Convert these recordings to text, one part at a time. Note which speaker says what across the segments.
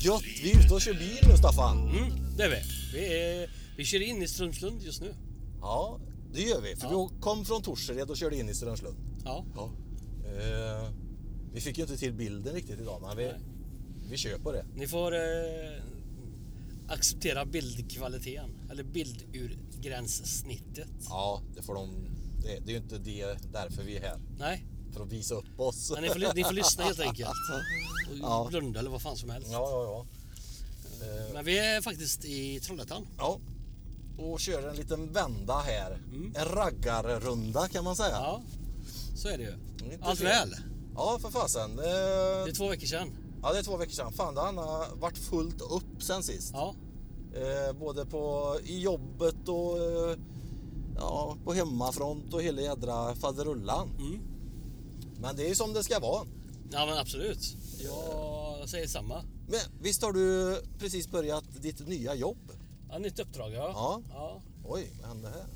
Speaker 1: gött! Vi är ute och kör bil nu, Staffan.
Speaker 2: Mm, det är vi. Vi, är, vi kör in i Strömslund just nu.
Speaker 1: Ja, det gör vi. För vi kom från Torsered och körde in i Strömslund.
Speaker 2: Ja.
Speaker 1: Ja. Eh, vi fick ju inte till bilden riktigt idag, men vi,
Speaker 2: Nej.
Speaker 1: vi kör på det.
Speaker 2: Ni får eh, acceptera bildkvaliteten, eller bildurgränssnittet.
Speaker 1: Ja, det får de... Det, det är ju inte det därför vi är här.
Speaker 2: Nej,
Speaker 1: För att visa upp oss.
Speaker 2: men ni får, ly- ni får lyssna helt enkelt. Och
Speaker 1: Ja.
Speaker 2: blunda eller vad fan som helst.
Speaker 1: Ja, ja, ja. Eh,
Speaker 2: Men vi är faktiskt i Trollhättan.
Speaker 1: ja. Och kör en liten vända här. En raggarrunda kan man säga.
Speaker 2: Mm. Ja, så är det ju.
Speaker 1: Inte
Speaker 2: Allt
Speaker 1: fel.
Speaker 2: väl.
Speaker 1: Ja, för fasen. Eh,
Speaker 2: Det är två veckor sedan.
Speaker 1: Ja, det är två veckor sedan. Fan, det har varit fullt upp sen sist.
Speaker 2: Ja,
Speaker 1: Eh, både på, i jobbet och eh, ja, på hemmafront och hela jädra faderullan.
Speaker 2: Mm.
Speaker 1: Men det är ju som det ska vara.
Speaker 2: ja men absolut. Jag säger samma.
Speaker 1: Men visst har du precis börjat ditt nya jobb?
Speaker 2: Ja, nytt uppdrag ja.
Speaker 1: Ja.
Speaker 2: ja.
Speaker 1: Oj, vad hände här?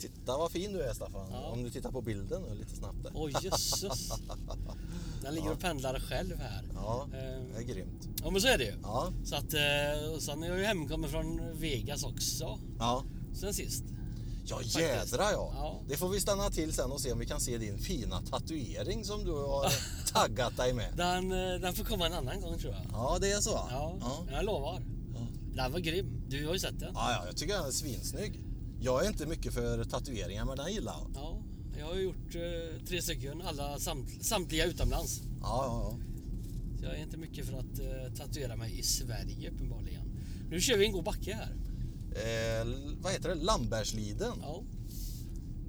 Speaker 1: Titta vad fin du är Staffan.
Speaker 2: Ja.
Speaker 1: Om du tittar på bilden nu lite snabbt där.
Speaker 2: Oj jösses. Den ligger och pendlar själv här.
Speaker 1: Ja,
Speaker 2: Ehm.
Speaker 1: det är grymt.
Speaker 2: Ja men så är det ju.
Speaker 1: Ja,
Speaker 2: Så att, eh, och sen är jag ju hemkommen från Vegas också.
Speaker 1: ja.
Speaker 2: Sen sist.
Speaker 1: Ja
Speaker 2: Faktiskt.
Speaker 1: jädra ja.
Speaker 2: Ja.
Speaker 1: Det får vi stanna till sen och se om vi kan se din fina tatuering som du har taggat dig med.
Speaker 2: Den, eh, den får komma en annan gång tror jag.
Speaker 1: Ja det är så?
Speaker 2: Ja,
Speaker 1: ja.
Speaker 2: jag lovar. Den var grym. Du har ju sett den.
Speaker 1: Ja, ja, jag tycker den är svinsnygg. Jag är inte mycket för tatueringar men den gillar jag.
Speaker 2: Ja, jag har ju gjort eh, tre stycken, alla samt, samtliga utomlands.
Speaker 1: Ja, ja,
Speaker 2: Så jag är inte mycket för att eh, tatuera mig i Sverige uppenbarligen. Nu kör vi en god backe här.
Speaker 1: ja. Eh, l- vad heter det? Lambertsliden.
Speaker 2: Ja,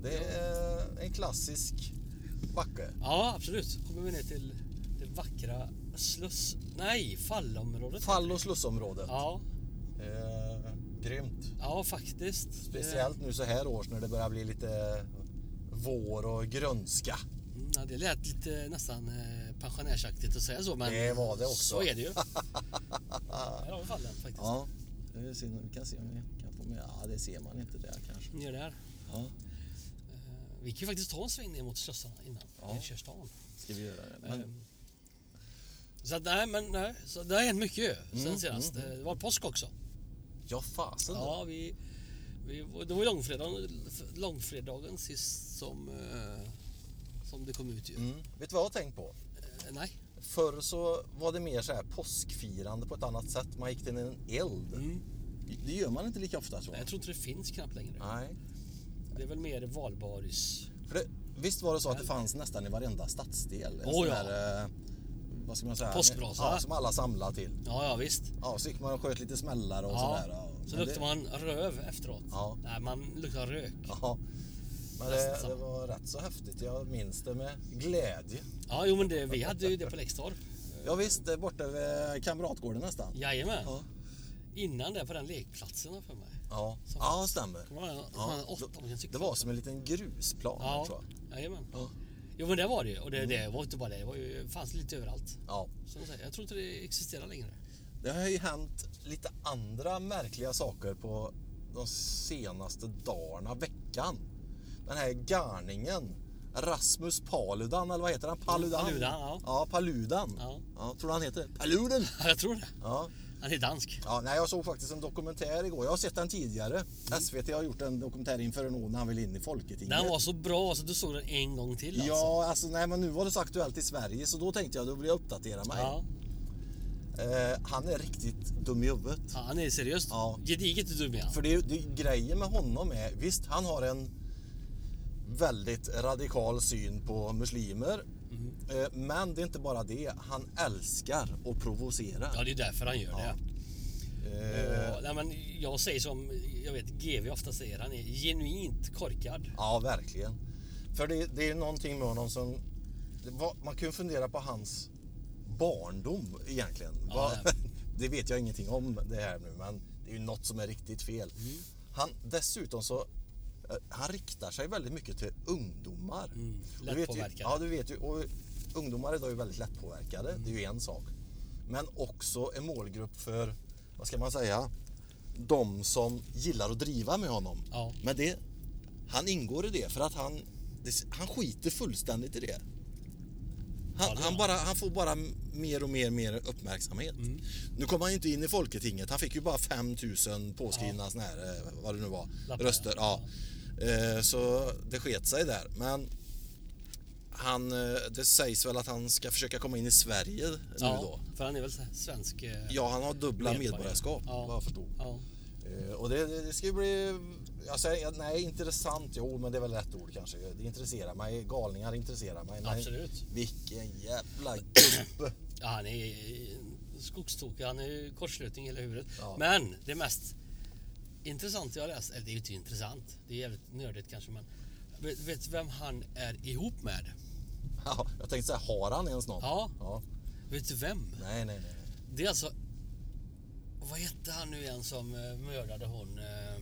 Speaker 1: Det är en klassisk backe.
Speaker 2: ja absolut. Kommer vi ner till det vackra sluss... Nej, fallområdet.
Speaker 1: Fall och slussområdet.
Speaker 2: Ja,
Speaker 1: Eh, grymt.
Speaker 2: ja faktiskt.
Speaker 1: Speciellt nu så här års när det börjar bli lite vår och grönska.
Speaker 2: Det, mm, ja, det lät lite nästan eh, pensionärsaktigt att säga så men...
Speaker 1: Det var det också.
Speaker 2: Så är det ju. Här har vi fallen faktiskt.
Speaker 1: Ja. Vi ser- vi kan se om vi kan få med. Ja, det ser man inte där kanske.
Speaker 2: Ni gör det här.
Speaker 1: Ja.
Speaker 2: Eh, Vi kan ju faktiskt ta en sväng ner mot slussarna innan
Speaker 1: Ja.
Speaker 2: vi kör stan.
Speaker 1: Ska vi göra det?
Speaker 2: Eh, Så att, nej, men nej. Så det har hänt mycket ju sen
Speaker 1: Mm,
Speaker 2: senast. Eh, Det var påsk också.
Speaker 1: ja, fasen.
Speaker 2: Ja, vi, vi, det var långfredagen, långfredagen sist som, eh, som det kom ut ju.
Speaker 1: Mm. Vet du vad jag har tänkt på?
Speaker 2: Eh, Nej.
Speaker 1: Förr så var det mer så här påskfirande på ett annat sätt. Man gick till en eld.
Speaker 2: Mm.
Speaker 1: Det gör man inte lika ofta tror
Speaker 2: Nej,
Speaker 1: jag.
Speaker 2: Jag tror inte det finns knappt längre.
Speaker 1: Nej.
Speaker 2: Det är väl mer valbaris.
Speaker 1: För det, visst var det så att det fanns nästan i varenda stadsdel? en
Speaker 2: Oh,
Speaker 1: sån
Speaker 2: ja.
Speaker 1: här, eh, vad ska man säga?
Speaker 2: Påskbrasa.
Speaker 1: Ja, som alla samlade till.
Speaker 2: Ja, ja visst.
Speaker 1: Ja, så gick man och sköt lite smällar och
Speaker 2: Ja.
Speaker 1: sådär. Ja,
Speaker 2: Så
Speaker 1: men
Speaker 2: luktar
Speaker 1: det-
Speaker 2: man röv efteråt.
Speaker 1: Ja.
Speaker 2: Nej, man luktar rök.
Speaker 1: Ja. Men
Speaker 2: Nästan
Speaker 1: det,
Speaker 2: samma.
Speaker 1: det var rätt så häftigt. Jag minns det med glädje.
Speaker 2: Ja, jo men det, vi hade ju det på Läxtorp.
Speaker 1: Ja, visst, det är borta vid Kamratgården nästan.
Speaker 2: Jajamän.
Speaker 1: Ja.
Speaker 2: Innan det på den lekplatsen har jag för mig.
Speaker 1: Ja,
Speaker 2: Som-
Speaker 1: ja stämmer.
Speaker 2: Kommer du ihåg den?
Speaker 1: Ja.
Speaker 2: Den åtta man kan
Speaker 1: Det,
Speaker 2: cykla.
Speaker 1: det var som en liten grusplan
Speaker 2: Ja,
Speaker 1: tror jag.
Speaker 2: jajamän.
Speaker 1: Ja. Mm.
Speaker 2: Jo men det var det ju. Och det, det var inte bara det. Det var ju, fanns lite överallt.
Speaker 1: ja.
Speaker 2: Som du säger, jag tror inte det existerar längre.
Speaker 1: Det har ju hänt lite andra märkliga saker på de senaste dagarna, veckan. Den här garningen, Rasmus Paludan, eller vad heter han? Paludan?
Speaker 2: Paludan, ja.
Speaker 1: Ja, Paludan.
Speaker 2: Ja.
Speaker 1: tror du han heter? Paluden!
Speaker 2: Ja, jag tror det.
Speaker 1: Ja.
Speaker 2: Han är dansk.
Speaker 1: Ja, nej, jag såg faktiskt en dokumentär igår. Jag har sett den tidigare.
Speaker 2: Mm.
Speaker 1: SVT har gjort en dokumentär inför en år när han vill in i Folketinget.
Speaker 2: Den var så bra så du såg den en gång till alltså.
Speaker 1: Ja, alltså nej men nu var det så aktuellt i Sverige så då tänkte jag då vill jag uppdatera mig.
Speaker 2: Ja,
Speaker 1: Eh, han är riktigt dum i huvudet.
Speaker 2: Ja, han är seriöst
Speaker 1: Ja.
Speaker 2: gediget dum är han.
Speaker 1: För det, är ju- det, är- grejen med honom är, visst han har en väldigt radikal syn på muslimer. Eh, Men det är inte bara det, han älskar att provocera.
Speaker 2: Ja, det är därför han gör det.
Speaker 1: Eh,
Speaker 2: Ja, nej, men jag säger som jag vet GV ofta säger, han är genuint korkad.
Speaker 1: Ja, verkligen. För det, det är någonting med honom som... det var- Man kan ju fundera på hans barndom egentligen.
Speaker 2: Ja,
Speaker 1: Vad-
Speaker 2: nej.
Speaker 1: det vet jag ingenting om det här nu, men det är ju något som är riktigt fel.
Speaker 2: Mm.
Speaker 1: Han, dessutom så... eh, Han riktar sig väldigt mycket till ungdomar.
Speaker 2: Mm,
Speaker 1: Och du vet ju,
Speaker 2: lättpåverkade.
Speaker 1: Ja, du vet ju. Och ungdomar idag är ju väldigt lättpåverkade. Det är ju en sak. Men också en målgrupp för, vad ska man säga, de som gillar att driva med honom.
Speaker 2: Ja.
Speaker 1: Men det, han ingår i det för att han, det, han skiter fullständigt i det. Han, han, bara, han får bara mer och mer, mer uppmärksamhet. Nu kom han ju inte in i Folketinget. Han fick ju bara 5000 påskrivna såna här, eh, vad det nu var,
Speaker 3: Lappar,
Speaker 1: röster. Ja. Eh, Så det sket sig där. Men han, eh, det sägs väl att han ska försöka komma in i Sverige nu
Speaker 2: ja,
Speaker 1: då.
Speaker 2: För han är väl svensk? eh,
Speaker 1: Ja, han har dubbla
Speaker 2: Medborgare.
Speaker 1: medborgarskap
Speaker 2: Ja.
Speaker 1: vad jag förstod.
Speaker 2: ja.
Speaker 1: Eh, Och det, det ska ju bli... Alltså, jag- nej, intressant. Jo, men det är väl rätt ord kanske. Det intresserar mig. Galningar intresserar mig. Men
Speaker 3: Absolut.
Speaker 1: vilken jävla gubbe.
Speaker 2: Ja, han är skogstokig, han är ju kortslutning i hela huvudet.
Speaker 1: Ja.
Speaker 2: Men det mest intressanta jag har läst, eller det är ju inte intressant, det är jävligt nördigt kanske men vet, vet du vem han är ihop med?
Speaker 1: Ja, jag tänkte så här, har han ens någon?
Speaker 2: Ja.
Speaker 1: ja.
Speaker 2: Vet du vem?
Speaker 1: Nej, nej, nej. nej.
Speaker 2: Det är alltså, vad hette han nu igen som eh, mördade hon eh,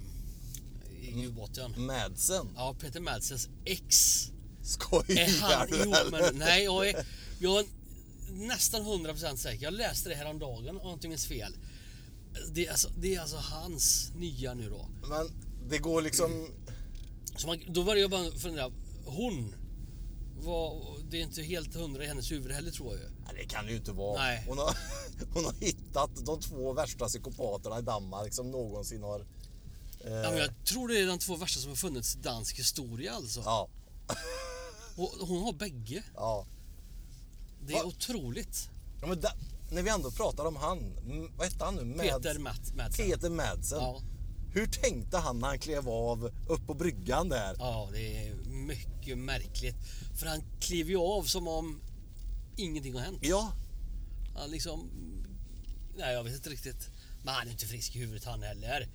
Speaker 2: i ubåten?
Speaker 1: Madsen?
Speaker 2: Ja, Peter Madsens ex. Är
Speaker 1: Skojar
Speaker 2: han
Speaker 1: du
Speaker 2: ihop med...
Speaker 1: eller?
Speaker 2: Nej, jag är, jag är nästan 100% säker. Jag läste det här om dagen och antingens fel. Det är, alltså, det är alltså hans nya nu då.
Speaker 1: Men det går liksom...
Speaker 2: Så man, då började jag bara fundera. Hon var... Det är inte helt hundra i hennes huvud heller tror jag ju.
Speaker 1: Nej, det kan det ju inte vara.
Speaker 2: Nej.
Speaker 1: Hon, har, hon har hittat de två värsta psykopaterna i Danmark som någonsin har... Eh,
Speaker 2: Ja, men jag tror det är de två värsta som har funnits i dansk historia alltså.
Speaker 1: ja,
Speaker 2: Och hon har bägge.
Speaker 1: ja.
Speaker 2: Det
Speaker 1: Va?
Speaker 2: är otroligt.
Speaker 1: Ja, men där- när vi ändå pratar om han, m- vad hette han nu? Mads-
Speaker 2: Peter Matt, Madsen.
Speaker 1: Peter Madsen.
Speaker 2: Ja.
Speaker 1: Hur tänkte han när han klev av upp på bryggan där?
Speaker 2: Ja, det är mycket märkligt. För han kliver ju av som om ingenting har hänt.
Speaker 1: Ja,
Speaker 2: Han liksom... Nej, jag vet inte riktigt. Men han är inte frisk i huvudet han heller.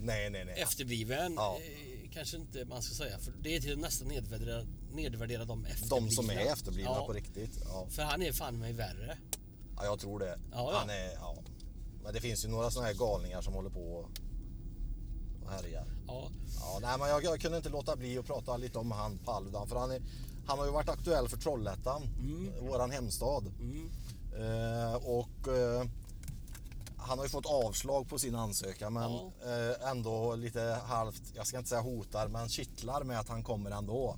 Speaker 1: nej, nej, nej.
Speaker 2: Efterbliven
Speaker 1: Ja.
Speaker 2: eh, kanske inte man ska säga. För det är till och med nästan nedvärdera, nedvärdera de efterblivna.
Speaker 1: De som är efterblivna
Speaker 2: Ja,
Speaker 1: på riktigt. Ja.
Speaker 2: För han är fan mig värre.
Speaker 1: ja, jag tror det.
Speaker 2: Ja, ja.
Speaker 1: Han är, ja. Men det finns ju några sådana här galningar som håller på och- och härjar.
Speaker 2: Ja.
Speaker 1: Ja, nej, men jag, jag kunde inte låta bli att prata lite om han Paludan för han, är, han har ju varit aktuell för Trollhättan, våran hemstad.
Speaker 2: Mm.
Speaker 1: Eh, och eh, han har ju fått avslag på sin ansökan men
Speaker 2: Ja.
Speaker 1: eh, ändå lite halvt, jag ska inte säga hotar, men kittlar med att han kommer ändå.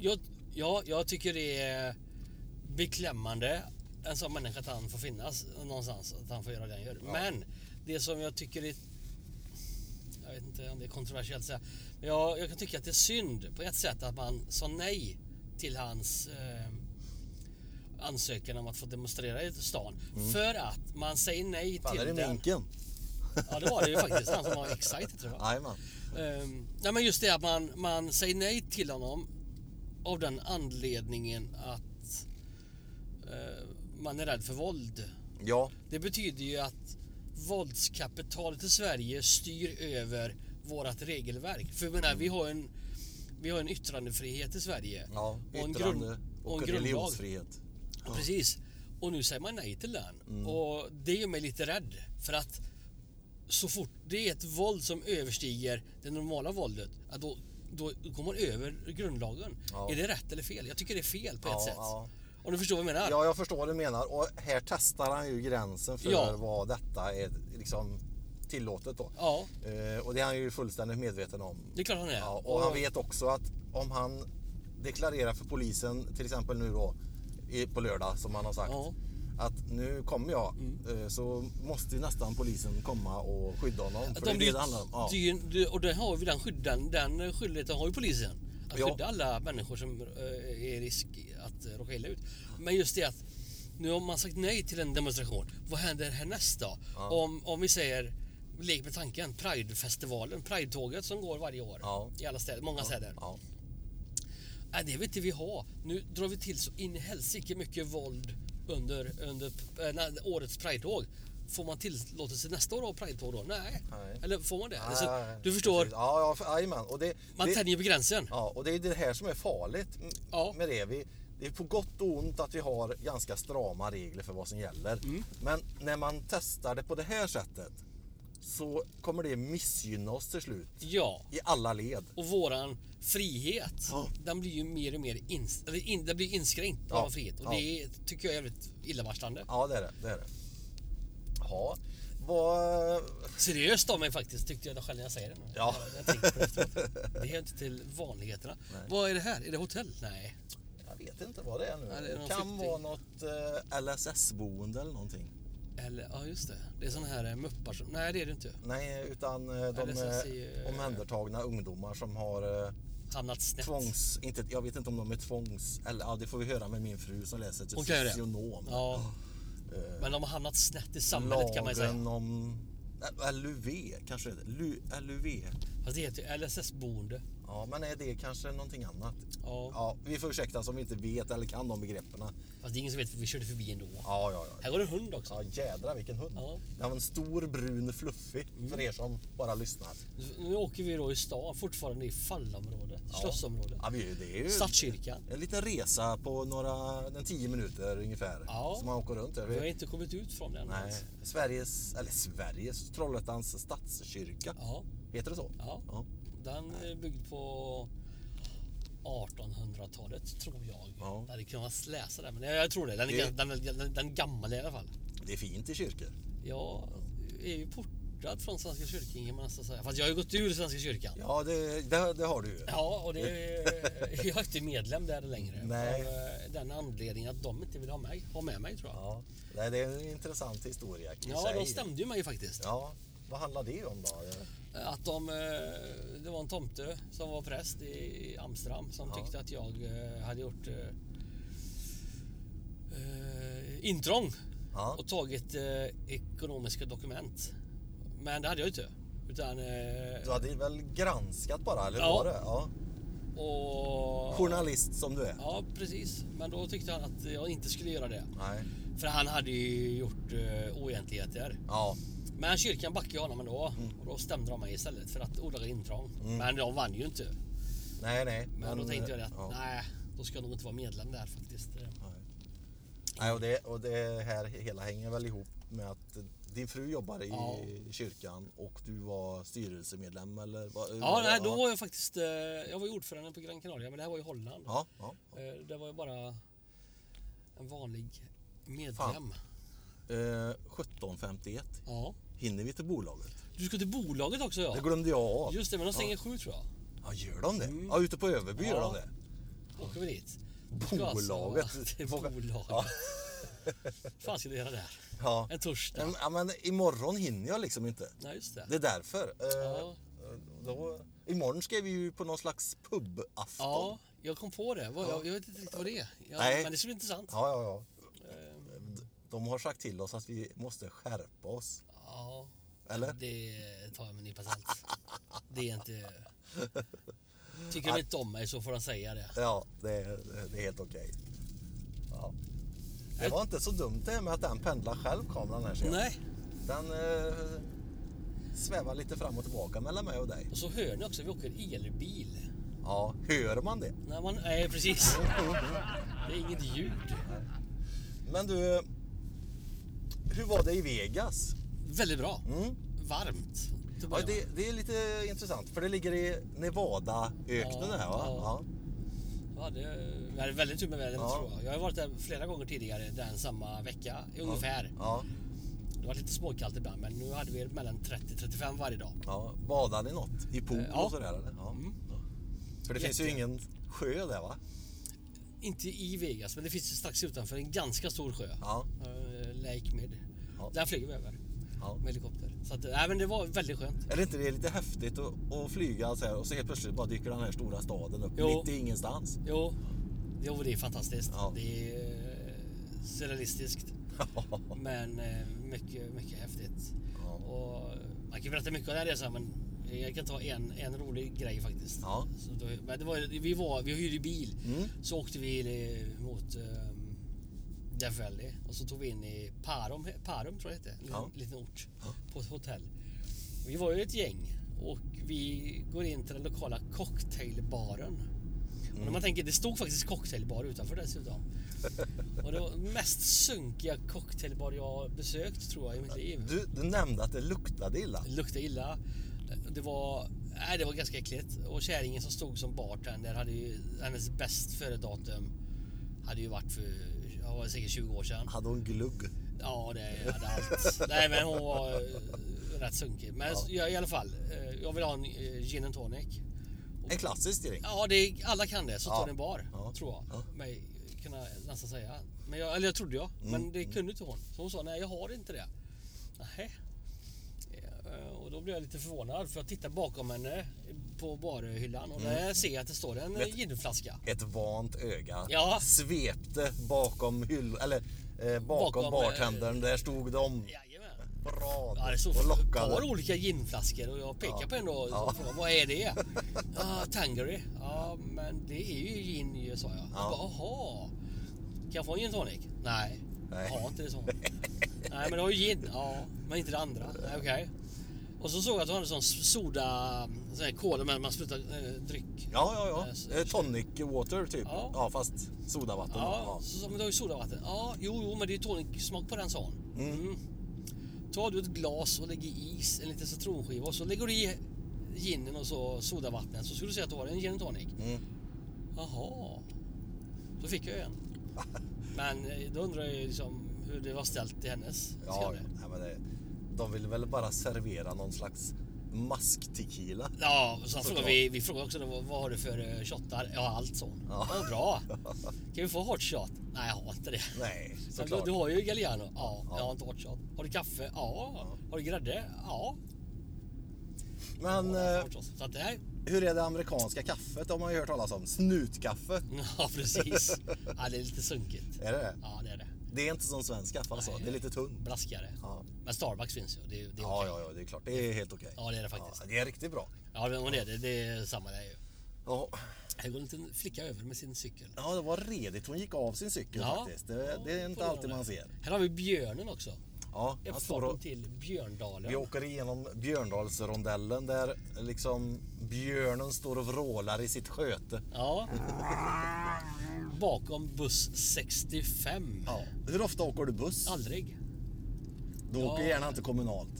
Speaker 2: Jag, ja, jag tycker det är beklämmande. En sån människa att han får finnas någonstans. Att han får göra det han gör. Men det som jag tycker är... Jag vet inte om det är kontroversiellt att säga. Men jag, jag kan tycka att det är synd på ett sätt att man sa nej till hans eh, ansökan om att få demonstrera i stan. För att man säger nej
Speaker 1: Mm. Fan, är
Speaker 2: till
Speaker 1: det
Speaker 2: den.
Speaker 1: minken?
Speaker 2: Ja, det var det ju faktiskt. Han som var excited tror jag.
Speaker 1: Jajamän.
Speaker 2: Ehm, nej men just det att man, man säger nej till honom av den anledningen att eh, man är rädd för våld.
Speaker 1: Ja,
Speaker 2: Det betyder ju att våldskapitalet i Sverige styr över vårat regelverk. För jag menar, vi har en vi har en yttrandefrihet i Sverige.
Speaker 1: ja
Speaker 2: Och en
Speaker 1: yttrande
Speaker 2: grund-
Speaker 1: och,
Speaker 2: och en grundlag.
Speaker 1: religionsfrihet.
Speaker 2: Precis. Och nu säger man nej till den.
Speaker 1: Mm.
Speaker 2: Och det gör mig lite rädd. För att så fort det är ett våld som överstiger det normala våldet, ja, då, då går man över grundlagen.
Speaker 1: Ja.
Speaker 2: Är det rätt eller fel? Jag tycker det är fel på
Speaker 1: Ja,
Speaker 2: ett sätt.
Speaker 1: ja.
Speaker 2: Om du förstår vad jag menar?
Speaker 1: Ja, jag förstår vad du menar och här testar han ju gränsen för
Speaker 2: Ja.
Speaker 1: vad detta är liksom tillåtet då.
Speaker 2: Ja,
Speaker 1: Eh, och det är han ju fullständigt medveten om.
Speaker 2: det är klart han är.
Speaker 1: Ja, och han vet också att om han deklarerar för polisen, till exempel nu då i- på lördag som han har sagt,
Speaker 2: Ja. Mm.
Speaker 1: att nu kommer jag, eh, så måste ju nästan polisen komma och skydda honom. För det är det det handlar om. Ja.
Speaker 2: det är ju- det- och den har vi den, skydd, den, den skyldigheten har ju polisen. Att
Speaker 1: Ja.
Speaker 2: skydda alla människor som eh, är i risk att eh, råka illa ut. Men just det att nu har man sagt nej till en demonstration. Vad händer härnäst då? Om, om vi säger, lek med tanken, Pridefestivalen, Pridetåget som går varje år
Speaker 1: Ja.
Speaker 2: i alla städer, många städer.
Speaker 1: Ja.
Speaker 2: Nej, det vill inte vi ha. Nu drar vi till så in i helsike mycket våld under, under eh, na- årets Pride-tåg. Får man tillåtelse nästa år av Pride-tåg då? Nej.
Speaker 1: Nej.
Speaker 2: Eller får man det? Alltså,
Speaker 1: Ja, ja, ja.
Speaker 2: du förstår,
Speaker 1: Precis. Ja, ja, för- jajamän. Och det,
Speaker 2: man
Speaker 1: det,
Speaker 2: tänjer på gränsen.
Speaker 1: Ja, och det är det här som är farligt m-
Speaker 2: Ja.
Speaker 1: med det. Vi, det är på gott och ont att vi har ganska strama regler för vad som gäller.
Speaker 2: Mm.
Speaker 1: Men när man testar det på det här sättet så kommer det missgynna oss till slut
Speaker 2: Ja.
Speaker 1: i alla led.
Speaker 2: Och våran frihet,
Speaker 1: Ja.
Speaker 2: den blir ju mer och mer ins eller in, den blir inskränkt.
Speaker 1: Ja.
Speaker 2: Våran frihet. Och
Speaker 1: Ja.
Speaker 2: det tycker jag är jävligt illavarslande.
Speaker 1: Ja, det är det. det, är det. Ja, vad...
Speaker 2: Seriöst av mig faktiskt, tyckte jag det själv när jag säger det. nu.
Speaker 1: Ja.
Speaker 2: Jag tänkte på det efteråt. Det hör inte till vanligheterna. Vad är det här? Är det hotell? Nej.
Speaker 1: Jag vet vet inte vad det är nu.
Speaker 2: Ja, det är någon
Speaker 1: kan
Speaker 2: flykting.
Speaker 1: vara något eh, LSS-boende eller någonting.
Speaker 2: Eller, ja just det. Det är sådana här eh, muppar som... Nej, det är det inte.
Speaker 1: Nej, utan eh, de
Speaker 2: LSS är ju,
Speaker 1: eh,
Speaker 2: eh,
Speaker 1: omhändertagna ungdomar som har eh,
Speaker 2: Hamnat snett.
Speaker 1: tvångs... Inte, jag vet inte om de är tvångs... Eller, ja, det får vi höra med min fru som läser till
Speaker 2: Hon kan göra det.
Speaker 1: socionom.
Speaker 2: Ja.
Speaker 1: Eh,
Speaker 2: Men de har hamnat snett i samhället kan man ju säga.
Speaker 1: Lagen om... eh, LUV kanske det heter. Lu- LUV.
Speaker 2: Fast det heter ju LSS-boende.
Speaker 1: Ja, men är det kanske någonting annat?
Speaker 2: Ja.
Speaker 1: Ja, vi får ursäkta oss om vi inte vet eller kan de begreppen. Ja,
Speaker 2: Fast det är ingen som vet för vi körde förbi ändå.
Speaker 1: ja, ja.
Speaker 2: Här går en hund också.
Speaker 1: Ja, jädra vilken hund.
Speaker 2: Ja. Mm.
Speaker 1: Den var en stor, brun, fluffig för er som bara lyssnar.
Speaker 2: Nu åker vi då i stan, fortfarande i fallområdet, slottsområdet,
Speaker 1: Ja, vi- det är ju
Speaker 2: stadskyrkan.
Speaker 1: en liten resa på några, en tio minuter ungefär.
Speaker 2: Ja.
Speaker 1: Som man åker runt. där.
Speaker 2: Vi har inte kommit ut från den.
Speaker 1: Nej,
Speaker 2: alls.
Speaker 1: Sveriges, eller Sveriges, Trollhättans stadskyrka.
Speaker 2: Ja,
Speaker 1: Heter det så?
Speaker 2: ja.
Speaker 1: Ja.
Speaker 2: Den är byggd på 1800-talet tror jag.
Speaker 1: Ja.
Speaker 2: Jag hade kunnat läsa det, men jag, jag tror det. Den är,
Speaker 1: Det-
Speaker 2: ga- den, är- den, den är gammal i alla fall.
Speaker 1: Det är fint i kyrkor.
Speaker 2: Jag är ju portad från Svenska kyrkan kan man nästan säga. Fast jag har ju gått ur Svenska kyrkan. Ja,
Speaker 1: Ja, det, det, det har du ju.
Speaker 2: och det, jag är inte medlem där längre.
Speaker 1: Nej.
Speaker 2: Av eh, den anledningen att de inte vill ha, mig, ha med mig tror jag.
Speaker 1: Ja. Nej, det är en intressant historia i
Speaker 2: Ja,
Speaker 1: sig.
Speaker 2: de stämde ju mig faktiskt.
Speaker 1: Ja, vad handlar det om då?
Speaker 2: Att de, eh, det var en tomte som var präst i Amsterdam som
Speaker 1: Ja.
Speaker 2: tyckte att jag eh, hade gjort eh, eh, intrång
Speaker 1: Ja.
Speaker 2: och tagit eh, ekonomiska dokument. Men det hade jag ju inte. Utan, eh,
Speaker 1: Du hade väl granskat bara, eller
Speaker 2: Ja.
Speaker 1: var det? Ja.
Speaker 2: och,
Speaker 1: Journalist som du är.
Speaker 2: ja, precis. Men då tyckte han att jag inte skulle göra det.
Speaker 1: Nej.
Speaker 2: För han hade ju gjort eh, oegentligheter.
Speaker 1: Ja.
Speaker 2: Men kyrkan backade ju honom ändå
Speaker 1: Mm.
Speaker 2: och då stämde de mig istället för att olaga intrång. Men de vann ju inte.
Speaker 1: Nej, nej.
Speaker 2: Men då tänkte jag det att
Speaker 1: eh, ja.
Speaker 2: nej, då ska jag nog inte vara medlem där faktiskt.
Speaker 1: Nej. Nej, och, det, och det här hela hänger väl ihop med att din fru jobbar i
Speaker 2: Ja.
Speaker 1: kyrkan och du var styrelsemedlem eller? Vad,
Speaker 2: Ja, nej, då var jag faktiskt, eh, jag var ju ordförande på Gran Canaria, men det här var ju Holland.
Speaker 1: Ja, ja.
Speaker 2: Eh, Det var ju bara en vanlig medlem.
Speaker 1: Fan. Eh, 17.51.
Speaker 2: Ja.
Speaker 1: Hinner vi till bolaget?
Speaker 2: Du ska till bolaget också ja.
Speaker 1: Det glömde jag av.
Speaker 2: Just det, men de stänger sju tror jag.
Speaker 1: Ja, gör de det? Ja, ute på Överby gör de
Speaker 2: Ja.
Speaker 1: det.
Speaker 2: Åker vi dit.
Speaker 1: Bolaget.
Speaker 2: Det är bolaget.
Speaker 1: Ja.
Speaker 2: fan ska du göra där?
Speaker 1: Ja.
Speaker 2: En torsdag?
Speaker 1: Men, ja, men imorgon hinner jag liksom inte.
Speaker 2: Nej, just det.
Speaker 1: Det är därför. Eh,
Speaker 2: Ja.
Speaker 1: då, imorgon ska vi ju på någon slags pubafton.
Speaker 2: Ja, jag kom på det. Vad, jag, jag vet inte riktigt vad det är. Jag,
Speaker 1: Nej.
Speaker 2: Men det ska bli intressant.
Speaker 1: Ja, ja, ja.
Speaker 2: Eh,
Speaker 1: De har sagt till oss att vi måste skärpa oss.
Speaker 2: Ja.
Speaker 1: Eller?
Speaker 2: Det tar jag med en nypa salt. Det är inte... Tycker de inte om mig så får de säga det.
Speaker 1: Ja, det är, det är helt okej. Ja. Det var inte så dumt det med att den pendlar själv kameran här ser jag.
Speaker 2: Nej,
Speaker 1: Den eh, svävar lite fram och tillbaka mellan mig och dig.
Speaker 2: och så hör ni också vi åker elbil.
Speaker 1: Ja, hör man det?
Speaker 2: När man, nej, precis. Det är inget ljud.
Speaker 1: Men du, hur var det i Vegas?
Speaker 2: Väldigt bra.
Speaker 1: Mm.
Speaker 2: Varmt. till att
Speaker 1: Ja,
Speaker 2: börja med.
Speaker 1: det, det är lite intressant för det ligger i Nevadaöknen
Speaker 2: Ja,
Speaker 1: här va? Ja.
Speaker 2: ja. Ja, det vi hade väldigt tur med vädret
Speaker 1: Ja.
Speaker 2: tror jag. Jag har varit där flera gånger tidigare den samma vecka ungefär.
Speaker 1: Ja.
Speaker 2: Det var lite småkallt ibland men nu hade vi mellan 30-35 varje dag.
Speaker 1: ja. Badar ni något? I pool
Speaker 2: Eh, ja.
Speaker 1: och sådär eller? Ja.
Speaker 2: Mm.
Speaker 1: För det finns ju
Speaker 2: Jätte.
Speaker 1: ingen sjö där va?
Speaker 2: Inte i Vegas men det finns ju strax utanför en ganska stor sjö.
Speaker 1: Ja.
Speaker 2: Eh, Lake Mid.
Speaker 1: Ja.
Speaker 2: Där flyger vi över
Speaker 1: ja.
Speaker 2: med helikopter. Så att, nej, men det var väldigt skönt.
Speaker 1: Är det inte det lite häftigt att, att flyga så här och så helt plötsligt bara dyker den här stora staden upp
Speaker 2: Jo.
Speaker 1: mitt i ingenstans?
Speaker 2: Jo, jo det är fantastiskt.
Speaker 1: Ja.
Speaker 2: Det är eh, surrealistiskt. men eh, mycket, mycket häftigt.
Speaker 1: Ja.
Speaker 2: Och man kan berätta mycket om den här resan men jag kan ta en, en rolig grej faktiskt.
Speaker 1: Ja.
Speaker 2: Så då, men det var, ju- vi, var, vi hyrde bil.
Speaker 1: Mm.
Speaker 2: Så åkte vi eh, mot eh, Death Valley och så tog vi in i Parum, Parum tror jag det hette, en liten,
Speaker 1: Ja.
Speaker 2: liten ort, på ett hotell. Vi var ju ett gäng och vi går in till den lokala cocktailbaren. Och
Speaker 1: Mm.
Speaker 2: när man tänker, det stod faktiskt cocktailbar utanför dessutom. och det var den mest sunkiga cocktailbar jag har besökt tror jag i mitt liv.
Speaker 1: Du, du nämnde att det luktade illa.
Speaker 2: Det luktade illa. Det var, nej, det var ganska äckligt. Och kärringen som stod som bartender hade ju, hennes bäst före datum hade ju varit för, ja, var det säkert 20 år sedan.
Speaker 1: Hade hon glugg?
Speaker 2: Ja, det hade allt. nej, men hon var eh, rätt sunkig. Men jag, i alla fall, eh, jag vill ha en eh, gin and tonic.
Speaker 1: En klassisk drink.
Speaker 2: Ja, det, alla kan det. Så
Speaker 1: Ja.
Speaker 2: tar ni en bar,
Speaker 1: Ja.
Speaker 2: tror jag.
Speaker 1: Ja.
Speaker 2: Mig kunna nästan säga. Men jag, eller jag trodde jag,
Speaker 1: Mm.
Speaker 2: men det kunde inte hon. Så hon sa, nej jag har inte det. Nähä. Eh, Och då blev jag lite förvånad för jag tittar bakom henne på varuhyllan
Speaker 1: Mm.
Speaker 2: och där ser jag att det står en
Speaker 1: Vet-
Speaker 2: ginflaska.
Speaker 1: Ett vant öga
Speaker 2: Ja.
Speaker 1: svepte bakom hyll... Eller eh, bakom,
Speaker 2: Bakom,
Speaker 1: bartendern. Där stod de
Speaker 2: Jajamän.
Speaker 1: på rad
Speaker 2: Ja, det stod
Speaker 1: och
Speaker 2: ett
Speaker 1: lockade.
Speaker 2: par olika ginflaskor och jag pekar på en då och
Speaker 1: Ja.
Speaker 2: frågar vad är det? ah, Tangery. Ja, men det är ju gin ju, sa jag.
Speaker 1: Ja.
Speaker 2: Ja. Bara, Jaha. Kan jag få en gin tonic? Nej.
Speaker 1: Nej.
Speaker 2: Jag har inte det så. Nej, men det har ju gin. Ja, men inte det andra. Nej, okej. Och så såg jag att de hade sån soda, sån här kola med man sprutar eh, dryck.
Speaker 1: Ja, ja,
Speaker 2: Eh, så-
Speaker 1: ja. Eh, Tonic water typ. Ja,
Speaker 2: Ja.
Speaker 1: fast sodavatten.
Speaker 2: Ja,
Speaker 1: Ja.
Speaker 2: så sa men du har ju sodavatten. Ja, jo, jo, men det är ju tonicsmak på den sa hon. Mm. Tar du ett glas och lägger i is, en liten citronskiva och så lägger du i ginen och så sodavattnet så skulle du säga att du har en gin and tonic.
Speaker 1: Mm.
Speaker 2: Jaha. Då fick jag ju en. Men eh, då undrar jag ju liksom hur det var ställt i hennes
Speaker 1: Ja,
Speaker 2: skalle.
Speaker 1: nej, men det, de vill väl bara servera någon slags masktequila.
Speaker 2: Ja, och sen
Speaker 1: Såklart.
Speaker 2: frågade vi, vi frågade också vad, vad har du för eh, shottar? Ja, allt sånt.
Speaker 1: Ja.
Speaker 2: Ja. bra. Kan vi få hot shot? Nej, jag har inte det.
Speaker 1: Nej,
Speaker 2: Men du,
Speaker 1: såklart.
Speaker 2: du har ju Galliano. Ja,
Speaker 1: Ja.
Speaker 2: jag har inte hot shot. Har du kaffe? Ja. Har du grädde? Ja.
Speaker 1: Men
Speaker 2: Ja, jag har
Speaker 1: eh,
Speaker 2: hot shot. Så att det här...
Speaker 1: hur är det amerikanska kaffet? De har ju hört talas om snutkaffe.
Speaker 2: Ja, precis. Ja, det är lite sunkigt.
Speaker 1: Är det det?
Speaker 2: Ja, det är det.
Speaker 1: Det är inte som svensk kaffe alltså.
Speaker 2: Nej.
Speaker 1: Det är lite tunn.
Speaker 2: Blaskigare.
Speaker 1: Ja.
Speaker 2: Men Starbucks finns ju. Det, är- det är
Speaker 1: Ja,
Speaker 2: okej.
Speaker 1: ja, ja, det är klart. Det är helt okej.
Speaker 2: Ja, det är det faktiskt.
Speaker 1: Ja, det är riktigt bra.
Speaker 2: Ja, men det är det. Det är samma där ju.
Speaker 1: Ja,
Speaker 2: Här går en liten flicka över med sin cykel.
Speaker 1: ja, det var redigt. Hon gick av sin cykel
Speaker 2: Ja.
Speaker 1: faktiskt. Det,
Speaker 2: Ja,
Speaker 1: det är inte
Speaker 2: får
Speaker 1: alltid
Speaker 2: det.
Speaker 1: man ser.
Speaker 2: Här har vi björnen också.
Speaker 1: Ja, han står och
Speaker 2: Uppfarten till Björndalen.
Speaker 1: Vi åker igenom Björndalsrondellen där liksom björnen står och vrålar i sitt sköte.
Speaker 2: Ja. Bakom buss 65.
Speaker 1: Ja. Hur ofta åker du buss?
Speaker 2: Aldrig.
Speaker 1: Du åker
Speaker 2: Ja.
Speaker 1: gärna inte kommunalt.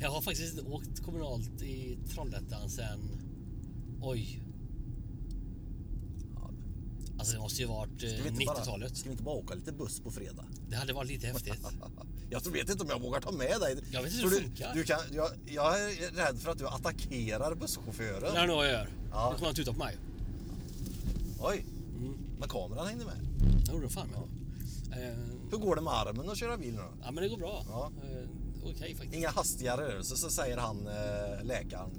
Speaker 2: Jag har faktiskt inte åkt kommunalt i Trollhättan sen... Oj. Alltså det måste ju varit eh,
Speaker 1: Ska vi inte bara-
Speaker 2: 90-talet.
Speaker 1: Ska vi inte bara åka lite buss på fredag?
Speaker 2: Det hade varit lite häftigt.
Speaker 1: Jag tror- vet inte om jag vågar ta med dig.
Speaker 2: Jag vet inte
Speaker 1: Tror
Speaker 2: hur det
Speaker 1: du,
Speaker 2: funkar.
Speaker 1: du kan, jag, jag är rädd för att du attackerar
Speaker 2: Det
Speaker 1: busschauffören.
Speaker 2: är nog jag gör.
Speaker 1: Ja.
Speaker 2: Nu kommer han tuta på mig.
Speaker 1: Oj,
Speaker 2: Mm.
Speaker 1: men kameran hängde med.
Speaker 2: Det gjorde han fan med. Eh,
Speaker 1: Hur går det med armen att köra bil nu då?
Speaker 2: Ja men det går bra.
Speaker 1: Ja.
Speaker 2: Eh, Okej faktiskt.
Speaker 1: Inga hastiga rörelser, så säger han eh, läkaren.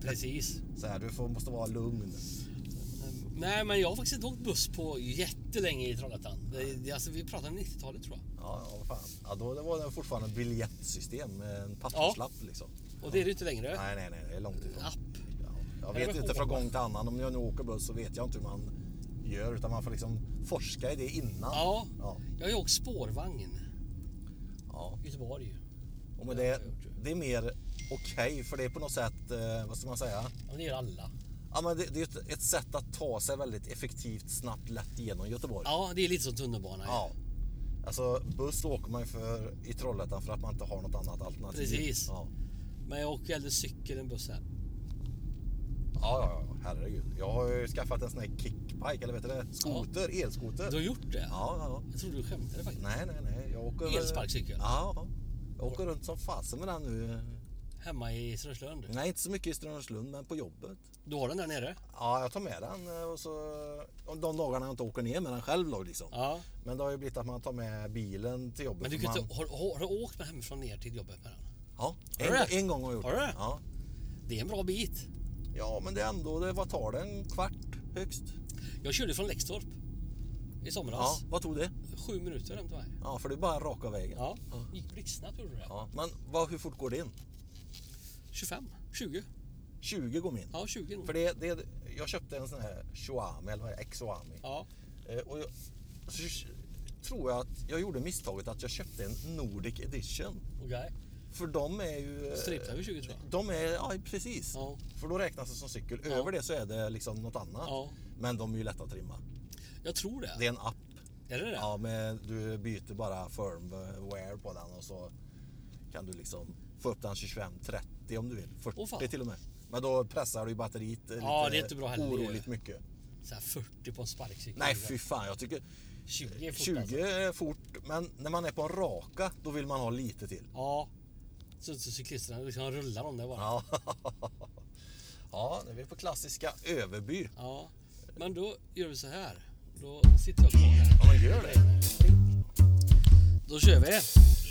Speaker 2: Precis.
Speaker 1: Så här, du får, måste vara lugn.
Speaker 2: Eh, Nej men jag har faktiskt inte åkt buss på jättelänge i Trollhättan. Det, det, alltså, vi pratar 90-talet tror jag.
Speaker 1: Ja, ja, vad fan. Ja, då det var det fortfarande biljettsystem med en papperslapp liksom.
Speaker 2: Och det är det inte längre.
Speaker 1: Nej, nej, nej, det är långt ifrån.
Speaker 2: App.
Speaker 1: Ja, jag
Speaker 2: Nej,
Speaker 1: vet
Speaker 2: men
Speaker 1: inte från
Speaker 2: åka.
Speaker 1: gång till annan. Om jag nu åker buss så vet jag inte hur man gör utan man får liksom forska i det innan.
Speaker 2: Ja.
Speaker 1: Ja.
Speaker 2: Jag har ju åkt spårvagn.
Speaker 1: ja.
Speaker 2: Göteborg.
Speaker 1: Och men det,
Speaker 2: har jag gjort, ja.
Speaker 1: det är mer okej för det är på något sätt, eh, vad ska man säga?
Speaker 2: Ja, men det gör alla.
Speaker 1: Ja, men det, det är ju ett, ett sätt att ta sig väldigt effektivt, snabbt, lätt genom Göteborg.
Speaker 2: Ja, det är lite som tunnelbana. ju.
Speaker 1: Ja. Alltså buss åker man ju för i Trollhättan för att man inte har något annat alternativ.
Speaker 2: Precis.
Speaker 1: Ja.
Speaker 2: Men jag åker hellre cykel än buss här.
Speaker 1: Ja, ja, ja, herregud. Jag har ju skaffat en sån här kickbike, eller vet du det? Skoter, elskoter.
Speaker 2: Du har gjort det?
Speaker 1: Ja, ja, ja.
Speaker 2: Jag trodde du skämtade faktiskt.
Speaker 1: Nej, nej, nej. Jag åker...
Speaker 2: Elsparkcykel?
Speaker 1: Ja, ja. Jag åker runt som fasen med den nu.
Speaker 2: Hemma i Strömslund.
Speaker 1: Nej, inte så mycket i Strömslund, men på jobbet.
Speaker 2: Du har den där nere?
Speaker 1: Ja, jag tar med den eh, och så... och De dagarna jag inte åker ner med den själv då, liksom.
Speaker 2: Ja.
Speaker 1: Men det har ju blivit att man tar med bilen till jobbet.
Speaker 2: Men du
Speaker 1: för
Speaker 2: kan
Speaker 1: man...
Speaker 2: inte, har, har du åkt med hemifrån ner till jobbet med den?
Speaker 1: Ja,
Speaker 2: Har du
Speaker 1: en,
Speaker 2: det?
Speaker 1: en gång har jag gjort
Speaker 2: Har du
Speaker 1: det.
Speaker 2: det?
Speaker 1: Ja.
Speaker 2: Det är en bra bit.
Speaker 1: ja, men det är ändå... Det, vad tar det? En kvart högst?
Speaker 2: Jag körde från Läxtorp i
Speaker 1: Ja,
Speaker 2: somras.
Speaker 1: vad tog det?
Speaker 2: Sju minuter hem till mig.
Speaker 1: Ja, för det är bara raka vägen.
Speaker 2: Ja, gick blixtsnabbt gjorde det.
Speaker 1: Ja. Men vad, hur fort går din?
Speaker 2: 25, 20.
Speaker 1: 20 går min.
Speaker 2: Ja, 20 nog.
Speaker 1: För det, det, jag köpte en sån här Xiaomi, eller vad är det? Xoami.
Speaker 2: Ja.
Speaker 1: Eh, och jag, så k- tror jag att jag gjorde misstaget att jag köpte en Nordic Edition.
Speaker 2: Okej.
Speaker 1: För de är ju... eh,
Speaker 2: Striptar vi 20 tror jag.
Speaker 1: De är, ja precis.
Speaker 2: Ja.
Speaker 1: För då räknas det som cykel.
Speaker 2: Ja.
Speaker 1: Över det så är det liksom något annat.
Speaker 2: Ja.
Speaker 1: Men de är ju lätta att trimma.
Speaker 2: Jag tror det.
Speaker 1: Det är en app.
Speaker 2: Är det det?
Speaker 1: Ja, men du byter bara firmware på den och så kan du liksom få upp den 25-30 om du vill. 40
Speaker 2: Åh, fan.
Speaker 1: till och med. Men då pressar du ju batteriet eh, lite
Speaker 2: Ja, det är inte bra heller.
Speaker 1: oroligt mycket.
Speaker 2: Så här 40 på en sparkcykel.
Speaker 1: Nej fy fan, jag tycker
Speaker 2: 20 är fort
Speaker 1: 20
Speaker 2: Alltså.
Speaker 1: är fort. Men när man är på en raka, då vill man ha lite till.
Speaker 2: Ja. Så, så cyklisterna liksom rullar om det bara.
Speaker 1: Ja, ja nu är vi på klassiska Överby.
Speaker 2: Ja, men då gör vi så här. Då sitter jag kvar här.
Speaker 1: Ja, men gör det.
Speaker 2: Då kör vi.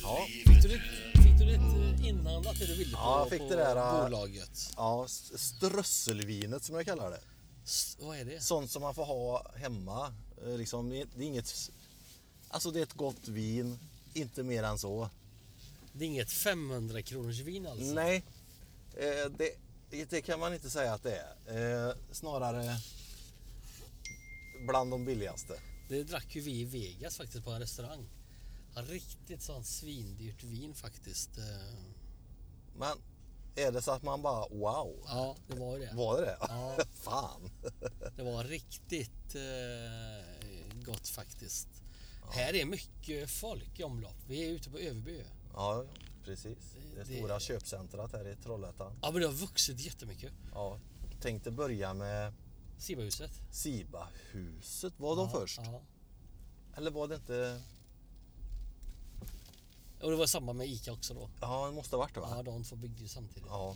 Speaker 1: Ja,
Speaker 2: Fick du ditt, fick du ditt eh, inhandlat det du ville på,
Speaker 1: Ja, jag fick
Speaker 2: på
Speaker 1: det där, eh,
Speaker 2: bolaget?
Speaker 1: ja s- strösselvinet som jag kallar det.
Speaker 2: S- vad är det?
Speaker 1: Sånt som man får ha hemma. Eh, Liksom, det är det är inget... Alltså det är ett gott vin, inte mer än så.
Speaker 2: Det är inget 500 kronors vin alltså?
Speaker 1: Nej, eh, det, det kan man inte säga att det är. Eh, Snarare bland de billigaste.
Speaker 2: Det drack ju vi i Vegas faktiskt på en restaurang. Ja, Riktigt sånt svindyrt vin faktiskt. Eh,
Speaker 1: Men är det så att man bara wow,
Speaker 2: Ja, det var ju det.
Speaker 1: var det det?
Speaker 2: Ja.
Speaker 1: Fan!
Speaker 2: Det var riktigt eh, gott faktiskt. Här är mycket folk i omlopp. Vi är ute på Överby.
Speaker 1: Ja, precis. Det
Speaker 2: Det-
Speaker 1: stora köpcentrat här i Trollhättan.
Speaker 2: Ja, men det har vuxit jättemycket.
Speaker 1: Ja, tänkte börja med
Speaker 2: Sibahuset.
Speaker 1: Sibahuset. Var de
Speaker 2: ja,
Speaker 1: först?
Speaker 2: Ja.
Speaker 1: Eller var det inte?
Speaker 2: Och det var samma med Ica också då.
Speaker 1: Ja, det måste ha varit det
Speaker 2: Ja,
Speaker 1: va?
Speaker 2: de två byggde ju samtidigt.
Speaker 1: Ja.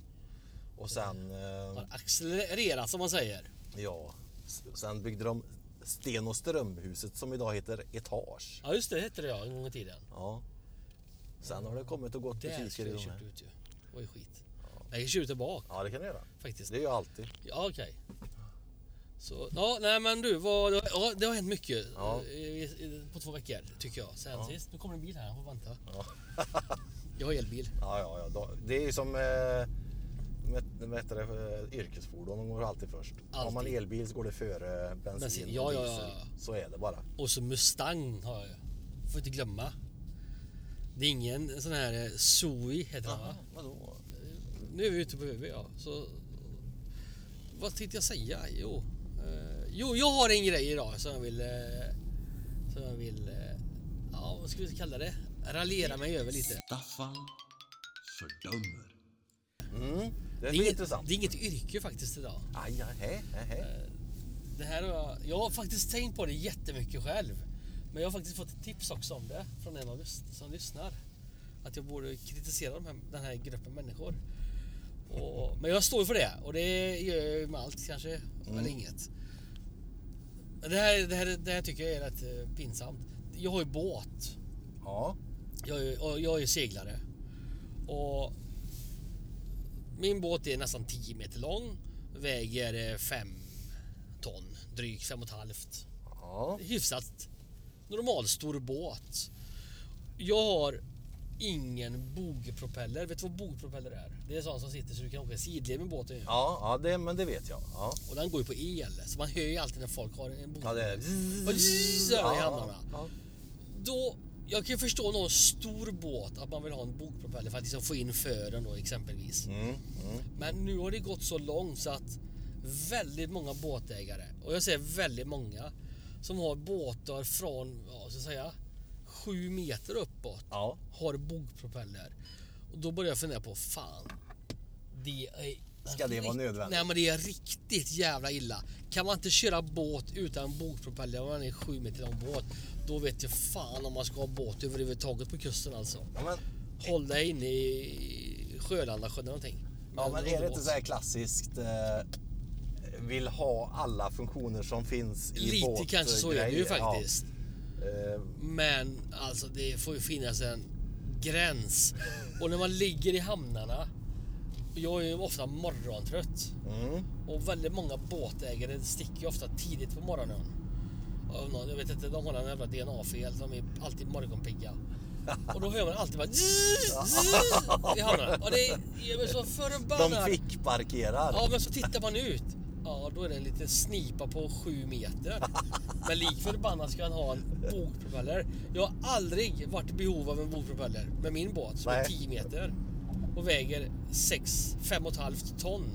Speaker 1: Och sen, eh,
Speaker 2: Har accelererat som man säger.
Speaker 1: ja, s- sen byggde de Sten och Strömhuset som idag heter Etage.
Speaker 2: Ja, just det hette det ja, en gång i tiden.
Speaker 1: Ja. Sen har det kommit och gått
Speaker 2: Där
Speaker 1: butiker
Speaker 2: skulle
Speaker 1: i
Speaker 2: jag
Speaker 1: de
Speaker 2: kört
Speaker 1: här.
Speaker 2: ut ju. Det var ju skit. Jag kan köra ut bak
Speaker 1: Ja, det kan det göra.
Speaker 2: faktiskt.
Speaker 1: Det är ju alltid.
Speaker 2: Ja, okej. Så, ja, nej men du, vad, ja, det har hänt mycket
Speaker 1: Ja.
Speaker 2: eh, i- i- på två veckor tycker jag. Sen sist, nu kommer en bil här, jag får vänta.
Speaker 1: Ja.
Speaker 2: jag har elbil.
Speaker 1: Ja, ja, ja. Då- Det är ju som eh, med, med det, eh, yrkesfordon, de går alltid först. Har man
Speaker 2: Alltid.
Speaker 1: elbil så går det före bensin,
Speaker 2: Bensin,
Speaker 1: och
Speaker 2: ja, ja,
Speaker 1: diesel.
Speaker 2: ja, ja.
Speaker 1: Så är det bara.
Speaker 2: Och så Mustang har jag ju. Får inte glömma. Det är ingen sån här eh, Zoe heter den va?
Speaker 1: vadå?
Speaker 2: Nu är vi ute på ÖB ja. Så, vad tänkte jag säga? Jo, eh, jo, jag har en grej idag som jag vill... Eh, som jag vill... Eh, ja, vad ska vi kalla det? Raljera mig över lite.
Speaker 3: Staffan fördömer.
Speaker 1: Mm, det är
Speaker 2: Det är, inget,
Speaker 1: intressant.
Speaker 2: det är inget yrke faktiskt idag.
Speaker 1: Aj, ja, hej, hej,
Speaker 2: Eh.
Speaker 1: hej.
Speaker 2: Det här har jag, jag har faktiskt tänkt på det jättemycket själv. Men jag har faktiskt fått ett tips också om det från en av lys- som lyssnar. Att jag borde kritisera de här, den här gruppen människor. Och, men jag står ju för det och det gör jag ju med allt kanske.
Speaker 1: Mm.
Speaker 2: Eller inget. Men Det här, det, här, det här tycker jag är rätt eh, pinsamt. Jag har ju båt.
Speaker 1: Ja,
Speaker 2: Jag är, och jag är seglare. Och min båt är nästan 10 meter lång. Väger 5 ton, drygt fem och ett halvt.
Speaker 1: ja,
Speaker 2: Hyfsat normalstor båt. Jag har ingen bogpropeller. Vet du vad bogpropeller är? Det är sån som sitter så du kan åka sidled med båten. ju.
Speaker 1: ja, ja det, men det vet jag. Ja,
Speaker 2: Och den går ju på el. Så man hör ju alltid när folk har en
Speaker 1: ja det
Speaker 2: bogpropeller.
Speaker 1: är...
Speaker 2: Och zzz, över i hamnarna.
Speaker 1: ja.
Speaker 2: då, jag kan ju förstå någon stor båt att man vill ha en bogpropeller för att liksom få in fören då exempelvis.
Speaker 1: Mm, mm.
Speaker 2: Men nu har det gått så långt så att väldigt många båtägare, och jag säger väldigt många, som har båtar från, ja så att säga, sju meter uppåt
Speaker 1: Ja,
Speaker 2: har bogpropeller. Och då börjar jag fundera på, fan. Det är
Speaker 1: Ska det vara nödvändigt?
Speaker 2: Nej men det är riktigt jävla illa. Kan man inte köra båt utan bogpropeller om man är en sju meter lång båt. Då vet jag fan om man ska ha båt överhuvudtaget på kusten alltså.
Speaker 1: ja men,
Speaker 2: Håll dig inne i Sjölandasjön eller någonting.
Speaker 1: ja, men är det inte
Speaker 2: båt.
Speaker 1: så här klassiskt eh, vill ha alla funktioner som finns i
Speaker 2: Lite
Speaker 1: båt,
Speaker 2: kanske så är det ju
Speaker 1: grejer?
Speaker 2: faktiskt.
Speaker 1: Ja. Eh,
Speaker 2: Men alltså det får ju finnas en gräns. Och när man ligger i hamnarna. Jag är ju ofta morgontrött.
Speaker 1: mm.
Speaker 2: Och väldigt många båtägare sticker ju ofta tidigt på morgonen. Av någon- Jag vet inte, de har en jävla DNA-fel. De är alltid morgonpigga. Och då hör man alltid bara zzz, zzz, i hamnarna. Och det gör mig så
Speaker 1: De
Speaker 2: förbannad.
Speaker 1: fick parkerar.
Speaker 2: Ja, men så tittar man ut. Ja, då är det en liten snipa på sju meter. Men lik förbannat ska han ha en bogpropeller. Jag har aldrig varit i behov av en bogpropeller med min båt som är
Speaker 1: Nej.
Speaker 2: 10 meter och väger 6, 5,5 ton.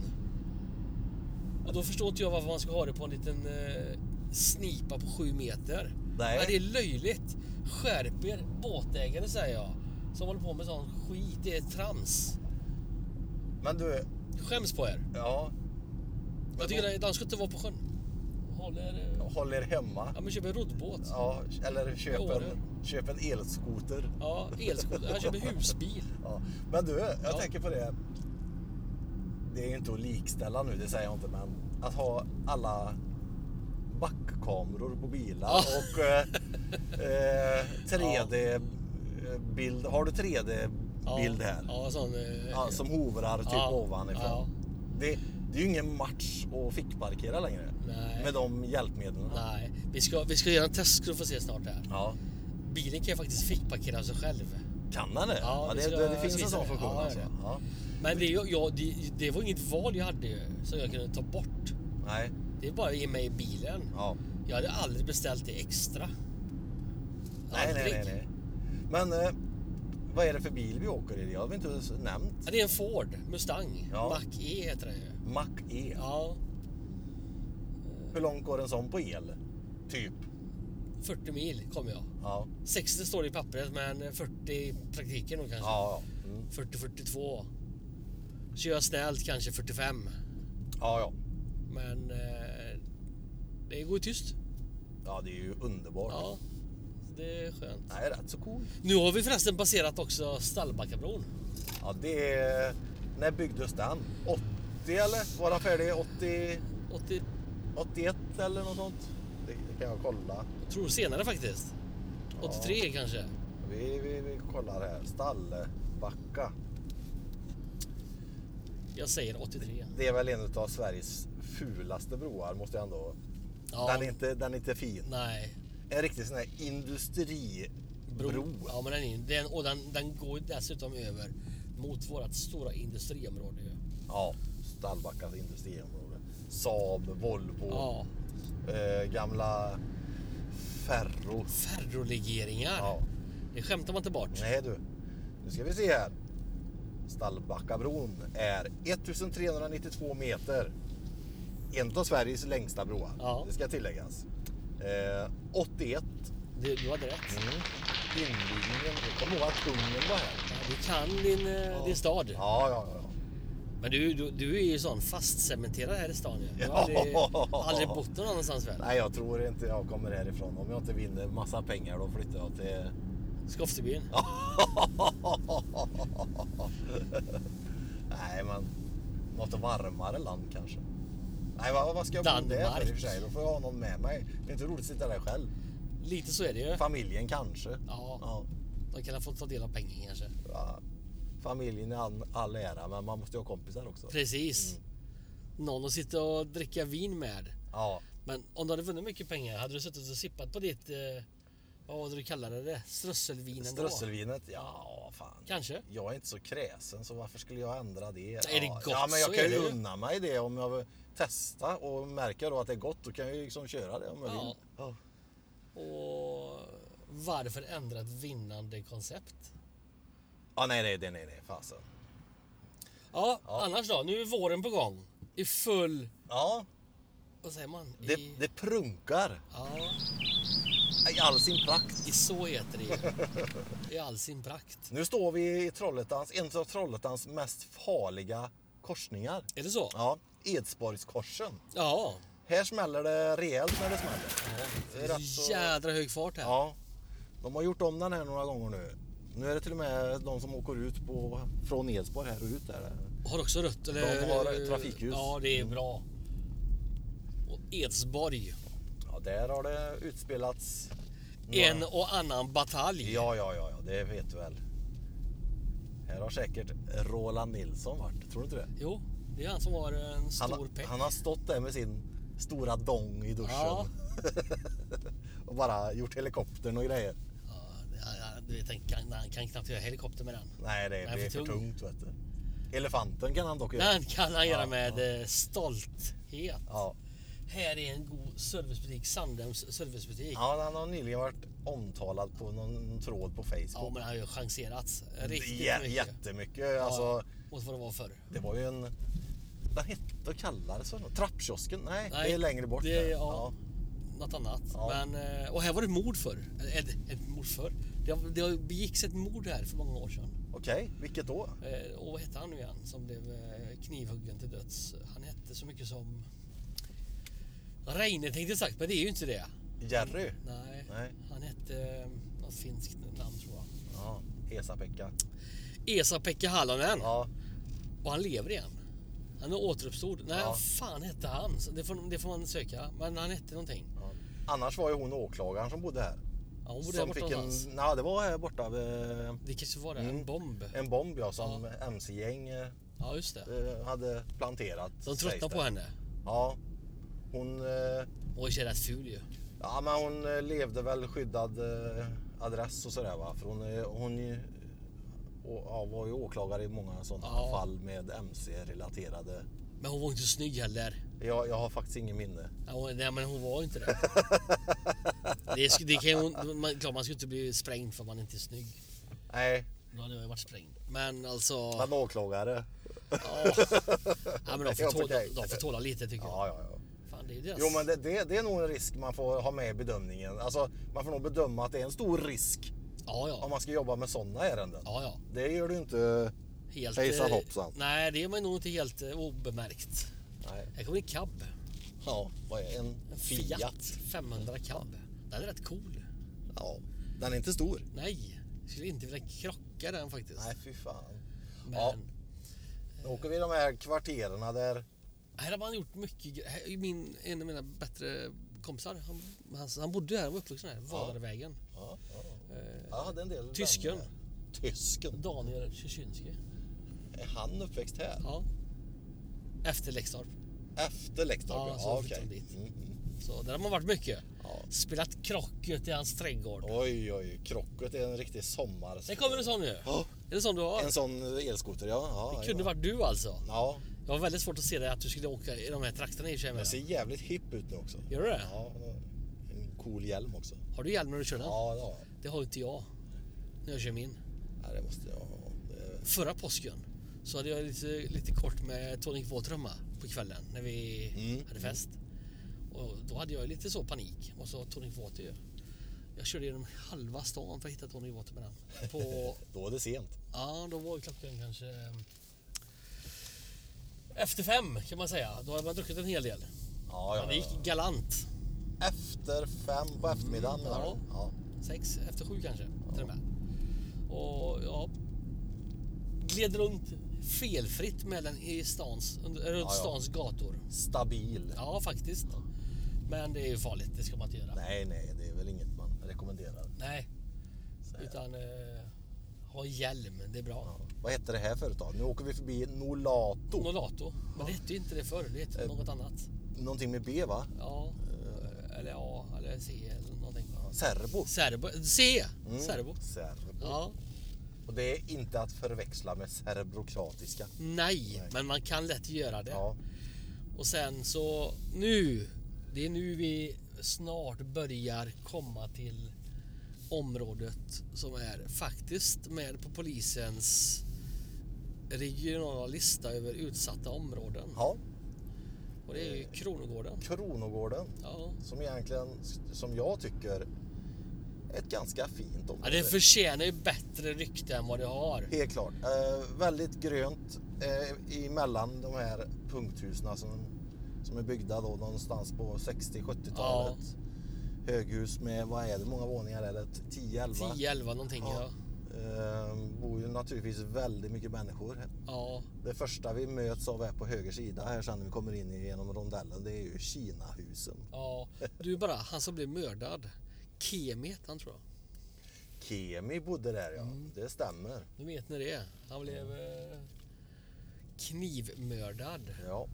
Speaker 2: Och då förstår inte jag varför man ska ha det på en liten eh, snipa på 7 meter.
Speaker 1: Nej.
Speaker 2: det är löjligt. Skärp er båtägare säger jag. Som håller på med sån skit. Det är trams.
Speaker 1: Men du,
Speaker 2: Skäms på er.
Speaker 1: ja,
Speaker 2: Jag tycker att de ska inte vara på sjön. Håller... eh,
Speaker 1: håll er hemma.
Speaker 2: Ja men köp en roddbåt. Ja,
Speaker 1: Ja, eller köp
Speaker 2: Jo,
Speaker 1: en, köp en elskoter.
Speaker 2: elskoter. Han köper husbil.
Speaker 1: Ja. Men du, jag
Speaker 2: Ja.
Speaker 1: tänker på det. Det är ju inte att likställa nu, det säger jag inte, men att ha alla backkameror på bilar och eh, eh, 3D-bild. Har du 3D-bild här?
Speaker 2: Ja, sån... eh,
Speaker 1: Ja, som hovrar typ
Speaker 2: Ja,
Speaker 1: ovanifrån.
Speaker 2: ja.
Speaker 1: Det, det är ju ingen match att fickparkera längre
Speaker 2: Nej.
Speaker 1: med de hjälpmedlen.
Speaker 2: Nej, vi ska, vi ska göra en test ska du få se snart här.
Speaker 1: Ja.
Speaker 2: Bilen kan ju faktiskt fickparkera sig själv.
Speaker 1: Kan den det?
Speaker 2: Ja,
Speaker 1: Ja,
Speaker 2: det
Speaker 1: det,
Speaker 2: ska
Speaker 1: det,
Speaker 2: jag
Speaker 1: finns
Speaker 2: visa
Speaker 1: en sån
Speaker 2: dig.
Speaker 1: funktion
Speaker 2: Ja,
Speaker 1: alltså.
Speaker 2: det är det.
Speaker 1: Ja.
Speaker 2: Men det, är ju- ja, det, det var inget val jag hade ju, som jag kunde ta bort.
Speaker 1: Nej.
Speaker 2: Det är bara att ge mig bilen.
Speaker 1: Ja.
Speaker 2: Jag hade aldrig beställt det extra.
Speaker 1: Nej, nej,
Speaker 2: Aldrig.
Speaker 1: nej, nej. Men eh, vad är det för bil vi åker i? Det har vi inte ens nämnt.
Speaker 2: Ja, Det är en Ford Mustang.
Speaker 1: Ja.
Speaker 2: Mach-E heter den ju.
Speaker 1: Mac E.
Speaker 2: Ja,
Speaker 1: Hur långt går en sån på el? Typ.
Speaker 2: 40 mil kom jag.
Speaker 1: Ja.
Speaker 2: 60 står det i pappret, men 40 i praktiken nog kanske.
Speaker 1: Ja, ja. Mm.
Speaker 2: 40-42. Kör jag snällt kanske 45.
Speaker 1: ja, ja.
Speaker 2: Men eh, det går ju tyst.
Speaker 1: Ja, det är ju underbart.
Speaker 2: Ja, det är skönt.
Speaker 1: Det här är rätt så cool.
Speaker 2: Nu har vi förresten passerat också Stallbackabron.
Speaker 1: Ja, det är... När byggdes den? 80 eller? Var den färdig 80...
Speaker 2: 80,
Speaker 1: 81 eller något sånt? Det, det kan jag kolla.
Speaker 2: jag tror senare faktiskt. 83 kanske.
Speaker 1: Vi, vi, vi kollar här. Stallbacka.
Speaker 2: Jag säger 83.
Speaker 1: Det är väl en av Sveriges fulaste broar måste jag ändå...
Speaker 2: Ja,
Speaker 1: Den, är inte, den är inte fin.
Speaker 2: Nej.
Speaker 1: En riktig sån här industribro.
Speaker 2: Bro. Ja, men den är, den, och den, den går ju dessutom över mot vårt stora industriområde. ju.
Speaker 1: Ja, Stallbackas industriområde. Saab, Volvo,
Speaker 2: Ja,
Speaker 1: eh, gamla Ferro.
Speaker 2: ferrolegeringar.
Speaker 1: Ja.
Speaker 2: Det skämtar man inte bort.
Speaker 1: Nej du, nu ska vi se här. Stallbackabron är 1392 meter. En av Sveriges längsta broar,
Speaker 2: Ja.
Speaker 1: det ska tilläggas. Eh, 81.
Speaker 2: Du, du hade rätt.
Speaker 1: Mm. Invigningen, jag kommer ihåg att Ungern var här.
Speaker 2: Ja, Du kan din, eh, din stad.
Speaker 1: Ja, ja, ja.
Speaker 2: Men du, du, du är ju sån fastcementerad här i stan. ju. Du har
Speaker 1: Ja.
Speaker 2: aldrig, aldrig bott någon annanstans väl?
Speaker 1: Nej, jag tror inte jag kommer härifrån. Om jag inte vinner massa pengar då flyttar jag till...
Speaker 2: Skoftebyn.
Speaker 1: Nej, men något varmare land kanske. Nej, vad, vad ska jag bo där för i och för sig? Då får jag ha någon med mig. Det är inte roligt att sitta där själv.
Speaker 2: Lite så är det ju.
Speaker 1: Familjen kanske.
Speaker 2: Ja. De kan ha fått ta del av pengen kanske.
Speaker 1: Ja. Familjen är all, all ära, men man måste ju ha kompisar också.
Speaker 2: Precis.
Speaker 1: Mm.
Speaker 2: Någon att sitta och dricka vin med.
Speaker 1: Ja,
Speaker 2: Men om du hade vunnit mycket pengar, hade du suttit och sippat på ditt... Eh, vad var det du kallade det? Strösselvin ändå?
Speaker 1: strösselvinet. Ja, fan.
Speaker 2: Kanske.
Speaker 1: Jag är inte så kräsen, så varför skulle jag ändra det?
Speaker 2: Är det gott
Speaker 1: ja, men jag
Speaker 2: så
Speaker 1: kan
Speaker 2: är
Speaker 1: ju
Speaker 2: det ju.
Speaker 1: unna mig det om jag vill testa och märker då att det är gott, då kan jag ju liksom köra det om jag
Speaker 2: Ja.
Speaker 1: vill. Ja.
Speaker 2: Och varför ändra ett vinnande koncept?
Speaker 1: Ja, nej, nej, nej, nej, nej, fasen.
Speaker 2: Ja, annars då? Nu är våren på gång. I full...
Speaker 1: Ja,
Speaker 2: Vad säger man? I,
Speaker 1: det, det prunkar
Speaker 2: Ja,
Speaker 1: i all sin prakt.
Speaker 2: i så heter det ju. I all sin prakt.
Speaker 1: Nu står vi i Trollhättans, en av Trollhättans mest farliga korsningar.
Speaker 2: Är det så?
Speaker 1: Ja, Edsborgskorsen.
Speaker 2: Ja.
Speaker 1: Här smäller det rejält när det smäller.
Speaker 2: Det
Speaker 1: Det
Speaker 2: är
Speaker 1: är rätt så-
Speaker 2: jädra hög fart här.
Speaker 1: Ja, de har gjort om den här några gånger nu. Nu är det till och med de som åker ut på, från Edsborg här och ut där.
Speaker 2: Har också rött eller?
Speaker 1: De har
Speaker 2: eller-
Speaker 1: trafikljus. Mm.
Speaker 2: Ja, det är bra. Och Edsborg.
Speaker 1: Ja, där har det utspelats.
Speaker 2: En och annan batalj.
Speaker 1: Ja, ja, ja, ja, det vet du väl. Här har säkert Roland Nilsson varit, tror du inte det?
Speaker 2: Jo, det är han som har en
Speaker 1: Han,
Speaker 2: stor
Speaker 1: har-
Speaker 2: peng.
Speaker 1: han har stått där med sin stora dong i duschen.
Speaker 2: Ja.
Speaker 1: och bara gjort helikoptern och grejer.
Speaker 2: Ja, det- ja, du vet, han kan, han kan knappt göra helikopter med den.
Speaker 1: Nej, det
Speaker 2: Nej,
Speaker 1: blir
Speaker 2: för
Speaker 1: för
Speaker 2: tung.
Speaker 1: tungt vet du. Elefanten kan han dock göra.
Speaker 2: Den kan han göra
Speaker 1: Ja,
Speaker 2: med eh, stolthet.
Speaker 1: Ja.
Speaker 2: Här är en god servicebutik, Sandhems servicebutik. Ja,
Speaker 1: ja, han har nyligen varit omtalad på någon tråd på Facebook.
Speaker 2: men han har ju chanserats riktigt
Speaker 1: Jä-
Speaker 2: mycket.
Speaker 1: Jättemycket. Alltså,
Speaker 2: Ja, mot vad det var förr.
Speaker 1: det var ju en... Den hette och kallades så. Trappkiosken? Nej,
Speaker 2: Nej,
Speaker 1: det är längre bort.
Speaker 2: Det,
Speaker 1: där.
Speaker 2: är- ja, Något annat.
Speaker 1: Ja.
Speaker 2: Men, eh, och här var det mord förr. Eh, Ett, ett mord förr. Det, har- det har- begicks ett mord här för många år sedan.
Speaker 1: Okej, vilket då?
Speaker 2: Eh, Och vad hette han nu igen som blev eh, knivhuggen till döds? Han hette så mycket som... Reine tänkte jag sagt, men det är ju inte det.
Speaker 1: Jerry?
Speaker 2: Nej,
Speaker 1: Nej.
Speaker 2: han hette eh, något finskt namn tror jag.
Speaker 1: Ja, Hesa-Pekka.
Speaker 2: Esa-Pekka Halonen.
Speaker 1: Ja,
Speaker 2: Och han lever igen. Han är återuppstod. Nej,
Speaker 1: Ja.
Speaker 2: vad fan hette han? Så Det får, det får man söka. Men han hette någonting.
Speaker 1: Ja. Annars var ju hon åklagaren som bodde här.
Speaker 2: Ja, hon bodde här
Speaker 1: som
Speaker 2: borta
Speaker 1: fick en,
Speaker 2: någonstans.
Speaker 1: nej, det var här borta vid
Speaker 2: Det kanske var det.
Speaker 1: Mm.
Speaker 2: En bomb.
Speaker 1: en bomb ja, som mc-gäng eh,
Speaker 2: Ja, just det.
Speaker 1: eh, hade planterat.
Speaker 2: De
Speaker 1: sägs
Speaker 2: tröttnade
Speaker 1: det.
Speaker 2: på henne.
Speaker 1: Ja. Hon, eh,
Speaker 2: Hon är så jävla ful ju.
Speaker 1: ja, men hon eh, levde väl skyddad eh, adress och sådär va. För hon, eh, hon ju- å- ja, var ju åklagare i många sådana
Speaker 2: Ja.
Speaker 1: fall med mc-relaterade.
Speaker 2: Men hon var inte så snygg heller.
Speaker 1: Jag, jag har faktiskt ingen minne.
Speaker 2: Ja, hon- Nej, men hon var inte det. det, är, det kan, ju- hon- man, klart man skulle inte bli sprängd för att man inte är snygg.
Speaker 1: Nej,
Speaker 2: Då hade jag ju varit sprängd. Men alltså...
Speaker 1: men åklagare.
Speaker 2: Ja. ja, men de får,
Speaker 1: Ja, för
Speaker 2: tåla,
Speaker 1: dig.
Speaker 2: de får tåla lite tycker jag.
Speaker 1: Ja, ja, ja.
Speaker 2: Fan, det är ju deras...
Speaker 1: Jo, men det, det, det är nog en risk man får ha med i bedömningen. Alltså, man får nog bedöma att det är en stor risk
Speaker 2: Ja, ja.
Speaker 1: om man ska jobba med sådana ärenden.
Speaker 2: Ja, ja.
Speaker 1: Det gör du inte.
Speaker 2: Helt,
Speaker 1: Hejsan,
Speaker 2: eh,
Speaker 1: hoppsan.
Speaker 2: Nej, det är man nog inte helt eh, obemärkt.
Speaker 1: Nej.
Speaker 2: Här kommer en cab.
Speaker 1: Ja, vad är
Speaker 2: En
Speaker 1: en
Speaker 2: Fiat,
Speaker 1: Fiat?
Speaker 2: 500 cab. Den är rätt cool.
Speaker 1: Ja, den är inte stor.
Speaker 2: Nej, jag skulle inte vilja krocka den faktiskt.
Speaker 1: Nej, fy fan.
Speaker 2: men
Speaker 1: Ja. Nu åker vi i de här kvartererna där.
Speaker 2: här har man gjort mycket gre- här är Min, en av mina bättre kompisar, han, han, han bodde här, han var uppvuxen här, Valarevägen.
Speaker 1: Ja, ja. Jag hade en del
Speaker 2: Tysken.
Speaker 1: vänner. Tysken?
Speaker 2: Daniel Kysynski.
Speaker 1: Är han uppväxt här?
Speaker 2: Ja. Efter Lekstorp.
Speaker 1: Efter Läcktorp?
Speaker 2: Ja, så flyttade
Speaker 1: okej.
Speaker 2: de dit.
Speaker 1: Mm, mm.
Speaker 2: Så där har man varit mycket.
Speaker 1: Ja.
Speaker 2: Spelat krocket i hans trädgård.
Speaker 1: Oj, oj, krocket är en riktig sommar.
Speaker 2: Det kommer en sån nu.
Speaker 1: Ja,
Speaker 2: Är det sån du har?
Speaker 1: en sån elskoter, ja. ja
Speaker 2: Det kunde
Speaker 1: ja.
Speaker 2: varit du alltså.
Speaker 1: Ja,
Speaker 2: Jag har väldigt svårt att se dig att du skulle åka i de här trakterna i och för sig.
Speaker 1: den
Speaker 2: med.
Speaker 1: ser jävligt hipp ut nu också.
Speaker 2: Gör du det?
Speaker 1: Ja, en cool hjälm också.
Speaker 2: Har du hjälm när du kör den?
Speaker 1: Ja, ja.
Speaker 2: Det har inte jag. När jag kör min.
Speaker 1: ja det måste jag ha. Det-
Speaker 2: Förra påsken så hade jag lite, lite kort med Tonic Water hemma på kvällen när vi
Speaker 1: Mm.
Speaker 2: hade fest. Och då hade jag lite så panik. Och så Tonic Water ju. Jag körde genom halva stan för att hitta Tonic Water med den. På
Speaker 1: Då är det sent.
Speaker 2: Ja, då var ju klockan kanske... eh, Efter fem kan man säga. Då hade man druckit en hel del.
Speaker 1: Ja,
Speaker 2: Men det gick galant.
Speaker 1: Efter fem på eftermiddagen
Speaker 2: Mm,
Speaker 1: menar
Speaker 2: ja.
Speaker 1: du? ja.
Speaker 2: Sex, efter sju kanske till och med. Och ja... Gled runt felfritt mellan i stans, under, runt
Speaker 1: ja.
Speaker 2: stans gator.
Speaker 1: Stabil.
Speaker 2: Ja, faktiskt. Men det är ju farligt. Det ska man inte göra.
Speaker 1: Nej,
Speaker 2: Nej.
Speaker 1: nej, det är väl inget man rekommenderar. Säger
Speaker 2: Utan eh, ha hjälm. Det är bra.
Speaker 1: Ja. Vad heter det här företaget? Nu åker vi förbi Nolato.
Speaker 2: Nolato. Men det hette ju inte det förr. Det hette
Speaker 1: Eh,
Speaker 2: något annat.
Speaker 1: Någonting med B va?
Speaker 2: Ja, Eh, eller A eller C eller någonting.
Speaker 1: Serbo.
Speaker 2: Serbo. C!
Speaker 1: Mm,
Speaker 2: Serbo.
Speaker 1: Serbo.
Speaker 2: Ja.
Speaker 1: Och det är inte att förväxla med serebrokratiska.
Speaker 2: Nej, men man kan lätt göra det.
Speaker 1: Ja.
Speaker 2: Och sen så nu. Det är nu vi snart börjar komma till området som är faktiskt med på polisens regionala lista över utsatta områden.
Speaker 1: ja.
Speaker 2: Och det är ju Kronogården.
Speaker 1: Kronogården.
Speaker 2: Ja.
Speaker 1: Som egentligen, som jag tycker, är ett ganska fint
Speaker 2: Ja,
Speaker 1: område.
Speaker 2: det förtjänar ju bättre rykte än vad det har.
Speaker 1: Helt klart. Eh, väldigt grönt eh, emellan de här punkthusen som, som är byggda då någonstans på 60-70-talet. Höghus med, vad är det, många våningar är det? 10-11?
Speaker 2: 10, 11 någonting. Ja.
Speaker 1: Ja. Eh, bor ju naturligtvis väldigt mycket människor.
Speaker 2: ja.
Speaker 1: Det första vi möts av är på höger sida här sen när vi kommer in genom rondellen. Det är ju Kinahusen.
Speaker 2: Ja, du bara, han som blev mördad. Kemi hette han tror jag.
Speaker 1: Kemi bodde där ja, det stämmer.
Speaker 2: Nu vet ni det. Han blev eh, knivmördad.
Speaker 1: Ja.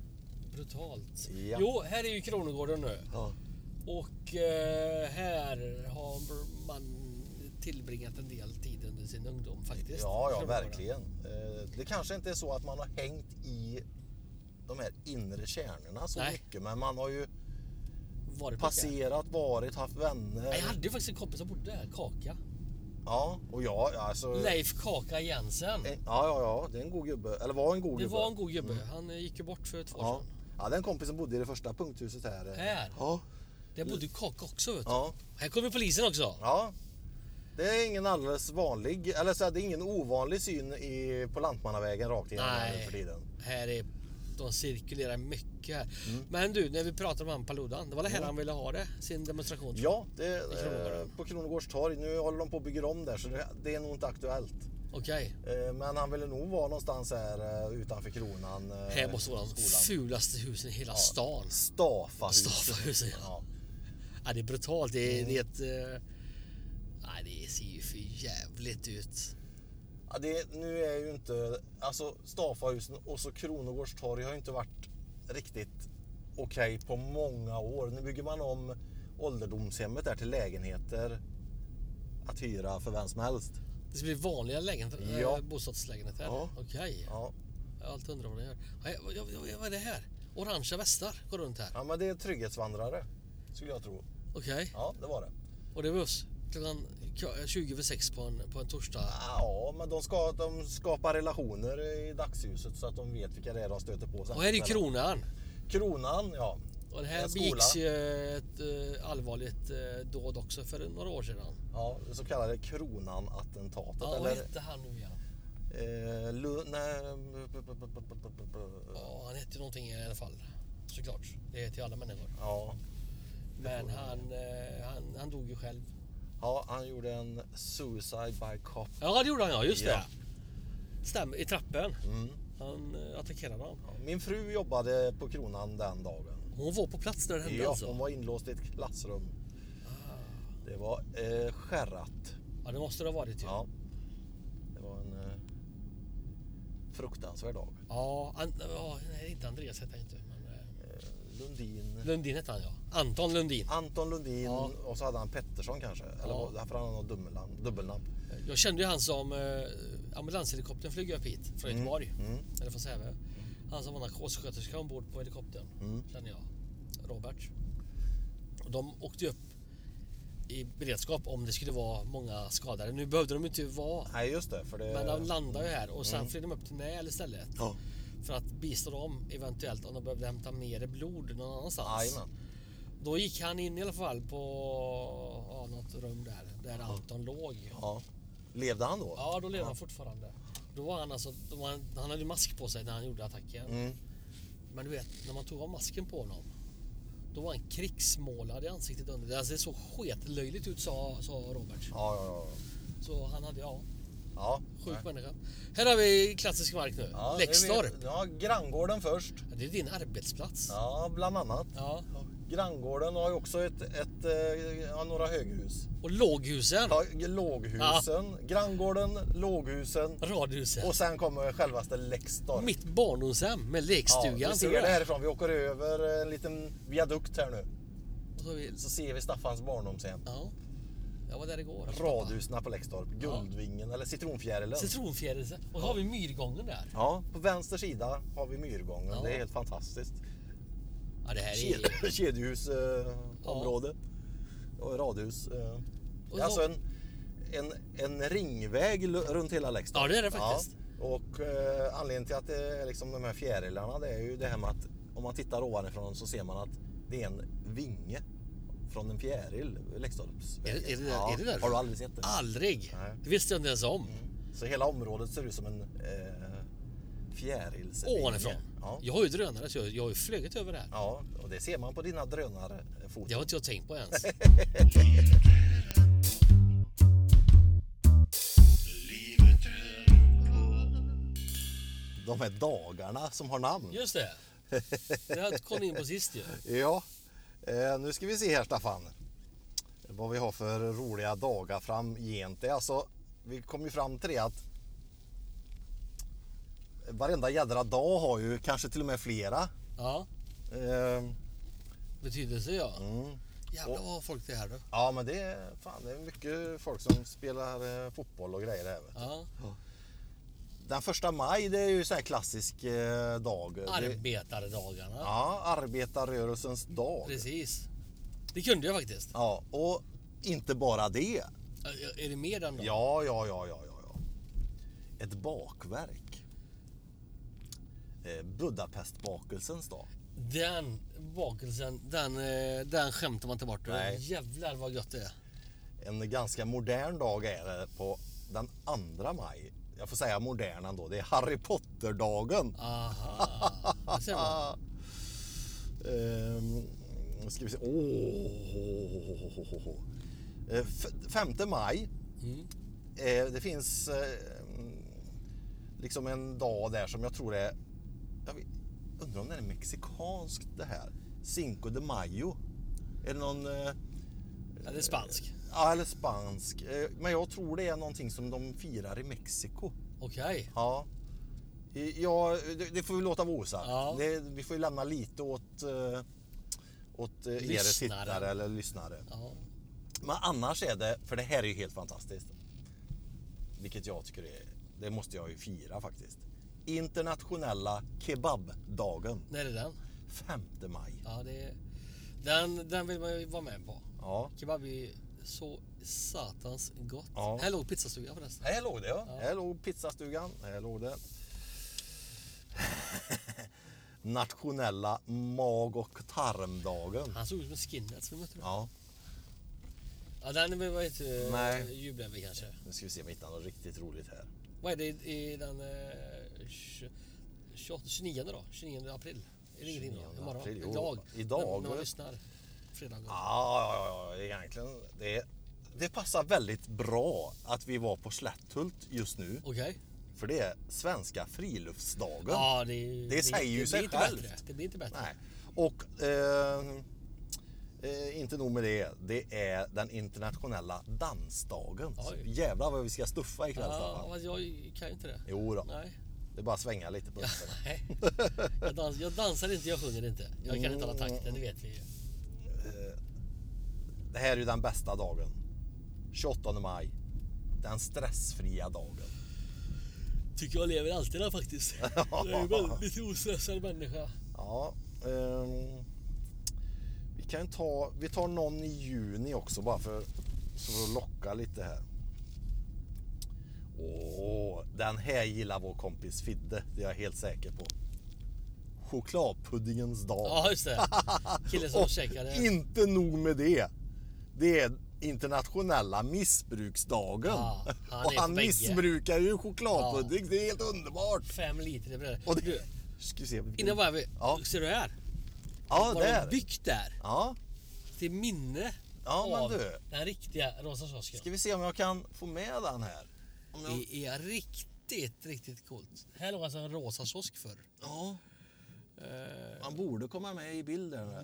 Speaker 2: Brutalt.
Speaker 1: Ja.
Speaker 2: Jo, här är ju Kronogården nu.
Speaker 1: Ja.
Speaker 2: Och eh, här har man tillbringat en del tid under sin ungdom faktiskt.
Speaker 1: Ja, ja
Speaker 2: Kronogården.
Speaker 1: verkligen. Eh, Det kanske inte är så att man har hängt i de här inre kärnorna så
Speaker 2: Nej.
Speaker 1: mycket, men man har ju
Speaker 2: Varit mycket.
Speaker 1: passerat, varit, haft vänner.
Speaker 2: Nej, Jag hade ju faktiskt en kompis som bodde där, Kaka.
Speaker 1: Ja, och jag alltså... eh,
Speaker 2: Leif Kaka Jensen.
Speaker 1: Ja, ja, ja, det är en god gubbe. Eller var en god gubbe.
Speaker 2: Det
Speaker 1: Mm.
Speaker 2: var en god gubbe. Han eh, gick ju bort för två år
Speaker 1: ja.
Speaker 2: sedan.
Speaker 1: ja, den kompis som bodde i det första punkthuset här. eh.
Speaker 2: Här?
Speaker 1: Ja.
Speaker 2: Där bodde Kaka också vet du.
Speaker 1: ja.
Speaker 2: Här kommer polisen också.
Speaker 1: Ja. Det är ingen alldeles vanlig, eller så här, det är ingen ovanlig syn i, på Lantmannavägen rakt igenom här nu
Speaker 2: Nej.
Speaker 1: för tiden.
Speaker 2: Här är, de cirkulerar mycket här.
Speaker 1: Mm.
Speaker 2: Men du, när vi pratade om han Paludan. Det var det här han ville ha det. Sin demonstration. tror jag.
Speaker 1: Ja, det,
Speaker 2: Kronogården.
Speaker 1: eh, på Kronogårds torg. Nu håller de på att bygga om där så det, det är nog inte aktuellt.
Speaker 2: Okej.
Speaker 1: Eh, Men han ville nog vara någonstans här eh, utanför kronan. eh,
Speaker 2: Här måste vara de
Speaker 1: skolan.
Speaker 2: fulaste husen i hela stan.
Speaker 1: Stafahuset.
Speaker 2: Stafahuset, ja.
Speaker 1: Ja. Mm.
Speaker 2: Ja, det är brutalt. Det, är- det är ett... eh, Nej, det ser ju för jävligt ut.
Speaker 1: Ja, det, nu är ju inte, alltså Stafahusen och så Kronogårdstorg har ju inte varit riktigt okej på många år. Nu bygger man om ålderdomshemmet där till lägenheter att hyra för vem som helst.
Speaker 2: Det ska bli vanliga lägenheter,
Speaker 1: Ja.
Speaker 2: ja. bostadslägenheter.
Speaker 1: Ja.
Speaker 2: Okej.
Speaker 1: Ja,
Speaker 2: Jag har alltid undrat vad de gör. Ja, jag- jag- jag- Vad är det här? Orangea västar går runt här.
Speaker 1: ja men det är trygghetsvandrare skulle jag tro.
Speaker 2: Okej.
Speaker 1: Ja, det var det.
Speaker 2: Och det är buss klockan 20 över 6 på en, på en torsdag.
Speaker 1: Ja, men de, ska, de skapar relationer i dagsljuset så att de vet vilka det är de stöter på. sen.
Speaker 2: Och här är ju Kronan.
Speaker 1: Kronan, ja.
Speaker 2: Och det här
Speaker 1: En skola.
Speaker 2: begicks ju ett eh, allvarligt eh, dåd också för några år sedan.
Speaker 1: Ja, det så kallade Kronan-attentatet.
Speaker 2: Ja, vad
Speaker 1: eller,
Speaker 2: hette han nu igen?
Speaker 1: eh, Lu- nej, b- b- b- b- b- b- b-
Speaker 2: Ja, han hette ju någonting i alla fall. Såklart. Det heter ju alla människor.
Speaker 1: Ja.
Speaker 2: Men han, eh, han, han dog ju själv.
Speaker 1: ja, han gjorde en suicide by cop.
Speaker 2: Ja, det gjorde han ja. Just
Speaker 1: Ja.
Speaker 2: det. Stämmer. I trappen.
Speaker 1: Mm.
Speaker 2: Han eh, attackerade honom.
Speaker 1: Min fru jobbade på Kronan den dagen.
Speaker 2: Hon var på plats när det hände
Speaker 1: Ja,
Speaker 2: alltså? Ah.
Speaker 1: hon var inlåst i ett klassrum. Det var eh, skärrat.
Speaker 2: Ja, det måste det ha varit ju. Ja.
Speaker 1: Ja. Det var en eh, fruktansvärd dag.
Speaker 2: Ja, an, ja, nej, inte Andreas hette han inte. Men, eh,
Speaker 1: Eh, Lundin.
Speaker 2: Lundin hette han ja. Anton Lundin.
Speaker 1: Anton Lundin
Speaker 2: Ja.
Speaker 1: och så hade han Pettersson kanske. Eller
Speaker 2: Ja.
Speaker 1: var- därför hade han något dubbelnamn. dubbelnamn.
Speaker 2: Jag kände ju han som eh, ambulanshelikoptern flög upp hit från Göteborg.
Speaker 1: Mm.
Speaker 2: Eller från Säve. Han som var narkossköterska ombord på helikoptern.
Speaker 1: Mm.
Speaker 2: Känner jag. Robert. Och de åkte ju upp i beredskap om det skulle vara många skadade. Nu behövde de inte vara.
Speaker 1: Nej just det. För det...
Speaker 2: Men de landade ju här och
Speaker 1: Mm.
Speaker 2: sen flög de upp till Näl istället.
Speaker 1: Ja.
Speaker 2: För att bistå dem eventuellt om de behövde hämta mer blod någon annanstans.
Speaker 1: Jajamän.
Speaker 2: Då gick han in i alla fall på ja, något rum där, där Anton låg.
Speaker 1: Ja. Levde han då?
Speaker 2: Ja, då levde han fortfarande. Då var han alltså, då var han, han hade ju mask på sig när han gjorde attacken.
Speaker 1: Mm.
Speaker 2: Men du vet, när man tog av masken på honom. Då var han krigsmålad i ansiktet under. Alltså det såg skitlöjligt ut sa, sa Robert.
Speaker 1: Ja, ja, ja.
Speaker 2: Så han hade, ja,
Speaker 1: ja.
Speaker 2: sjuk människa. Här har vi klassisk mark nu.
Speaker 1: Ja, det
Speaker 2: Läxtorp.
Speaker 1: vet- Ja, granngården först.
Speaker 2: Ja, Det är din arbetsplats.
Speaker 1: Ja, bland annat.
Speaker 2: Ja.
Speaker 1: Granngården har ju också ett, ett, eh, ja, några höghus.
Speaker 2: Och låghusen.
Speaker 1: Ja, låghusen, granngården, låghusen
Speaker 2: Radhusen.
Speaker 1: och sen kommer självaste Läxtorp.
Speaker 2: Mitt barndomshem med lekstugan.
Speaker 1: ja, vi
Speaker 2: ser
Speaker 1: ser
Speaker 2: du
Speaker 1: det härifrån. Vi åker över en liten viadukt här nu.
Speaker 2: Och så har vi-
Speaker 1: Så ser vi Staffans barndomshem.
Speaker 2: Ja. Jag var där igår.
Speaker 1: Radhusen på Läxtorp, Guldvingen eller Citronfjärilen.
Speaker 2: Citronfjäril. Och så har vi myrgången där.
Speaker 1: Ja, på vänster sida har vi Myrgången.
Speaker 2: Ja.
Speaker 1: Det är helt fantastiskt.
Speaker 2: Ja, det här är...
Speaker 1: Ked- Kedjehusområde. Eh, område. Och radhus. Eh. Det är
Speaker 2: Och
Speaker 1: alltså
Speaker 2: så-
Speaker 1: en, en, en ringväg lu- runt hela Lextorp.
Speaker 2: Ja, det är det faktiskt.
Speaker 1: Ja. Och eh, anledningen till att det är liksom de här fjärilarna det är ju det här med att om man tittar ovanifrån så ser man att det är en vinge från en fjäril. Lextorps.
Speaker 2: Är det- är det där-
Speaker 1: ja.
Speaker 2: är det där?
Speaker 1: Har du aldrig sett det?
Speaker 2: Aldrig!
Speaker 1: Nej. Mm.
Speaker 2: Det visste jag inte ens om.
Speaker 1: Så hela området ser ut som en eh, fjärilsvinge.
Speaker 2: Ovanifrån.
Speaker 1: Ja.
Speaker 2: Jag har ju drönare så jag, jag har ju flugit över det här.
Speaker 1: ja, och det ser man på dina drönarfoton.
Speaker 2: Det har inte jag tänkt på ens.
Speaker 1: De här dagarna som har namn.
Speaker 2: Just det. Det här kom ni in på sist ju.
Speaker 1: Ja, eh, nu ska vi se här Staffan. Vad vi har för roliga dagar framgent. Det är Alltså, vi kom ju fram till det att varenda jädra dag har ju kanske till och med flera.
Speaker 2: Ja,
Speaker 1: Eh,
Speaker 2: betydelse ja.
Speaker 1: Mm.
Speaker 2: Jävlar vad har folk det här då.
Speaker 1: Ja men det är, fan, det är mycket folk som spelar eh, fotboll och grejer här. vet du.
Speaker 2: Ja.
Speaker 1: Den första maj det är ju så här klassisk eh, dag. Det-
Speaker 2: Arbetardagarna.
Speaker 1: Ja, arbetarrörelsens dag.
Speaker 2: Precis. Det kunde jag faktiskt.
Speaker 1: Ja, och inte bara det.
Speaker 2: Ä- Är det mer den dagen?
Speaker 1: Ja, ja, ja, ja, ja. ja. Ett bakverk. Eh, Budapestbakelsens dag.
Speaker 2: Den bakelsen, den, eh, den skämtar man inte bort.
Speaker 1: Nej.
Speaker 2: Jävlar vad gött det är.
Speaker 1: En ganska modern dag är det på den 2 maj. Jag får säga modern ändå. Det är Harry Potter-dagen.
Speaker 2: Aha. Där ser man.
Speaker 1: Ah. Ehm, nu ska vi se. Åh. Eh, f- 5 maj.
Speaker 2: Mm.
Speaker 1: Eh, Det finns eh, liksom en dag där som jag tror är... Jag vet, undrar om det är mexikanskt det här? Cinco de Mayo? Är det någon... eh,
Speaker 2: Eller spansk.
Speaker 1: Ja, eller spansk. Eh, Men jag tror det är någonting som de firar i Mexiko.
Speaker 2: Okej.
Speaker 1: Ja. I- Ja, det- det får vi låta vara osagt.
Speaker 2: Ja.
Speaker 1: Det- Vi får ju lämna lite åt, eh, åt eh, er
Speaker 2: Lyssnaren.
Speaker 1: tittare eller lyssnare.
Speaker 2: Ja.
Speaker 1: Men annars är det, för det här är ju helt fantastiskt. Vilket jag tycker är, det måste jag ju fira faktiskt. Internationella kebabdagen,
Speaker 2: När är det den?
Speaker 1: 5 maj.
Speaker 2: Ja, det är... den, den vill man ju vara med på.
Speaker 1: Ja.
Speaker 2: Kebab är ju så satans gott.
Speaker 1: Ja.
Speaker 2: Här låg pizzastugan förresten.
Speaker 1: Här låg det ja.
Speaker 2: Ja.
Speaker 1: Här låg pizzastugan. Här låg det. Nationella mag och tarmdagen.
Speaker 2: Han såg ut som en skinhead som vi mötte. då.
Speaker 1: Ja,
Speaker 2: Ja, den behöver jag inte
Speaker 1: Nej.
Speaker 2: Nej. jubla över kanske.
Speaker 1: nu ska vi se om vi hittar något riktigt roligt här.
Speaker 2: Vad är det i den eh, tj- 28, 29 då? 29 april? Är det ingenting
Speaker 1: 29
Speaker 2: då? Imorgon?
Speaker 1: april, jo.
Speaker 2: idag?
Speaker 1: Idag.
Speaker 2: När, när man lyssnar. Fredag.
Speaker 1: Ah. Ja, ja, ja, ja, egentligen. Det, det passar väldigt bra att vi var på Slätthult just nu.
Speaker 2: Okej.
Speaker 1: För det är svenska friluftsdagen.
Speaker 2: Ja, det, är-
Speaker 1: Det säger ju
Speaker 2: det,
Speaker 1: sig
Speaker 2: blir inte
Speaker 1: självt.
Speaker 2: Bättre. Det blir inte bättre.
Speaker 1: Nej. Och eh, eh, inte nog med det. Det är den internationella dansdagen. Så
Speaker 2: Oj. Ah,
Speaker 1: jävlar vad vi ska stuffa ikväll
Speaker 2: Ja,
Speaker 1: Staffan.
Speaker 2: fast jag kan ju inte det.
Speaker 1: Jo då.
Speaker 2: Nej.
Speaker 1: Det är bara att svänga lite på höfterna.
Speaker 2: Nej. Jag, dans, jag dansar inte, jag sjunger inte. Jag kan inte alla takten, det vet vi ju.
Speaker 1: Det här är ju den bästa dagen. 28 maj. Den stressfria dagen.
Speaker 2: Tycker jag lever alltid där faktiskt. Jag är en väldigt ostressad människa.
Speaker 1: Ja. ehm, vi kan ta, vi tar någon i juni också bara för, för att locka lite här. Åh, den här gillar vår kompis Fidde. Det är jag helt säker på. Chokladpuddingens dag.
Speaker 2: Ja, just det. Killen som
Speaker 1: Och
Speaker 2: käkade.
Speaker 1: inte nog med det. Det är internationella missbruksdagen.
Speaker 2: Ja, han
Speaker 1: och
Speaker 2: är
Speaker 1: han
Speaker 2: bägge.
Speaker 1: missbrukar ju chokladpudding. Det är helt underbart.
Speaker 2: Fem liter i bröd.
Speaker 1: Och
Speaker 2: Du,
Speaker 1: det, ska vi se.
Speaker 2: Innan var vi...
Speaker 1: Ja.
Speaker 2: Ser du här?
Speaker 1: ja,
Speaker 2: Var
Speaker 1: där.
Speaker 2: de byggt där?
Speaker 1: Ja,
Speaker 2: Till minne
Speaker 1: Ja, men
Speaker 2: av
Speaker 1: du.
Speaker 2: den riktiga Rosa kiosken.
Speaker 1: Ska vi se om jag kan få med den här? Om jag...
Speaker 2: Det är riktigt, riktigt coolt. Här låg alltså en rosa kiosk förr.
Speaker 1: Ja,
Speaker 2: Eh,
Speaker 1: man borde komma med i bilden här,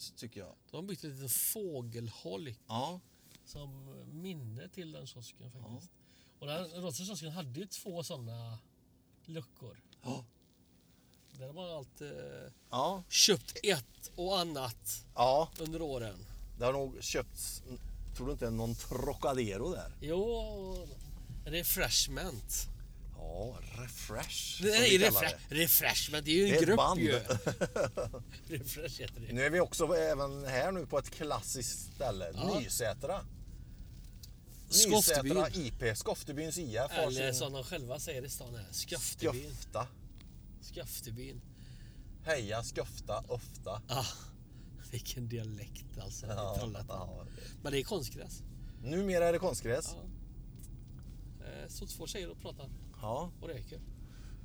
Speaker 1: ty- tycker jag.
Speaker 2: De har byggt en liten fågelholk
Speaker 1: Ja,
Speaker 2: som minne till den kiosken faktiskt. Och den rosa kiosken hade ju två sådana luckor.
Speaker 1: ja,
Speaker 2: Där har man allt eh,
Speaker 1: ja,
Speaker 2: köpt ett och annat
Speaker 1: ja.
Speaker 2: under åren.
Speaker 1: Det har nog köpts, tror du inte, någon Trocadero där?
Speaker 2: Jo, refreshment.
Speaker 1: Ja, Refresh. som
Speaker 2: Nej,
Speaker 1: vi kallar
Speaker 2: refre- refreshment, det är ju en
Speaker 1: Det är ett
Speaker 2: grupp
Speaker 1: band.
Speaker 2: ju. Refresh heter det.
Speaker 1: Nu är vi också även här nu på ett klassiskt ställe,
Speaker 2: Ja.
Speaker 1: Nysätra.
Speaker 2: Skoftebyn.
Speaker 1: Nysätra IP, Skoftebyns IF har
Speaker 2: Eller
Speaker 1: sin
Speaker 2: som de själva säger i stan här, Skaftebyn.
Speaker 1: Skofta.
Speaker 2: Skaftebyn.
Speaker 1: Heja Skofta, ofta.
Speaker 2: Ah, vilken dialekt alltså. i Trollhättan.
Speaker 1: ja.
Speaker 2: Men det är konstgräs.
Speaker 1: Numera är det konstgräs.
Speaker 2: Ja. Eh, Så två tjejer och pratar
Speaker 1: Ja,
Speaker 2: och röker. Eh,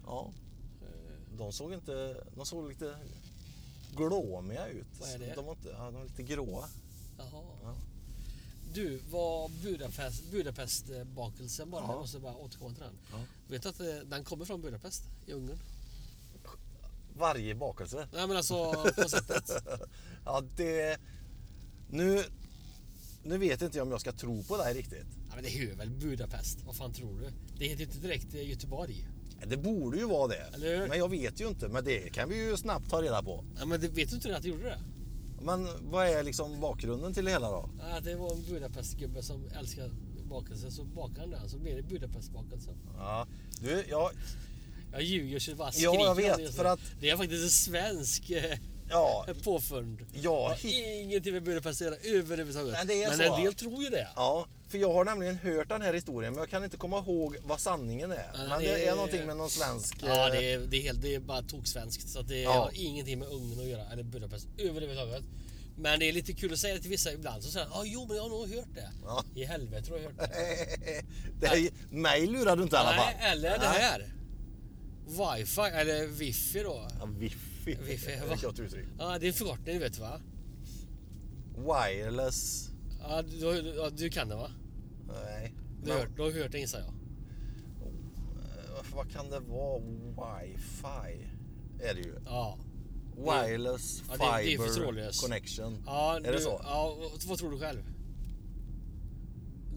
Speaker 1: ja. De såg inte... De såg lite glåmiga ut.
Speaker 2: Vad är det?
Speaker 1: De var, inte, ja, de var lite gråa.
Speaker 2: Jaha.
Speaker 1: Ja.
Speaker 2: Du, var Budapest, Budapestbakelsen bara,
Speaker 1: Ja.
Speaker 2: jag måste bara återkomma till den.
Speaker 1: Ja.
Speaker 2: Vet du att eh, den kommer från Budapest i Ungern?
Speaker 1: Varje bakelse.
Speaker 2: Nej men alltså på sättet.
Speaker 1: Ja, det... Nu... Nu vet inte jag om jag ska tro på dig riktigt.
Speaker 2: Ja, men det är ju väl Budapest, vad fan tror du? Det heter ju inte direkt eh, Göteborg.
Speaker 1: Det borde ju vara det.
Speaker 2: Eller hur?
Speaker 1: Men jag vet ju inte. Men det kan vi ju snabbt ta reda på.
Speaker 2: Ja, men det, vet du inte det att det gjorde det?
Speaker 1: Men vad är liksom bakgrunden till det hela då?
Speaker 2: Ja, det var en Budapestgubbe som älskade bakelse, så bakade han den, så blev det Budapestbakelse.
Speaker 1: Ja, du, jag...
Speaker 2: Jag ljuger så jag bara
Speaker 1: Ja, jag
Speaker 2: skriker om
Speaker 1: vet,
Speaker 2: det.
Speaker 1: för att-
Speaker 2: Det är faktiskt en svensk eh,
Speaker 1: Ja,
Speaker 2: påfund.
Speaker 1: Ja,
Speaker 2: Har Ingenting med Budapest att göra överhuvudtaget.
Speaker 1: Nej, det är
Speaker 2: men
Speaker 1: så.
Speaker 2: en del tror ju det.
Speaker 1: Ja, för jag har nämligen hört den här historien men jag kan inte komma ihåg vad sanningen är.
Speaker 2: Ja,
Speaker 1: men
Speaker 2: det
Speaker 1: det
Speaker 2: är-
Speaker 1: är någonting med någon svensk...
Speaker 2: Ja,
Speaker 1: eh,
Speaker 2: det är, det är, helt, det är bara toksvenskt. Så att det
Speaker 1: Ja.
Speaker 2: har ingenting med Ungern att göra, eller Budapest överhuvudtaget. Men det är lite kul att säga till vissa ibland. Så säger de, ah, jo men jag har nog hört det.
Speaker 1: Ja.
Speaker 2: I helvete har jag hört det.
Speaker 1: det är... Mig lurar du inte i alla fall.
Speaker 2: Nej, eller det här. Wifi, eller wifi då.
Speaker 1: Ja, Wifi.
Speaker 2: Wifi,
Speaker 1: Det är
Speaker 2: va?
Speaker 1: ett gott uttryck.
Speaker 2: Ja, det är en förkortning vet du va?
Speaker 1: Wireless.
Speaker 2: Ja, du, du, ja, du kan det va?
Speaker 1: Nej.
Speaker 2: Du, har hört, du har hört det gissar jag.
Speaker 1: eh, vad vad kan det vara? Wi-Fi är det ju.
Speaker 2: Ja.
Speaker 1: Wireless
Speaker 2: Ja, det- det är
Speaker 1: Fiber
Speaker 2: förstrålöst.
Speaker 1: Connection.
Speaker 2: ja
Speaker 1: är det
Speaker 2: du,
Speaker 1: så?
Speaker 2: Ja, vad- vad tror du själv?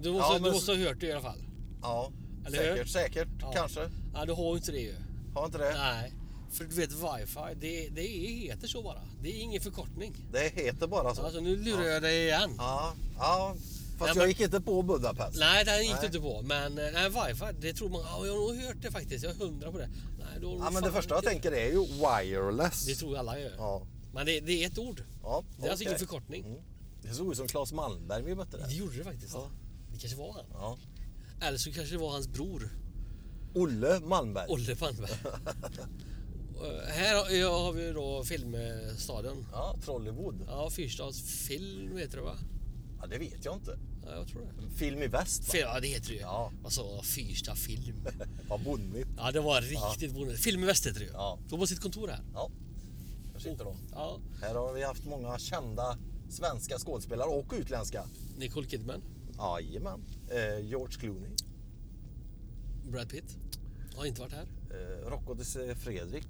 Speaker 2: Du
Speaker 1: Ja,
Speaker 2: måste, du
Speaker 1: men-
Speaker 2: måste ha hört det i alla fall.
Speaker 1: Ja,
Speaker 2: Eller hur?
Speaker 1: säkert, säkert,
Speaker 2: Ja.
Speaker 1: kanske.
Speaker 2: Ja, du har ju inte det ju.
Speaker 1: Har inte det?
Speaker 2: Nej. För du vet, wifi, det, det heter så bara. Det är ingen förkortning.
Speaker 1: Det heter bara så.
Speaker 2: Alltså, nu lurar jag dig igen.
Speaker 1: Ja, ja. Fast
Speaker 2: Nej, men-
Speaker 1: jag gick inte på Budapest.
Speaker 2: Nej, det här gick
Speaker 1: Nej.
Speaker 2: du inte på. Men eh, nej, wifi, det tror man. Ja, jag har nog hört det faktiskt. Jag är hundra på det. Nej, då har du
Speaker 1: Ja, men det
Speaker 2: fan
Speaker 1: första jag
Speaker 2: inte-
Speaker 1: tänker är ju wireless.
Speaker 2: Det tror ju alla gör.
Speaker 1: Ja.
Speaker 2: Men det, det är ett ord.
Speaker 1: Ja,
Speaker 2: Det är alltså
Speaker 1: okej.
Speaker 2: ingen förkortning.
Speaker 1: Mm. Det såg ut som Claes Malmberg vi mötte
Speaker 2: Det
Speaker 1: där.
Speaker 2: gjorde det faktiskt.
Speaker 1: Ja.
Speaker 2: Det kanske var han.
Speaker 1: Ja.
Speaker 2: Eller så kanske det var hans bror,
Speaker 1: Olle Malmberg.
Speaker 2: Olle Palmberg. Eh, här har- ja, har vi då Filmstaden.
Speaker 1: Ja, Trollywood.
Speaker 2: Ja, Fyrstads film heter det va?
Speaker 1: Ja, det vet jag inte.
Speaker 2: Ja, jag tror det.
Speaker 1: Film i väst.
Speaker 2: Fel, ja, det heter det ju.
Speaker 1: Ja.
Speaker 2: Vad sa jag? Fyrsta film.
Speaker 1: Har bonnit.
Speaker 2: Ja, det var riktigt bonde. Film i väst heter det ju.
Speaker 1: Ja.
Speaker 2: De har sitt kontor här.
Speaker 1: Ja, där sitter de.
Speaker 2: Ja.
Speaker 1: Här har vi haft många kända svenska skådespelare och utländska.
Speaker 2: Nicole Kidman,
Speaker 1: Jajamän. Eh, George Clooney.
Speaker 2: Brad Pitt. Har inte varit här.
Speaker 1: Eh, Rocco de Se- Fredrik.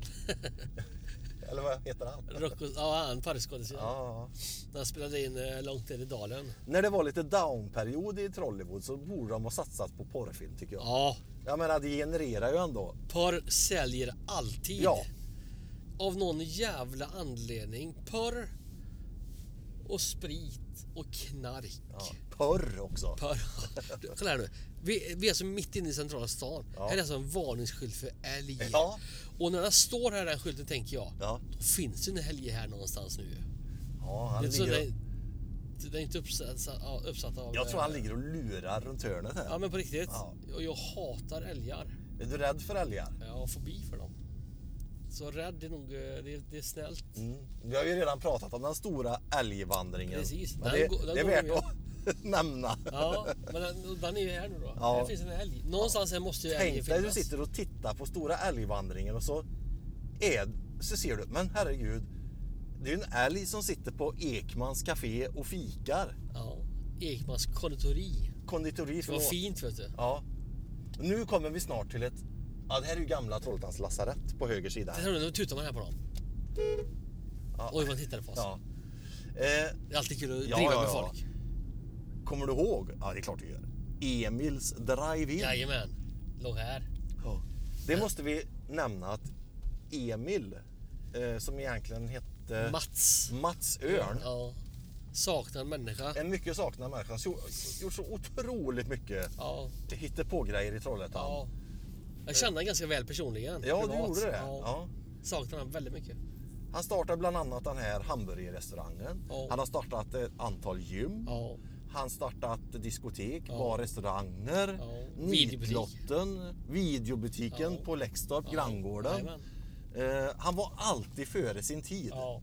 Speaker 1: Eller vad heter han?
Speaker 2: Rocco, ja, han parkskådespelaren.
Speaker 1: Ja.
Speaker 2: När han spelade in eh, Långt ner i dalen.
Speaker 1: När det var lite downperiod i Trollywood så borde de ha satsat på porrfilm tycker jag.
Speaker 2: Ja,
Speaker 1: Jag menar det genererar ju ändå.
Speaker 2: porr säljer alltid.
Speaker 1: Ja.
Speaker 2: Av någon jävla anledning. Porr och sprit och knark.
Speaker 1: Ja. Porr också.
Speaker 2: Porr. Du, Kolla här nu. Vi, vi är som mitt inne i centrala stan.
Speaker 1: Ja.
Speaker 2: Här är alltså en varningsskylt för älg.
Speaker 1: Ja.
Speaker 2: Och när den står här den skylten tänker jag,
Speaker 1: Ja.
Speaker 2: då finns det en älg här någonstans nu.
Speaker 1: Ja,
Speaker 2: Det
Speaker 1: han
Speaker 2: är inte så
Speaker 1: ligger
Speaker 2: den, den är inte uppsatt, ja, uppsatt av...
Speaker 1: Jag tror han
Speaker 2: eh,
Speaker 1: ligger och lurar runt hörnet här.
Speaker 2: Ja men på riktigt.
Speaker 1: Ja.
Speaker 2: Och jag hatar älgar.
Speaker 1: Är du rädd för älgar?
Speaker 2: Jag har fobi för dem. Så rädd är nog, eh, det, det är snällt.
Speaker 1: Mm. Vi har ju redan pratat om den stora älgvandringen.
Speaker 2: Precis,
Speaker 1: Men
Speaker 2: den
Speaker 1: det,
Speaker 2: går- den
Speaker 1: det är
Speaker 2: går
Speaker 1: värt
Speaker 2: vi med.
Speaker 1: att nämna.
Speaker 2: Ja, men den, den är ju här nu då.
Speaker 1: Ja.
Speaker 2: Här finns en älg. Någonstans här måste ju älgen
Speaker 1: Tänk dig du
Speaker 2: finnas.
Speaker 1: sitter och tittar på stora älgvandringen och så, är, så ser du, men herregud. Det är ju en älg som sitter på Ekmans café och fikar.
Speaker 2: Ja. Ekmans konditori.
Speaker 1: Konditori.
Speaker 2: Det var
Speaker 1: förlåt.
Speaker 2: fint vet du.
Speaker 1: Ja. Nu kommer vi snart till ett... Ja, det här är ju gamla Trollhättans lasarett på höger sida.
Speaker 2: Tittar du, nu tutar man här på dem.
Speaker 1: Ja.
Speaker 2: Oj, vad de tittar på oss.
Speaker 1: Ja. Eh,
Speaker 2: Det är alltid kul att
Speaker 1: Ja,
Speaker 2: driva
Speaker 1: ja,
Speaker 2: med
Speaker 1: ja.
Speaker 2: folk.
Speaker 1: Kommer du ihåg? Ja, det är klart du gör. Emils Drive-In.
Speaker 2: Jajamän. Låg här.
Speaker 1: Ja. Det måste vi nämna att Emil, eh, som egentligen hette
Speaker 2: Mats.
Speaker 1: Mats Örn,
Speaker 2: Ja. Saknar en människa.
Speaker 1: en mycket saknad människa. Han har gjort så otroligt mycket
Speaker 2: Ja.
Speaker 1: hittepågrejer i Trollhättan.
Speaker 2: ja. Jag kände honom ganska väl personligen.
Speaker 1: Ja, du
Speaker 2: privat.
Speaker 1: gjorde det.
Speaker 2: Ja.
Speaker 1: Ja.
Speaker 2: Saknar honom väldigt mycket.
Speaker 1: Han startade bland annat den här hamburgerrestaurangen.
Speaker 2: Ja.
Speaker 1: Han har startat ett antal gym.
Speaker 2: Ja.
Speaker 1: Han startat diskotek, bar, restauranger,
Speaker 2: Ja. Videobutik.
Speaker 1: nitlotten, videobutiken
Speaker 2: Ja.
Speaker 1: på Läxtorp, granngården.
Speaker 2: Jajamän.
Speaker 1: Eh, han var alltid före sin tid.
Speaker 2: Ja.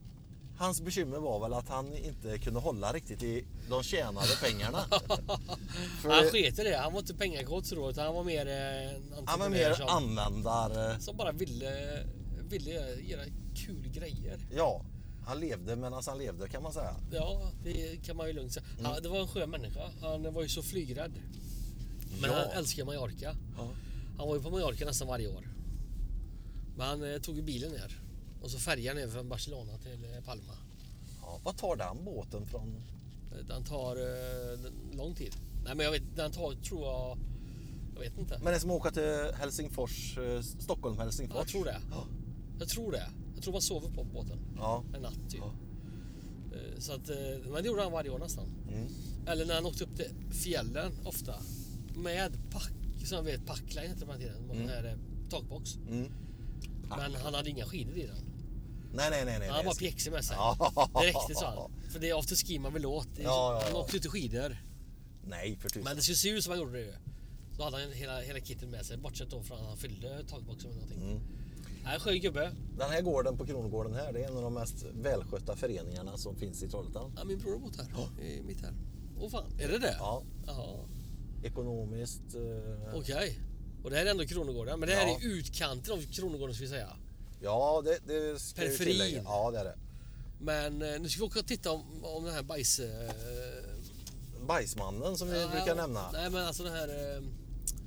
Speaker 1: Hans bekymmer var väl att han inte kunde hålla riktigt i de tjänade pengarna. För-
Speaker 2: Han sket i det. Han var inte pengakåt så då, utan han var mer eh, en
Speaker 1: han var
Speaker 2: entreprenör
Speaker 1: mer
Speaker 2: som,
Speaker 1: användar...
Speaker 2: som bara ville, ville göra kul grejer.
Speaker 1: Ja, han levde medan han levde kan man säga.
Speaker 2: Ja, det kan man ju lugnt
Speaker 1: Mm.
Speaker 2: säga. Han, det var en skön människa. Han var ju så flygrädd. Men
Speaker 1: Ja.
Speaker 2: han älskar Mallorca. Han var ju på Mallorca nästan varje år. Men han eh, tog ju bilen ner. Och så färjan ner från Barcelona till eh, Palma.
Speaker 1: Ja, vad tar den båten från?
Speaker 2: Eh, Den tar eh, den- lång tid. Nej men jag vet, den tar tror jag... Jag vet inte.
Speaker 1: Men det är som att åka till Helsingfors, eh, Stockholm, Helsingfors.
Speaker 2: Ja, jag tror det.
Speaker 1: Ja.
Speaker 2: Jag tror det. Jag tror man sover på båten
Speaker 1: Ja.
Speaker 2: en natt typ.
Speaker 1: Ja.
Speaker 2: Eh, Så att, eh, men det gjorde han varje år nästan.
Speaker 1: Mm.
Speaker 2: Eller när han åkte upp till fjällen ofta. Med pack, som jag vet, packline hette de här tiden. Mm. Här, eh, takbox.
Speaker 1: Mm.
Speaker 2: Men han hade inga skidor i den.
Speaker 1: Nej, nej, nej. nej
Speaker 2: Han var
Speaker 1: nej.
Speaker 2: pjäxig med sig.
Speaker 1: Ja.
Speaker 2: Det räckte sa han. För det är afterski man vill åt. Det är-
Speaker 1: Ah. Ja, ja, ja.
Speaker 2: Han åkte inte skidor.
Speaker 1: Nej, för tusan.
Speaker 2: Men det skulle se ut som han gjorde det ju. Då hade han hela, hela kittet med sig. Bortsett då från att han fyllde takboxen med någonting.
Speaker 1: Mm.
Speaker 2: Nej, skön gubbe.
Speaker 1: Den här gården på Kronogården här, det är en av de mest välskötta föreningarna som finns i Trollhättan.
Speaker 2: Ja, min bror har bott här. I mitt här. Åh fan, är det det?
Speaker 1: Ja,
Speaker 2: Jaha,
Speaker 1: ekonomiskt. Eh,
Speaker 2: Okej. Och det här är ändå Kronogården. Men det här
Speaker 1: Ja.
Speaker 2: är utkanten av Kronogården ska vi säga.
Speaker 1: Ja, det, det ska jag ju
Speaker 2: Periferin.
Speaker 1: tillägga. Ja, det är det.
Speaker 2: Men eh, nu ska vi åka och titta om, om den här bajs... Eh,
Speaker 1: Bajsmannen som vi
Speaker 2: ja,
Speaker 1: brukar nämna.
Speaker 2: Nej men alltså den här eh,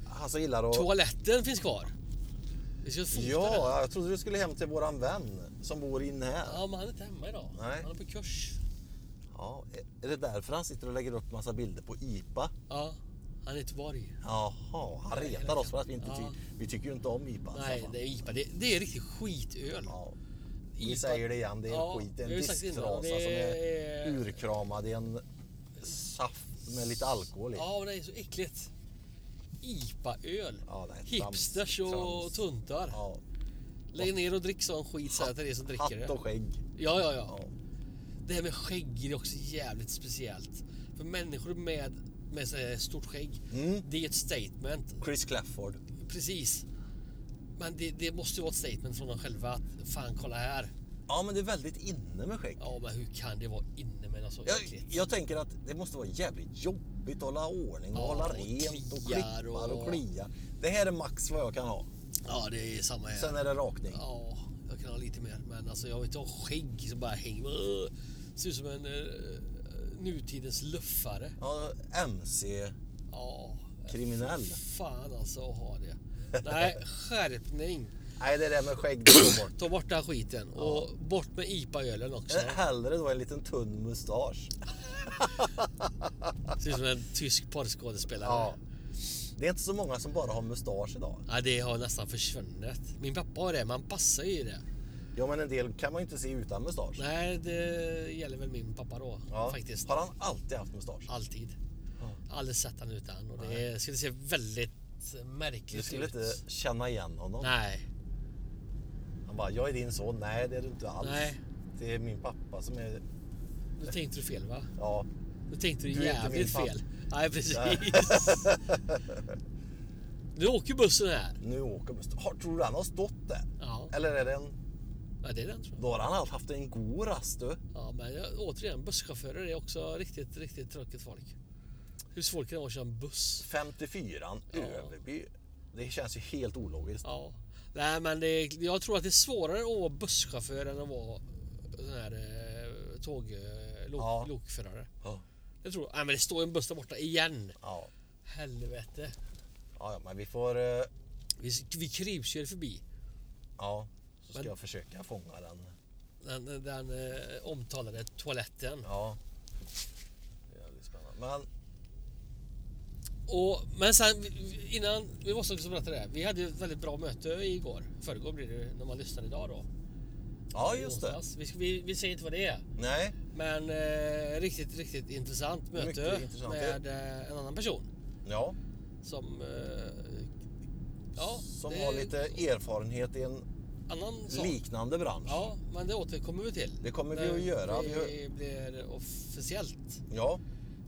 Speaker 1: Han som gillar att...
Speaker 2: toaletten finns kvar. Vi ska fota den.
Speaker 1: Ja, jag trodde du skulle hem till våran vän som bor inne här.
Speaker 2: Ja, men han är inte hemma idag.
Speaker 1: Nej.
Speaker 2: Han är på kurs.
Speaker 1: Ja, är det därför han sitter och lägger upp massa bilder på IPA?
Speaker 2: Ja, han är i Göteborg.
Speaker 1: Jaha, han retar oss för att vi inte ty-
Speaker 2: Ja.
Speaker 1: Vi tycker ju inte om IPA.
Speaker 2: Nej, det är IPA. Det, det är riktigt skitöl.
Speaker 1: Ja, vi säger det igen, det är
Speaker 2: Ja,
Speaker 1: skit. Det är
Speaker 2: vi
Speaker 1: en
Speaker 2: har ju sagt det innan,
Speaker 1: disktrasa
Speaker 2: det
Speaker 1: som är
Speaker 2: är-
Speaker 1: urkramad i en saft med lite alkohol i.
Speaker 2: Ja, men det är så äckligt. IPA-öl.
Speaker 1: Ja, nej, trams,
Speaker 2: Hipsters
Speaker 1: trams.
Speaker 2: och tuntar.
Speaker 1: Ja,
Speaker 2: Lägg ner och drick sån skit så här till er som dricker det.
Speaker 1: hatt och skägg.
Speaker 2: Ja, ja,
Speaker 1: Ja.
Speaker 2: ja. Det här med skägg är också jävligt speciellt. För människor med, med så här stort skägg,
Speaker 1: Mm.
Speaker 2: det är ett statement.
Speaker 1: Chris Clafford.
Speaker 2: Precis. Men det, det måste ju vara ett statement från dem själva att fan kolla här.
Speaker 1: Ja, men det är väldigt inne med skägg.
Speaker 2: Ja, men hur kan det vara inne med något så
Speaker 1: Jag,
Speaker 2: äckligt?
Speaker 1: jag tänker att det måste vara jävligt jobbigt att hålla ordning och
Speaker 2: Ja,
Speaker 1: hålla
Speaker 2: och
Speaker 1: rent och
Speaker 2: kliar
Speaker 1: klippa och,
Speaker 2: och-
Speaker 1: klia. Det här är max vad jag kan ha.
Speaker 2: Ja, det är samma här.
Speaker 1: Sen är det rakning.
Speaker 2: Ja, jag kan ha lite mer. Men alltså, jag vet inte, skägg som bara hänger. Ugh. Ser ut som en eh, nutidens luffare.
Speaker 1: Ja, MC
Speaker 2: Ja,
Speaker 1: kriminell.
Speaker 2: fan alltså att ha det. Nej, skärpning.
Speaker 1: Nej, det där med skägg det går bort.
Speaker 2: Ta bort den skiten och bort med IPA-ölen också.
Speaker 1: Eh, Hellre då en liten tunn mustasch.
Speaker 2: Ser ut som en tysk porrskådespelare.
Speaker 1: Ja.
Speaker 2: Ja.
Speaker 1: Det är inte så många som bara har mustasch idag.
Speaker 2: det har nästan försvunnit. Min pappa har det, man passar ju i det.
Speaker 1: Ja, men en del kan man ju inte se utan mustasch.
Speaker 2: Nej, det gäller väl min pappa då
Speaker 1: Ja.
Speaker 2: faktiskt.
Speaker 1: Har han alltid haft mustasch?
Speaker 2: Alltid.
Speaker 1: Ja.
Speaker 2: Aldrig sett han utan och det skulle se väldigt märkligt
Speaker 1: Du skulle
Speaker 2: ut.
Speaker 1: inte känna igen honom.
Speaker 2: Nej,
Speaker 1: Han bara, jag är din son. Nej, det är du inte alls.
Speaker 2: Nej.
Speaker 1: Det är min pappa som är...
Speaker 2: nu tänkte du fel va?
Speaker 1: Ja,
Speaker 2: Nu tänkte du,
Speaker 1: Du är inte min
Speaker 2: jävligt
Speaker 1: pappa.
Speaker 2: fel. Nej, precis. nu åker bussen här.
Speaker 1: nu åker mustasch. Har- Tror du han har stått där?
Speaker 2: Ja,
Speaker 1: Eller är det en...
Speaker 2: ja det är den tror jag.
Speaker 1: Då har han allt haft en god rast du.
Speaker 2: Ja, men jag, återigen, busschaufförer är också riktigt, riktigt tråkigt folk. Hur svårt kan det vara att köra en buss?
Speaker 1: 54
Speaker 2: Ja.
Speaker 1: Överby. Det känns ju helt ologiskt.
Speaker 2: Ja. Nej, men det, är- jag tror att det är svårare att vara busschaufför än att vara sån här eh, tåg, eh, lok,
Speaker 1: Ja.
Speaker 2: lokförare.
Speaker 1: Ja.
Speaker 2: Det tror jag. Nej, men det står ju en buss där borta igen.
Speaker 1: Ja,
Speaker 2: Helvete.
Speaker 1: ja, ja men vi får... eh,
Speaker 2: Vi, vi krypkör förbi
Speaker 1: Ja, så ska
Speaker 2: Men-
Speaker 1: jag försöka fånga den.
Speaker 2: den, den, den eh, omtalade toaletten.
Speaker 1: Ja. Det är Jävligt spännande. Men
Speaker 2: Och, men sen vi- innan, vi måste också berätta det. här. Vi hade ju ett väldigt bra möte igår. Förrgår blir det ju när man lyssnar idag då.
Speaker 1: ja,
Speaker 2: I
Speaker 1: just det.
Speaker 2: onsdags. Vi, vi, vi säger inte vad det är.
Speaker 1: Nej,
Speaker 2: Men eh, riktigt, riktigt intressant möte
Speaker 1: Mycket intressant,
Speaker 2: med eh, en annan person.
Speaker 1: ja,
Speaker 2: Som... Eh, ja,
Speaker 1: som
Speaker 2: det är
Speaker 1: har lite erfarenhet i en
Speaker 2: annan sak.
Speaker 1: liknande bransch.
Speaker 2: Ja, men det återkommer vi till.
Speaker 1: Det kommer vi
Speaker 2: När
Speaker 1: att göra. Vi
Speaker 2: Det
Speaker 1: har-
Speaker 2: blir officiellt.
Speaker 1: Ja,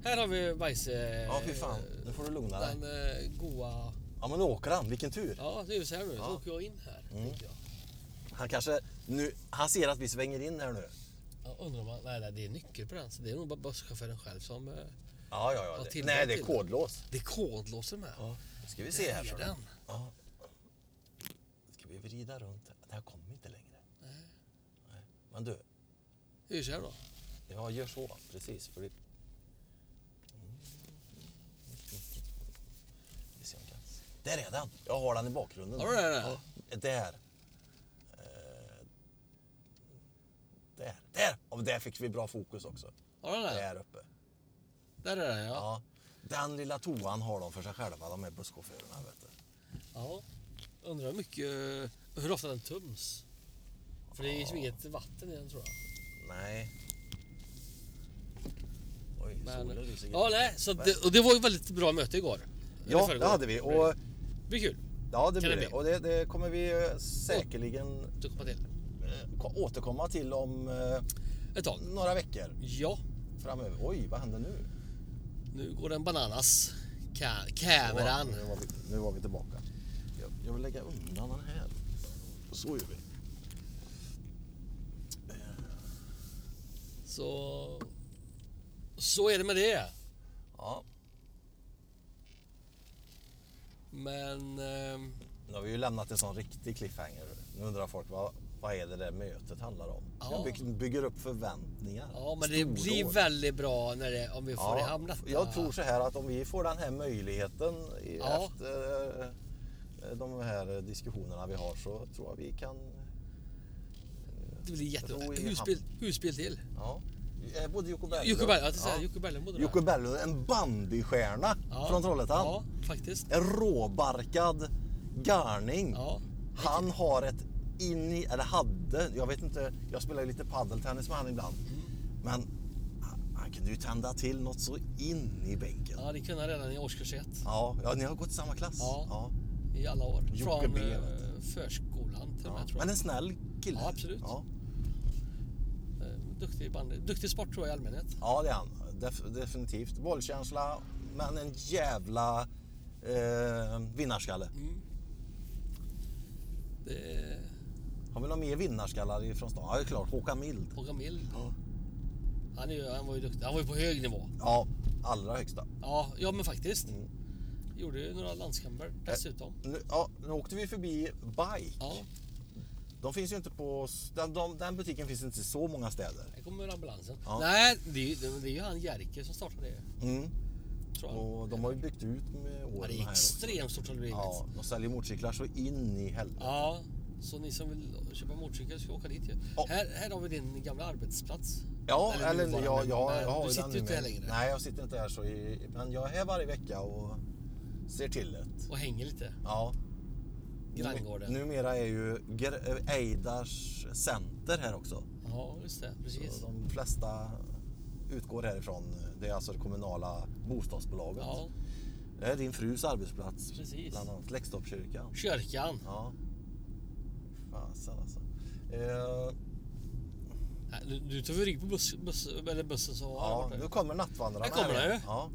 Speaker 2: Här har vi Bajse...
Speaker 1: ja fy fan. Nu får du lugna dig.
Speaker 2: Den eh, goa...
Speaker 1: Ja, men nu åker han. Vilken tur.
Speaker 2: Ja, det är ju så här nu. Så
Speaker 1: Ja. Mm.
Speaker 2: åker jag in här. tänker Jag.
Speaker 1: Han kanske... Nu, han ser att vi svänger in här nu.
Speaker 2: Jag undrar om man, nej, nej, det är nyckel på den. Så det är nog bara busschauffören själv som... Eh,
Speaker 1: Ja, ja, ja.
Speaker 2: Ja,
Speaker 1: Det,
Speaker 2: tillbaka
Speaker 1: nej, det är
Speaker 2: till-
Speaker 1: kodlås.
Speaker 2: det är kodlåsen med.
Speaker 1: Ja, nu ska vi se här.
Speaker 2: Där
Speaker 1: så.
Speaker 2: är den.
Speaker 1: Ja. Ska vi vrida runt? här? Det här kommer inte längre. Nej. Men du,
Speaker 2: Det är ju så här då.
Speaker 1: Ja, gör så. Precis. För det... Mm. Vi ser om jag kan- Där är den! Jag har den i bakgrunden.
Speaker 2: Har du den där?
Speaker 1: Ja, där. Eh, Där. Där! Och där fick vi bra fokus också.
Speaker 2: Har den där?
Speaker 1: Där uppe.
Speaker 2: Där är den ja.
Speaker 1: Ja. Den lilla toan har de för sig själva, de här busschaufförerna. Vet du.
Speaker 2: ja. Undrar hur mycket... Hur ofta den töms. För det är ju som inget vatten i den tror jag.
Speaker 1: Nej. Oj, solen
Speaker 2: Men,
Speaker 1: lyser
Speaker 2: ja, nej, så att det, och det var ju ett väldigt bra möte igår. Eller
Speaker 1: ja,
Speaker 2: förrgår.
Speaker 1: det hade vi. Och,
Speaker 2: Det blir kul.
Speaker 1: ja, det
Speaker 2: Kan
Speaker 1: blir
Speaker 2: det
Speaker 1: det.
Speaker 2: bli?
Speaker 1: Och det, det kommer vi eh, säkerligen
Speaker 2: Du kommer till.
Speaker 1: eh, ko- återkomma till om eh,
Speaker 2: Ett tag.
Speaker 1: några veckor
Speaker 2: Ja,
Speaker 1: framöver. Oj, vad händer nu?
Speaker 2: nu går den bananas. Ka- kameran.
Speaker 1: Nu var vi, nu var vi tillbaka. Jag, jag vill lägga undan den här. Så gör vi.
Speaker 2: Så... Så är det med det.
Speaker 1: Ja,
Speaker 2: Men... ehm,
Speaker 1: nu har vi ju lämnat en sån riktig cliffhanger. Nu undrar folk vad, vad är det där mötet handlar om?
Speaker 2: Ja.
Speaker 1: Jag bygger, bygger upp förväntningar.
Speaker 2: Ja, men det blir
Speaker 1: Stordåd.
Speaker 2: väldigt bra när det, om vi får i hamn detta.
Speaker 1: jag tror så här att om vi får den här möjligheten i
Speaker 2: Ja.
Speaker 1: efter eh, de här diskussionerna vi har så tror jag vi kan...
Speaker 2: Det blir
Speaker 1: Ro
Speaker 2: jättebra.
Speaker 1: i hamn.
Speaker 2: Utspel, utspel till.
Speaker 1: Ja. Eh, Både Jocke Berglund...
Speaker 2: Jocke Berg, jag tänkte säga Jocke Berglund
Speaker 1: Jocke Berglund, en bandystjärna från Trollhättan.
Speaker 2: Ja, faktiskt.
Speaker 1: En råbarkad garning.
Speaker 2: Ja.
Speaker 1: Han har ett in i, eller hade, jag vet inte, jag spelar ju lite paddeltennis med han ibland. Men han- han kunde ju tända till något så in i bänken.
Speaker 2: Ja, det kunde han redan i årskurs ett.
Speaker 1: Ja, ja ni har gått i samma klass.
Speaker 2: Ja.
Speaker 1: Ja.
Speaker 2: I alla år.
Speaker 1: Jocke
Speaker 2: Från
Speaker 1: B,
Speaker 2: eh,
Speaker 1: vet
Speaker 2: förskolan till och
Speaker 1: Ja.
Speaker 2: med, tror
Speaker 1: Men
Speaker 2: jag.
Speaker 1: en snäll kille.
Speaker 2: Ja, absolut.
Speaker 1: Ja,
Speaker 2: Eh, Duktig, bandy. Duktig sport tror jag i allmänhet.
Speaker 1: ja det är han. Def- definitivt. Bollkänsla, men en jävla eh, vinnarskalle.
Speaker 2: Det är
Speaker 1: Har vi några mer vinnarskallar från stan? Ja, det är klart. Håkan Mild.
Speaker 2: Håkan Mild. Han, är, ju- han var ju duktig. Han var ju på hög nivå.
Speaker 1: Ja, allra högsta.
Speaker 2: Ja, ja men faktiskt.
Speaker 1: Mm.
Speaker 2: Gjorde ju några landskamper dessutom.
Speaker 1: Nu, ja, nu åkte vi förbi Bike.
Speaker 2: Ja,
Speaker 1: De finns ju inte på... Den, de, den butiken finns inte i så många städer.
Speaker 2: här kommer ambulansen.
Speaker 1: Ja.
Speaker 2: Nej, det är, ju- det är ju han Jerker som startade det.
Speaker 1: Mm.
Speaker 2: Tror jag.
Speaker 1: Och de har ju byggt ut med åren
Speaker 2: ja, det
Speaker 1: här
Speaker 2: är
Speaker 1: också.
Speaker 2: extremt stort har det blivit.
Speaker 1: Ja,
Speaker 2: Ja.
Speaker 1: de säljer motorcyklar så in i helvete.
Speaker 2: så ni som vill köpa motorcykel ska åka dit ju.
Speaker 1: Ja.
Speaker 2: Här, här har vi din gamla arbetsplats.
Speaker 1: Ja,
Speaker 2: Eller
Speaker 1: eller,
Speaker 2: nuvarande,
Speaker 1: ja, ja,
Speaker 2: men
Speaker 1: jag har
Speaker 2: Du
Speaker 1: ju
Speaker 2: sitter
Speaker 1: den
Speaker 2: ju inte
Speaker 1: med.
Speaker 2: här längre.
Speaker 1: Nej, jag sitter inte här så i, Men jag är här varje vecka och ser till det.
Speaker 2: Och hänger lite.
Speaker 1: Ja.
Speaker 2: Granngården.
Speaker 1: Numera är ju Gr- eh, Eidars center här också.
Speaker 2: Ja, just det. Precis.
Speaker 1: Så de flesta utgår härifrån. Det är alltså det kommunala bostadsbolaget.
Speaker 2: Ja,
Speaker 1: Det är din frus arbetsplats.
Speaker 2: Precis.
Speaker 1: Bland annat Läxtorpskyrkan.
Speaker 2: kyrkan.
Speaker 1: Ja. Fasen alltså. Eh,
Speaker 2: Nej, Äh, Du, du tog väl rygg på buss, buss, eller bussen som var
Speaker 1: ja,
Speaker 2: här borta.
Speaker 1: nu kommer nattvandrarna.
Speaker 2: Här kommer
Speaker 1: här
Speaker 2: det
Speaker 1: igen.
Speaker 2: ju.
Speaker 1: Ja,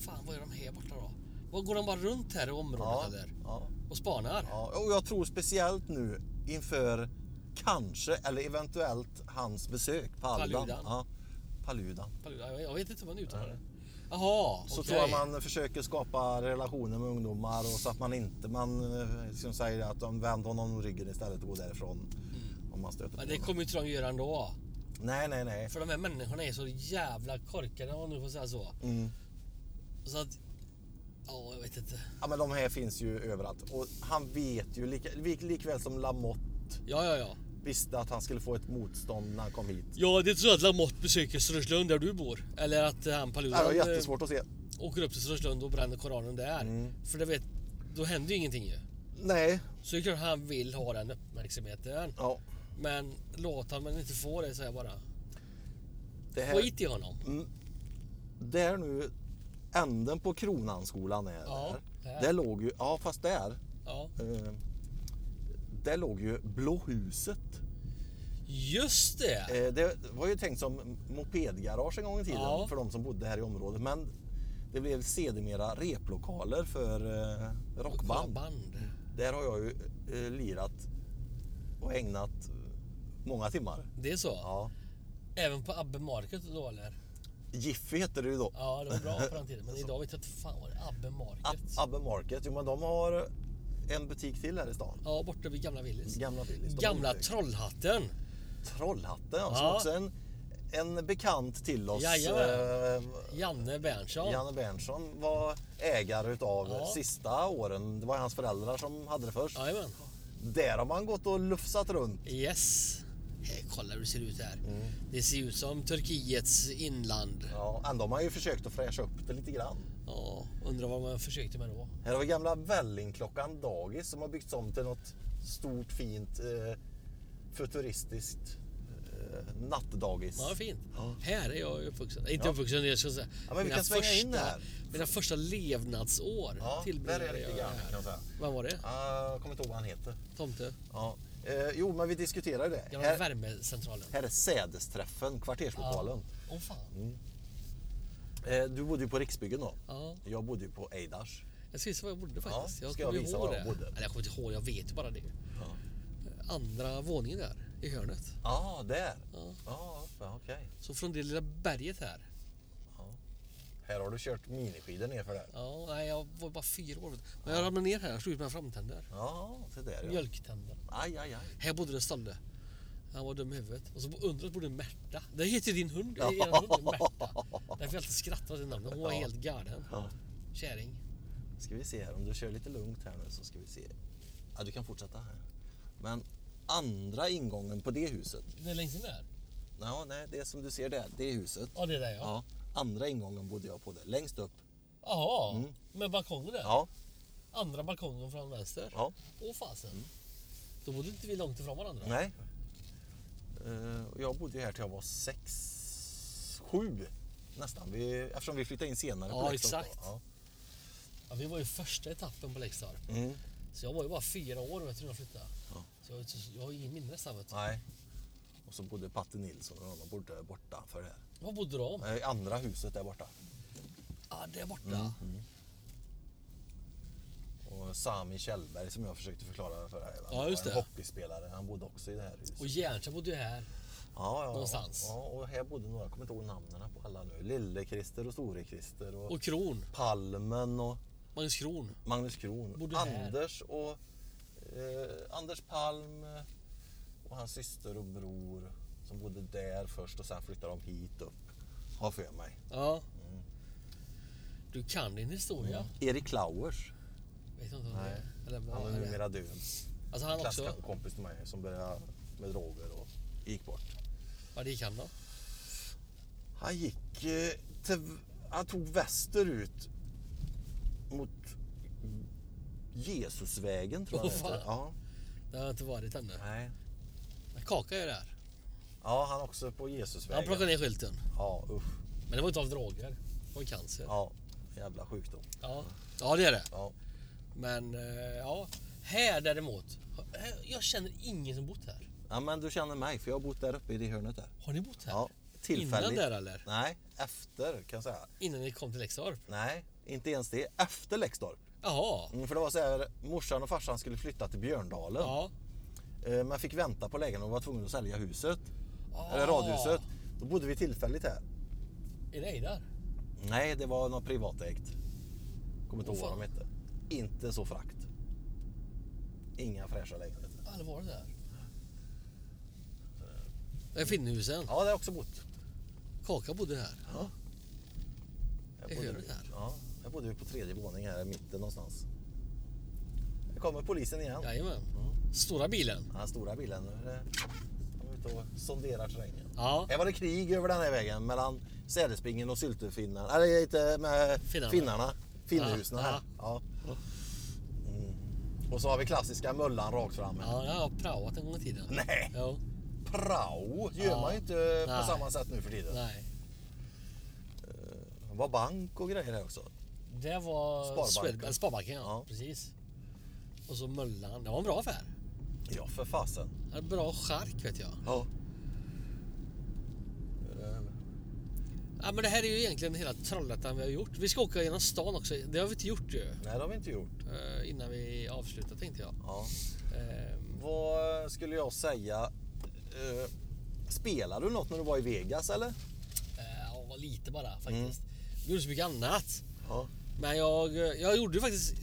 Speaker 2: Fan, vad gör de här borta då? Vad går de bara runt här i området
Speaker 1: ja,
Speaker 2: eller?
Speaker 1: ja,
Speaker 2: Och spanar?
Speaker 1: ja. Och jag tror speciellt nu inför kanske eller eventuellt hans besök på Allan. Ja,
Speaker 2: Paludan.
Speaker 1: Paludan.
Speaker 2: Jag jag vet inte vad man uttalar det. Jaha,
Speaker 1: Så
Speaker 2: okej.
Speaker 1: tror jag man försöker skapa relationer med ungdomar och så att man inte man eh, liksom säger att de vänder honom ryggen istället och går därifrån. Om man stöter på
Speaker 2: Men Mm. det
Speaker 1: någon.
Speaker 2: kommer ju inte de göra ändå.
Speaker 1: Nej, nej, nej.
Speaker 2: För de här människorna är så jävla korkade om man nu får säga så.
Speaker 1: Mm.
Speaker 2: Så att... Ja, jag vet inte.
Speaker 1: Ja, men de här finns ju överallt. Och han vet ju, lika, lik, likväl som Lamotte
Speaker 2: Ja, ja, ja.
Speaker 1: visste att han skulle få ett motstånd när han kom hit.
Speaker 2: Ja, det är inte så att Lamotte besöker Strömslund där du bor. Eller att eh, han
Speaker 1: Det här var
Speaker 2: Paludan eh,
Speaker 1: jättesvårt Mm. att se.
Speaker 2: åker upp till Strömslund och bränner Koranen där. För det vet, då händer ju ingenting ju.
Speaker 1: Nej.
Speaker 2: Så det är klart han vill ha den uppmärksamheten.
Speaker 1: Ja,
Speaker 2: Men låt han men inte få det säger jag bara.
Speaker 1: det här,
Speaker 2: Skit i honom.
Speaker 1: där nu, änden på Kronanskolan är
Speaker 2: Ja,
Speaker 1: där.
Speaker 2: där.
Speaker 1: Där låg ju, ja fast där.
Speaker 2: Ja.
Speaker 1: Eh, där låg ju Blå huset.
Speaker 2: Just det!
Speaker 1: Eh, det var ju tänkt som mopedgarage en gång i tiden
Speaker 2: Ja.
Speaker 1: för de som bodde här i området. Men det blev sedermera replokaler för eh, rockband.
Speaker 2: Band.
Speaker 1: Där har jag ju eh, lirat och ägnat många timmar.
Speaker 2: Det är så?
Speaker 1: Ja.
Speaker 2: Även på Abbe Market då eller?
Speaker 1: Jiffy heter det ju då.
Speaker 2: Ja, det var bra på den tiden. Men idag vet jag inte fan vad det är. Abbe
Speaker 1: Ab-
Speaker 2: Market.
Speaker 1: Abbe Market. Jo, men de har en butik till här i stan.
Speaker 2: Ja, borta vid gamla Willys.
Speaker 1: Gamla Willys. De har
Speaker 2: Gamla
Speaker 1: utökat.
Speaker 2: Trollhatten.
Speaker 1: Trollhatten, ja. som
Speaker 2: Ja.
Speaker 1: också är en, en bekant till oss.
Speaker 2: Jajamän.
Speaker 1: eh,
Speaker 2: Janne Berntsson.
Speaker 1: Janne Berntsson var ägare utav
Speaker 2: Ja.
Speaker 1: sista åren. Det var hans föräldrar som hade det först.
Speaker 2: Jajamän.
Speaker 1: Där har man gått och lufsat runt.
Speaker 2: Yes. Här, kolla hur det ser ut här.
Speaker 1: Mm.
Speaker 2: Det ser ut som Turkiets inland.
Speaker 1: Ja, ändå har man ju försökt att fräscha upp det lite grann.
Speaker 2: Ja, undrar vad man försökte med då.
Speaker 1: Här har vi gamla Vällingklockan dagis som har byggts om till något stort fint eh, futuristiskt eh, nattdagis.
Speaker 2: Ja, fint. Här är jag uppvuxen. Inte uppvuxen, jag ska säga.
Speaker 1: Ja, men vi
Speaker 2: Mina
Speaker 1: kan svänga in
Speaker 2: första-
Speaker 1: här.
Speaker 2: Mina första levnadsår
Speaker 1: Ja, där är
Speaker 2: tillbringade
Speaker 1: det lite
Speaker 2: jag
Speaker 1: grann kan
Speaker 2: här.
Speaker 1: jag säga.
Speaker 2: Vad var det?
Speaker 1: Ah, jag kommer inte ihåg vad han heter.
Speaker 2: Tomte?
Speaker 1: Ja. Eh, jo, men vi diskuterar ju det.
Speaker 2: Gamla
Speaker 1: Här,
Speaker 2: värmecentralen.
Speaker 1: här är sädesträffen, kvarterslokalen.
Speaker 2: Åh fan.
Speaker 1: Mm. Eh, du bodde ju på Riksbyggen då.
Speaker 2: Ja.
Speaker 1: Jag bodde ju på Eidars.
Speaker 2: Jag ska visa var jag bodde faktiskt.
Speaker 1: Ja,
Speaker 2: jag
Speaker 1: ska jag
Speaker 2: kommer
Speaker 1: visa
Speaker 2: ihåg
Speaker 1: var
Speaker 2: det.
Speaker 1: jag bodde?
Speaker 2: Eller jag kommer inte ihåg, jag vet ju bara det. Andra våningen där i hörnet.
Speaker 1: Ja, ah, där.
Speaker 2: Ja.
Speaker 1: Ja, ah, okej.
Speaker 2: Så från det lilla berget här.
Speaker 1: Här har du kört miniskidor nerför där.
Speaker 2: Ja, nej, jag var bara fyra år. Men jag ramlade ner här, jag slog ut mina framtänder.
Speaker 1: Ja, se där ja.
Speaker 2: Mjölktänder.
Speaker 1: Aj, aj, aj.
Speaker 2: Här bodde det Stalle. Han var dum i huvudet. Och så under oss bodde Märta. Det heter din hund, ja. er hund Märta. Därför jag alltid skrattar åt det namnet. Hon var helt galen. Käring.
Speaker 1: Ska vi se här, om du kör lite lugnt här nu så ska vi se. Ja, du kan fortsätta här. Men andra ingången på det huset.
Speaker 2: Det är längst in där?
Speaker 1: Ja, nej, det som du ser där, det är huset.
Speaker 2: Ja, det är där ja.
Speaker 1: Ja, andra ingången bodde jag på det, längst upp.
Speaker 2: Jaha, med balkongen där?
Speaker 1: Mm. Ja,
Speaker 2: Andra balkongen från vänster?
Speaker 1: ja, Mm.
Speaker 2: Åh fasen. Då bodde inte vi långt ifrån varandra.
Speaker 1: nej. Eh, och jag bodde ju här till jag var sex, sju nästan. Vi, eftersom vi flyttade in senare
Speaker 2: Ja,
Speaker 1: på Leksand då.
Speaker 2: exakt.
Speaker 1: Ja,
Speaker 2: Ja, vi var ju första etappen på Lekstorp.
Speaker 1: Mm.
Speaker 2: Så jag var ju bara fyra år vet du, när jag flyttade.
Speaker 1: Ja.
Speaker 2: Så jag, har inte- jag har ingen minne nästan. Vet du.
Speaker 1: Nej. Och så bodde Patte Nilsson och de bodde borta för det här.
Speaker 2: Var bodde de?
Speaker 1: Nej, andra huset där borta.
Speaker 2: Ja, där borta.
Speaker 1: Mm. Och Sami Kjellberg som jag försökte förklara för dig. va?
Speaker 2: Ja, just
Speaker 1: Han
Speaker 2: det.
Speaker 1: var en hockeyspelare. Han bodde också i det här huset.
Speaker 2: Och Järntra bodde ju här.
Speaker 1: ja, ja,
Speaker 2: någonstans.
Speaker 1: Ja, och här bodde några. Jag kommer inte ihåg namnen på alla nu. Lille-Christer och Store-Christer och,
Speaker 2: Och Kron.
Speaker 1: Palmen och
Speaker 2: Magnus Kron.
Speaker 1: Magnus Kron.
Speaker 2: Bodde här.
Speaker 1: Anders och eh, Anders Palm eh, och hans syster och bror som bodde där först och sen flyttade de hit upp. Har för mig.
Speaker 2: Ja. Mm.
Speaker 1: Mm.
Speaker 2: Du kan din historia.
Speaker 1: Erik Klauers.
Speaker 2: Vet inte om det
Speaker 1: Mm. Nej.
Speaker 2: är. Eller vad
Speaker 1: Han är
Speaker 2: är det?
Speaker 1: numera död.
Speaker 2: Alltså han också.
Speaker 1: Klasskompis till mig som började med droger och gick bort.
Speaker 2: Vad det gick han då?
Speaker 1: Han gick eh, till, Han tog västerut mot Jesusvägen tror jag
Speaker 2: Åh,
Speaker 1: det heter.
Speaker 2: fan.
Speaker 1: Ja,
Speaker 2: Det har jag inte varit ännu.
Speaker 1: nej.
Speaker 2: Men Kaka är ju där.
Speaker 1: ja, han också på
Speaker 2: Han
Speaker 1: Jesusvägen.
Speaker 2: plockade ner skylten.
Speaker 1: Ja, usch.
Speaker 2: Men det var inte av droger. Det var ju cancer. Ja.
Speaker 1: Ja, jävla sjukdom.
Speaker 2: Ja, det är det.
Speaker 1: Ja.
Speaker 2: Men eh, ja. Här däremot. här- Jag känner ingen som bott här.
Speaker 1: ja, men du känner mig för jag har bott där uppe i det hörnet där.
Speaker 2: Har ni bott här?
Speaker 1: Ja, tillfälligt.
Speaker 2: Innan där eller?
Speaker 1: Nej, efter kan jag säga.
Speaker 2: Innan ni kom till Lekstorp?
Speaker 1: Nej, inte ens det. Efter Lexdorp.
Speaker 2: Jaha.
Speaker 1: Mm, För det var så här, morsan och farsan skulle flytta till Björndalen.
Speaker 2: Ja.
Speaker 1: Eh, Man fick vänta på lägenheten och var tvungen att sälja huset.
Speaker 2: Ah.
Speaker 1: Eller radhuset. Då bodde vi tillfälligt här.
Speaker 2: Är det Eidar?
Speaker 1: Nej, det var något privatägt. Kommer inte
Speaker 2: Åh,
Speaker 1: ihåg vad de
Speaker 2: fan.
Speaker 1: hette. Inte så frakt. Inga fräscha lägenheter.
Speaker 2: Ja, det var det där. Det är Finnhusen.
Speaker 1: Ja, det har jag också bott.
Speaker 2: Kaka bodde här.
Speaker 1: Ja.
Speaker 2: Det
Speaker 1: bodde
Speaker 2: gör
Speaker 1: ju-
Speaker 2: det här.
Speaker 1: Ja, jag bodde ju på tredje våningen här i mitten någonstans. Här kommer polisen igen.
Speaker 2: Jajamän. Stora bilen.
Speaker 1: Den här stora bilen. nu är det- De är ute och sonderar terrängen.
Speaker 2: Ja.
Speaker 1: Här var det krig över den här vägen mellan Sädespingen och Syltefinnarna. Eller inte med finnarna.
Speaker 2: Finnarna.
Speaker 1: finnarna. Finnhusen
Speaker 2: Ja,
Speaker 1: här. Ja. Mm. Och så har vi klassiska mullan rakt fram. här.
Speaker 2: Ja, jag har praoat en gång i tiden.
Speaker 1: Nej.
Speaker 2: Jo.
Speaker 1: Prao gör
Speaker 2: Ja.
Speaker 1: man ju inte
Speaker 2: Nej.
Speaker 1: på samma sätt nu för tiden.
Speaker 2: Nej.
Speaker 1: Det var bank och grejer här också.
Speaker 2: Det var
Speaker 1: Sparbanken.
Speaker 2: Swedbank. Sparbanken ja.
Speaker 1: Ja.
Speaker 2: Precis. Och så Möllan. Det var en bra affär.
Speaker 1: Ja, för fasen.
Speaker 2: Han hade bra chark vet jag.
Speaker 1: Ja.
Speaker 2: Ja, men det här är ju egentligen hela Trollhättan vi har gjort. Vi ska åka genom stan också. Det har vi inte gjort ju.
Speaker 1: Nej, det har vi inte gjort.
Speaker 2: eh, Innan vi avslutar tänkte jag.
Speaker 1: Ja.
Speaker 2: Eh,
Speaker 1: Vad skulle jag säga? Eh, spelade du något när du var i Vegas eller?
Speaker 2: eh, Ja, lite bara faktiskt.
Speaker 1: Mm.
Speaker 2: Vi gjorde så mycket annat.
Speaker 1: Ja.
Speaker 2: Men jag, jag gjorde ju faktiskt...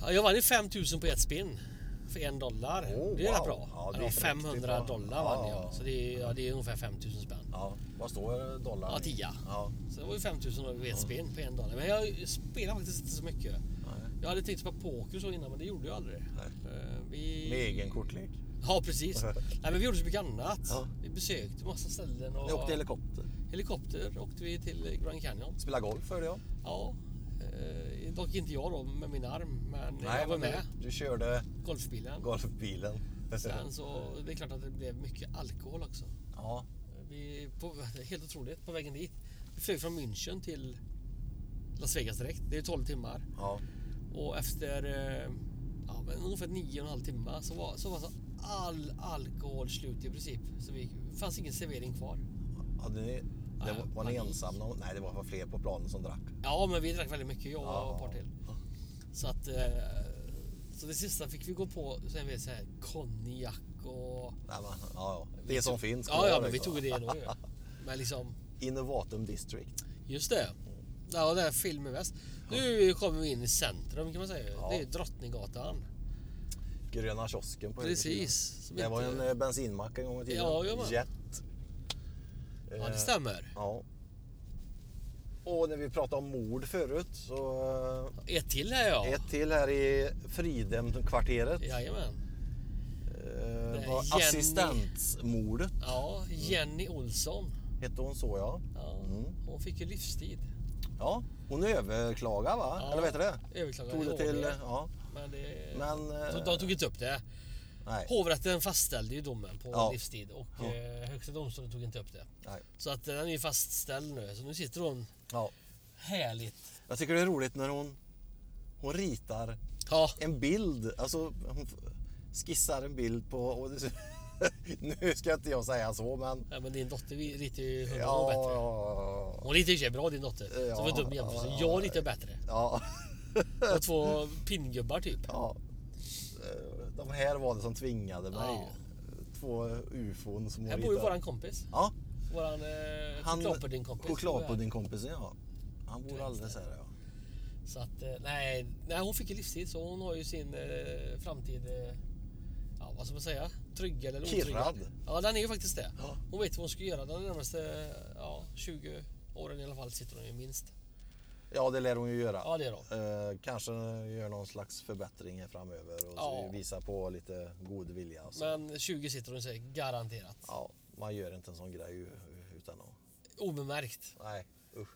Speaker 2: Ja, Jag vann ju 5000 på ett spinn. För en dollar.
Speaker 1: Oh,
Speaker 2: det är rätt
Speaker 1: wow.
Speaker 2: bra.
Speaker 1: Ja, det
Speaker 2: Eller
Speaker 1: är
Speaker 2: 500
Speaker 1: riktigt bra.
Speaker 2: dollar
Speaker 1: Ja.
Speaker 2: vann jag. Så det är, ja, det är ungefär 5000 spänn.
Speaker 1: ja. Vad står dollarn?
Speaker 2: Ja,
Speaker 1: i?
Speaker 2: tia.
Speaker 1: Ja.
Speaker 2: Så det var ju 5000 och ett spinn på en dollar. Men jag spelar faktiskt inte så mycket. Jag hade tänkt på poker och så innan men det gjorde jag aldrig. Eh, Vi...
Speaker 1: Med egen kortlek.
Speaker 2: Ja precis. Nej, men vi gjorde så mycket annat.
Speaker 1: Ja.
Speaker 2: Vi besökte massa ställen. Och
Speaker 1: Ni åkte helikopter.
Speaker 2: helikopter åkte vi till Grand Canyon.
Speaker 1: Spela golf hörde jag.
Speaker 2: Ja, eh, dock inte jag då med min arm, men jag var
Speaker 1: men
Speaker 2: med.
Speaker 1: Du, du körde
Speaker 2: Golfbilen.
Speaker 1: golfbilen.
Speaker 2: Sen så, det är klart att det blev mycket alkohol också.
Speaker 1: ja.
Speaker 2: Vi, på, helt otroligt, på vägen dit. Vi flög från München till Las Vegas direkt. Det är 12 timmar.
Speaker 1: Ja.
Speaker 2: Och efter eh, ja, men ungefär 9,5 timmar så var, så var så all alkohol slut i princip. Så vi, det fanns ingen servering kvar.
Speaker 1: Hade ni, det var, var ni
Speaker 2: panik.
Speaker 1: ensamma? om- Nej, det var fler på planen som drack.
Speaker 2: Ja, men vi drack väldigt mycket, jag och
Speaker 1: Ja.
Speaker 2: ett par till. Så att... eh, Så det sista fick vi gå på, sen vet så här, konjak och...
Speaker 1: Nej, men, ja, ja. Det som finns. liksom.
Speaker 2: Ja, ja, men vi tog det då ju. Men liksom,
Speaker 1: Innovatum District.
Speaker 2: just det. Ja, det här filmen väst. Nu kommer vi in i centrum kan man säga.
Speaker 1: Ja.
Speaker 2: Det är Drottninggatan.
Speaker 1: Gröna kiosken på
Speaker 2: Precis.
Speaker 1: högersidan.
Speaker 2: Som
Speaker 1: Det var ju en
Speaker 2: inte-
Speaker 1: eh, bensinmack en gång i tiden.
Speaker 2: Ja, ja, men.
Speaker 1: Jet.
Speaker 2: Ja,
Speaker 1: Eh,
Speaker 2: det stämmer.
Speaker 1: Ja. Och när vi pratade om mord förut så eh,
Speaker 2: Ett till här ja.
Speaker 1: ett till här i Fridhemkvarteret.
Speaker 2: Jajamän.
Speaker 1: Eh,
Speaker 2: Nej,
Speaker 1: var
Speaker 2: Jenny.
Speaker 1: assistensmordet.
Speaker 2: Ja,
Speaker 1: Mm.
Speaker 2: Jenny Olsson.
Speaker 1: Hette hon så ja.
Speaker 2: Ja,
Speaker 1: Mm.
Speaker 2: hon fick ju livstid.
Speaker 1: Ja, hon överklagade va?
Speaker 2: Ja,
Speaker 1: Eller vad heter det?
Speaker 2: överklagade
Speaker 1: Tog det
Speaker 2: i
Speaker 1: till... eh,
Speaker 2: HD.
Speaker 1: Ja.
Speaker 2: Men det...
Speaker 1: Men... eh,
Speaker 2: De- De tog inte upp det.
Speaker 1: nej,
Speaker 2: Hovrätten fastställde ju domen på
Speaker 1: Ja.
Speaker 2: livstid och
Speaker 1: Ja.
Speaker 2: eh, Högsta domstolen tog inte upp det.
Speaker 1: nej.
Speaker 2: Så att eh, den är ju fastställd nu. Så nu sitter hon
Speaker 1: Ja.
Speaker 2: härligt.
Speaker 1: Jag tycker det är roligt när hon, hon ritar
Speaker 2: Ja,
Speaker 1: en bild. Alltså hon skissar en bild på... Och det, nu ska inte jag säga så men...
Speaker 2: ja, men din dotter vi- ritar ju hundra
Speaker 1: Ja,
Speaker 2: gånger
Speaker 1: ja,
Speaker 2: bättre.
Speaker 1: ja,
Speaker 2: Hon ritar ju i och för sig bra din dotter.
Speaker 1: Ja,
Speaker 2: så var dum jämförelse.
Speaker 1: ja,
Speaker 2: jag ritar bättre.
Speaker 1: ja.
Speaker 2: Och två pinngubbar typ.
Speaker 1: ja. Eh, De här var det som tvingade mig.
Speaker 2: Ja.
Speaker 1: Två ufon som hon
Speaker 2: Här bor ju
Speaker 1: ritade.
Speaker 2: våran kompis.
Speaker 1: Ja,
Speaker 2: Våran eh,
Speaker 1: han...
Speaker 2: chokladpuddingkompis.
Speaker 1: Chokladpuddingkompisen ja. Han bor
Speaker 2: Vänster.
Speaker 1: alldeles här ja.
Speaker 2: Så att, eh, nej, nej, hon fick ju livstid så hon har ju sin eh, framtid, eh, ja vad ska man säga, trygg eller otryggad.
Speaker 1: Kirrad.
Speaker 2: Ja, den är ju faktiskt det.
Speaker 1: Ja.
Speaker 2: Hon vet vad hon ska göra de närmaste ja, 20 åren i alla fall, sitter hon ju minst.
Speaker 1: Ja, det lär hon ju göra.
Speaker 2: Ja, det gör hon.
Speaker 1: Eh, kanske gör någon slags förbättring här framöver och
Speaker 2: Ja.
Speaker 1: så visar på lite god vilja. och Så.
Speaker 2: Men 20 sitter hon sig garanterat.
Speaker 1: Ja, man gör inte en sån grej u- utan att...
Speaker 2: Obemärkt.
Speaker 1: Nej, usch.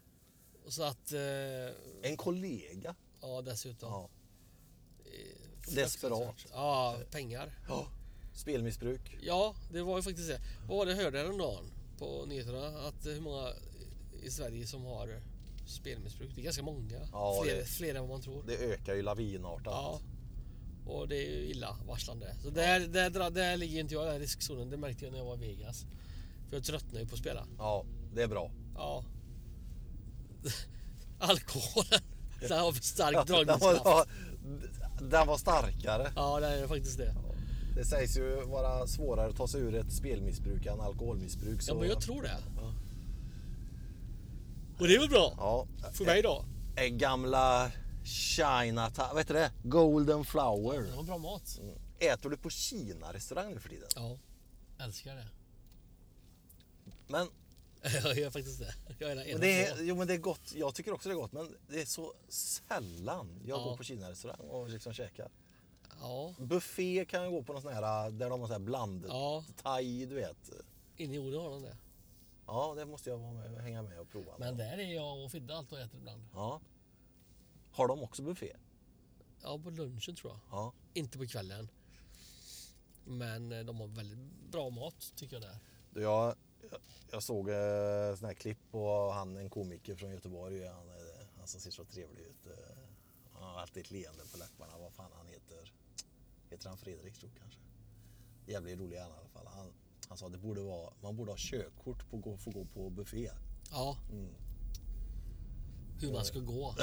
Speaker 2: Så att, eh,
Speaker 1: En kollega.
Speaker 2: ja dessutom.
Speaker 1: Ja.
Speaker 2: Eh,
Speaker 1: Desperat.
Speaker 2: fruktansvärt. Ja, pengar.
Speaker 1: Ja. Spelmissbruk.
Speaker 2: Ja, det var ju faktiskt det. Vad var det jag hörde häromdagen på nyheterna? Att eh, hur många i Sverige som har spelmissbruk. Det är ganska många.
Speaker 1: Ja,
Speaker 2: fler,
Speaker 1: det-
Speaker 2: fler än vad man tror.
Speaker 1: Det ökar ju lavinartat.
Speaker 2: ja. Och det är ju illa varslande. Så där, där, dra- där ligger inte jag i den här riskzonen. Det märkte jag när jag var i Vegas. För jag tröttnade ju på att spela.
Speaker 1: Ja, det är bra.
Speaker 2: Ja. Alkoholen. Den har för stark
Speaker 1: den,
Speaker 2: dragningskraft.
Speaker 1: var, den var starkare.
Speaker 2: Ja, det är faktiskt det.
Speaker 1: Det sägs ju vara svårare att ta sig ur ett spelmissbruk än alkoholmissbruk. Så...
Speaker 2: Ja, men jag tror det.
Speaker 1: Ja.
Speaker 2: Och det är väl bra?
Speaker 1: Ja.
Speaker 2: För mig då?
Speaker 1: Eh, Gamla Chinatown, vad heter det? Golden Flower.
Speaker 2: Det var bra mat.
Speaker 1: Äter du på Kina-restaurang nu för tiden?
Speaker 2: Ja, älskar det.
Speaker 1: Men
Speaker 2: Jag gör faktiskt det. Jag är där en
Speaker 1: men det,
Speaker 2: och
Speaker 1: är,
Speaker 2: två.
Speaker 1: jo, men det är gott. Jag tycker också det är gott, men det är så sällan jag
Speaker 2: Ja.
Speaker 1: går på Kina-restaurang och liksom käkar.
Speaker 2: Ja,
Speaker 1: Buffé kan jag gå på någon sån här eh, där de har sån här bland
Speaker 2: Ja.
Speaker 1: thai, du vet.
Speaker 2: inne i Ore har de det.
Speaker 1: Ja, det måste jag vara med, hänga med och prova.
Speaker 2: Men där är jag och Fidde allt och äter ibland.
Speaker 1: Ja. Har de också buffé?
Speaker 2: Ja, på lunchen tror jag.
Speaker 1: Ja.
Speaker 2: Inte på kvällen. Men eh, de har väldigt bra mat tycker jag där.
Speaker 1: Du, Jag, jag- jag såg eh, sån här klipp på han, en komiker från Göteborg. Han, eh, han som ser så trevlig ut. eh, Han har alltid ett leende på läpparna. Vad fan han heter. Heter han Fredrik tror jag kanske? Jävligt rolig är han i alla fall. Han, han sa att det borde vara, man borde ha körkort på att gå- få gå på buffé.
Speaker 2: Ja.
Speaker 1: Mm.
Speaker 2: Hur man ska gå.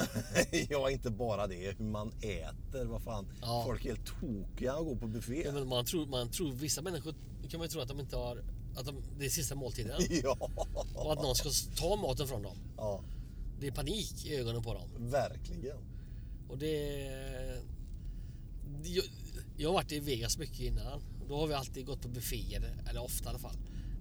Speaker 1: ja, inte bara det. Hur man äter. Vad fan.
Speaker 2: Ja.
Speaker 1: Folk är helt tokiga att gå på buffé.
Speaker 2: Ja, men man, tror, man tror, vissa människor kan man ju tro att de inte har... Att de, det är sista måltiden.
Speaker 1: Ja.
Speaker 2: Och att någon ska ta maten från dem.
Speaker 1: ja,
Speaker 2: Det är panik i ögonen på dem.
Speaker 1: verkligen.
Speaker 2: Och det... Jag, jag har varit i Vegas mycket innan. Då har vi alltid gått på bufféer, eller ofta i alla fall.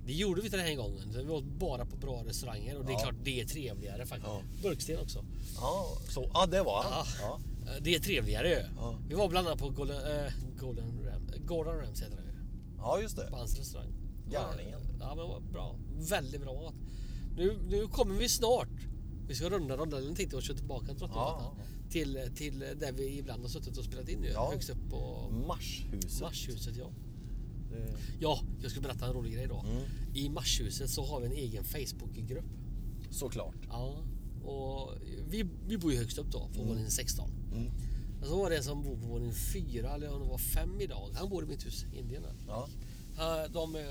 Speaker 2: Det gjorde vi inte den här gången. så Vi åt bara på bra restauranger och det är
Speaker 1: Ja.
Speaker 2: klart det är trevligare faktiskt.
Speaker 1: Ja.
Speaker 2: Burksten också.
Speaker 1: Ja, så, ja det var han.
Speaker 2: Ja.
Speaker 1: Ja.
Speaker 2: Eh, Det är trevligare ju.
Speaker 1: Ja.
Speaker 2: Vi var bland annat på Golden, eh, Golden Ram, eh, Gordon Ramsay heter det ju.
Speaker 1: ja, just det.
Speaker 2: På hans restaurang.
Speaker 1: Garningen.
Speaker 2: Ja men vad bra. Väldigt bra mat. Nu, nu kommer vi snart. Vi ska runda rondellen tänkte jag och köra tillbaka Drottninggatan.
Speaker 1: Ja,
Speaker 2: Till, till där vi ibland har suttit och spelat in ju.
Speaker 1: Ja.
Speaker 2: Högst upp på
Speaker 1: Marshuset. Eh,
Speaker 2: Marshuset ja.
Speaker 1: Det-
Speaker 2: Ja, jag ska berätta en rolig grej då.
Speaker 1: Mm.
Speaker 2: I Marshuset så har vi en egen Facebookgrupp.
Speaker 1: Såklart.
Speaker 2: Ja, och vi, vi bor ju högst upp då, på våning 16.
Speaker 1: Mm.
Speaker 2: Och så var det en som bor på våning 4, eller om det var 5 idag. Han bor i mitt hus, indierna.
Speaker 1: Ja.
Speaker 2: Han- De, eh,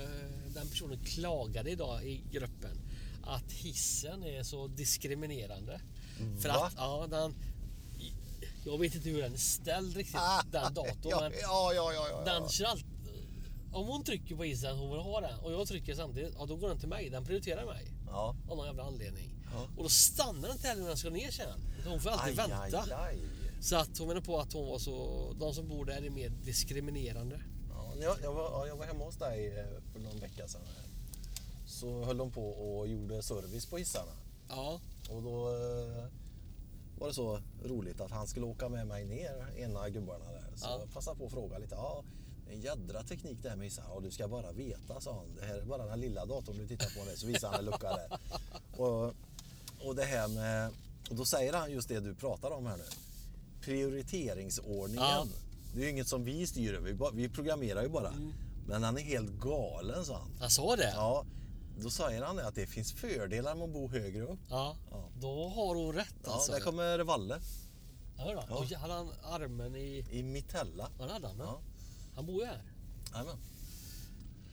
Speaker 2: den personen klagade idag i gruppen att hissen är så diskriminerande. För
Speaker 1: Mm, Va?
Speaker 2: att, ja, den, jag vet inte hur den är ställd riktigt, den datorn.
Speaker 1: Ah, Ja,
Speaker 2: men
Speaker 1: ja, ja, ja, ja.
Speaker 2: den kör allt. Om hon trycker på isen hon vill ha den och jag trycker samtidigt, ja då går den till mig. Den prioriterar mig.
Speaker 1: ja.
Speaker 2: Av någon jävla anledning.
Speaker 1: Ja.
Speaker 2: Och då stannar den inte heller när den ska ner sen. Utan Hon får alltid
Speaker 1: Aj,
Speaker 2: vänta.
Speaker 1: aj, aj.
Speaker 2: Så att hon menar på att hon var så, de som bor där är mer diskriminerande.
Speaker 1: Ja, när jag, jag, var, ja, jag var hemma hos dig eh, för någon vecka sedan. här. Så höll de på och gjorde service på hissarna.
Speaker 2: Ja.
Speaker 1: Och då eh, var det så roligt att han skulle åka med mig ner, ena gubbarna där. Så
Speaker 2: Ja.
Speaker 1: jag passade på att fråga lite. Ja, en jädra teknik det här med hissar. Ja, du ska bara veta, sa han. Det här är bara den här lilla datorn du tittar på nu. Så visade han en lucka där. Och, och det här med... Och då säger han just det du pratar om här nu. Prioriteringsordningen.
Speaker 2: Ja.
Speaker 1: Det är ju inget som vi styr över. Vi bara- Vi programmerar ju bara.
Speaker 2: Mm.
Speaker 1: Men han är helt galen, sa han.
Speaker 2: Jag sa det?
Speaker 1: Ja, då säger han det, att det finns fördelar med att bo högre upp.
Speaker 2: Ja.
Speaker 1: Ja.
Speaker 2: Då har hon rätt
Speaker 1: Ja,
Speaker 2: alltså.
Speaker 1: där kommer Valle
Speaker 2: Hör då.
Speaker 1: Ja.
Speaker 2: Oj, hade han armen i...
Speaker 1: i Mitella.
Speaker 2: Vad hade han?
Speaker 1: Ja.
Speaker 2: Han bor ju här.
Speaker 1: Jajamän.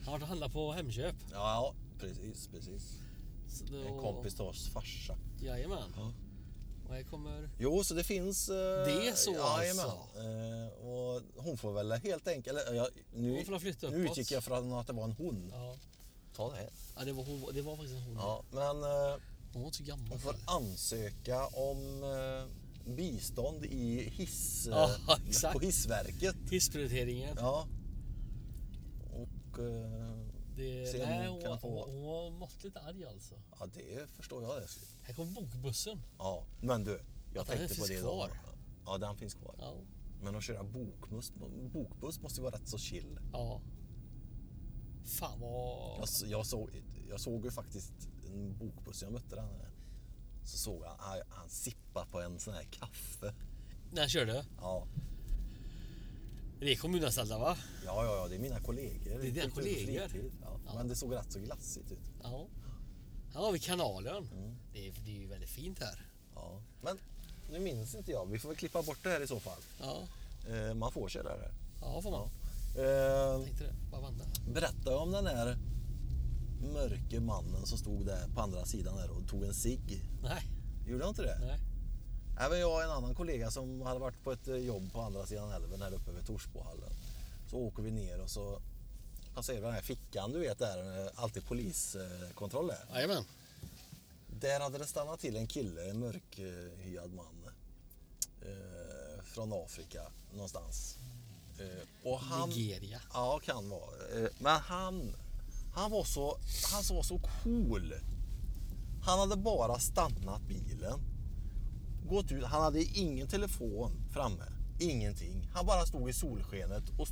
Speaker 2: Han har varit och handlat på Hemköp.
Speaker 1: Ja, precis, precis.
Speaker 2: Så då...
Speaker 1: En kompis till oss farsa.
Speaker 2: Jajamän.
Speaker 1: Ja.
Speaker 2: Och här kommer...
Speaker 1: Jo, så det finns... eh,
Speaker 2: Det är så
Speaker 1: jajamän.
Speaker 2: alltså.
Speaker 1: Eh, och hon får väl helt enkelt... Eller, ja,
Speaker 2: Hon
Speaker 1: nu,
Speaker 2: får flytta
Speaker 1: nu
Speaker 2: uppåt.
Speaker 1: utgick jag från att det var en hon.
Speaker 2: Ja.
Speaker 1: Ta det här.
Speaker 2: ja det, var hon, det var faktiskt hon.
Speaker 1: Ja, men eh,
Speaker 2: Hon var inte så gammal.
Speaker 1: hon får ansöka om eh, bistånd i hiss...
Speaker 2: Ja,
Speaker 1: eh,
Speaker 2: exakt.
Speaker 1: på Hissverket.
Speaker 2: Hissprioriteringen.
Speaker 1: Ja. Och... Eh,
Speaker 2: Det,
Speaker 1: Se om
Speaker 2: nej,
Speaker 1: hon
Speaker 2: hon,
Speaker 1: kan
Speaker 2: hon,
Speaker 1: få-
Speaker 2: hon var måttligt lite arg alltså.
Speaker 1: ja, det förstår jag det.
Speaker 2: Här kommer bokbussen.
Speaker 1: Ja, men du. Jag
Speaker 2: Att den
Speaker 1: tänkte på
Speaker 2: finns
Speaker 1: det
Speaker 2: kvar.
Speaker 1: idag. Ja, den finns kvar.
Speaker 2: Ja.
Speaker 1: Men att köra bokbuss, bokbuss måste ju vara rätt så chill.
Speaker 2: ja. Fan vad...
Speaker 1: Jag, s- jag, såg, jag såg ju faktiskt en bokbuss, jag mötte den. här. Så såg jag han, han sippa på en sån här kaffe.
Speaker 2: När jag körde?
Speaker 1: Ja,
Speaker 2: Det är kommunanställda va?
Speaker 1: ja, ja, ja det är mina kollegor.
Speaker 2: Det är dina kollegor.
Speaker 1: Fritid, Ja.
Speaker 2: Ja.
Speaker 1: Men det såg rätt så glassigt ut.
Speaker 2: Ja. Här har vi kanalen. Det, är, det är ju väldigt fint här.
Speaker 1: Ja. Men nu minns inte jag, vi får väl klippa bort det här i så fall.
Speaker 2: Ja,
Speaker 1: Eh, man får köra det.
Speaker 2: ja får man.
Speaker 1: Eh,
Speaker 2: Tänkte det. Bara vandra.
Speaker 1: Berätta om den här mörke mannen som stod där på andra sidan där och tog en cigg.
Speaker 2: Nej,
Speaker 1: Gjorde han inte det?
Speaker 2: nej.
Speaker 1: Nej, men jag och en annan kollega som hade varit på ett eh, jobb på andra sidan älven här uppe vid Torsbohallen. Så åker vi ner och så passerar vi den här fickan du vet där, eh, alltid poliskontroll är.
Speaker 2: Jajamän.
Speaker 1: Där hade det stannat till en kille, en mörkhyad man. Eh, från Afrika någonstans. Eh, och han,
Speaker 2: Nigeria.
Speaker 1: Ja, kan vara. Eh, Men han, han var så, han var så cool. Han hade bara stannat bilen. Gått ut, han hade ingen telefon framme. Ingenting. Han bara stod i solskenet och,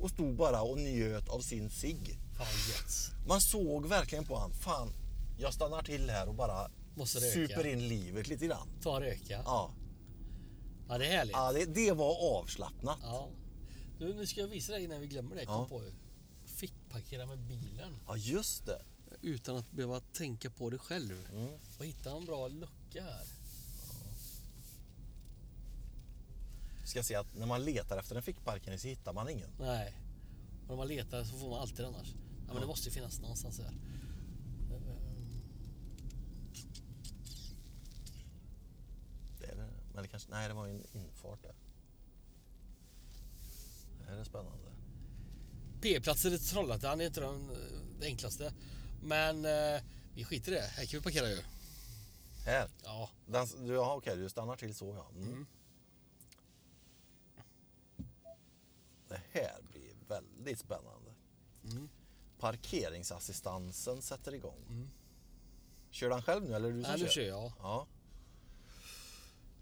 Speaker 1: och stod bara och njöt av sin cigg.
Speaker 2: Fan gött.
Speaker 1: Man såg verkligen på han, fan, jag stannar till här och bara
Speaker 2: Måste röka.
Speaker 1: super in livet lite grann.
Speaker 2: Ta och röka.
Speaker 1: Ja,
Speaker 2: Ja, det är härligt.
Speaker 1: ja det, det var avslappnat.
Speaker 2: Ja. Du, nu ska jag visa dig innan vi glömmer det.
Speaker 1: Ja.
Speaker 2: Kom på ju. Fick parkera med bilen.
Speaker 1: Ja, just det.
Speaker 2: Utan att behöva tänka på det själv. Mm. Och hitta en bra lucka här.
Speaker 1: Ska se att när man letar efter en fickparkering så hittar man ingen.
Speaker 2: Nej. Och när man letar så får man alltid annars. Ja, men det måste ju finnas någonstans här.
Speaker 1: Det är det. Men det kanske, nej, det var ju en infart där. Det här är spännande.
Speaker 2: P-platser i Trollhättan är inte den eh, enklaste. Men eh, vi skiter i det. Här kan vi parkera ju.
Speaker 1: Här!
Speaker 2: Ja,
Speaker 1: Den, du, ja, okej, du stannar till så ja. Mm. Det här blir väldigt spännande.
Speaker 2: Mm.
Speaker 1: Parkeringsassistansen sätter igång. Kör den själv nu eller är det du som
Speaker 2: Nej, nu kör jag.
Speaker 1: Ja.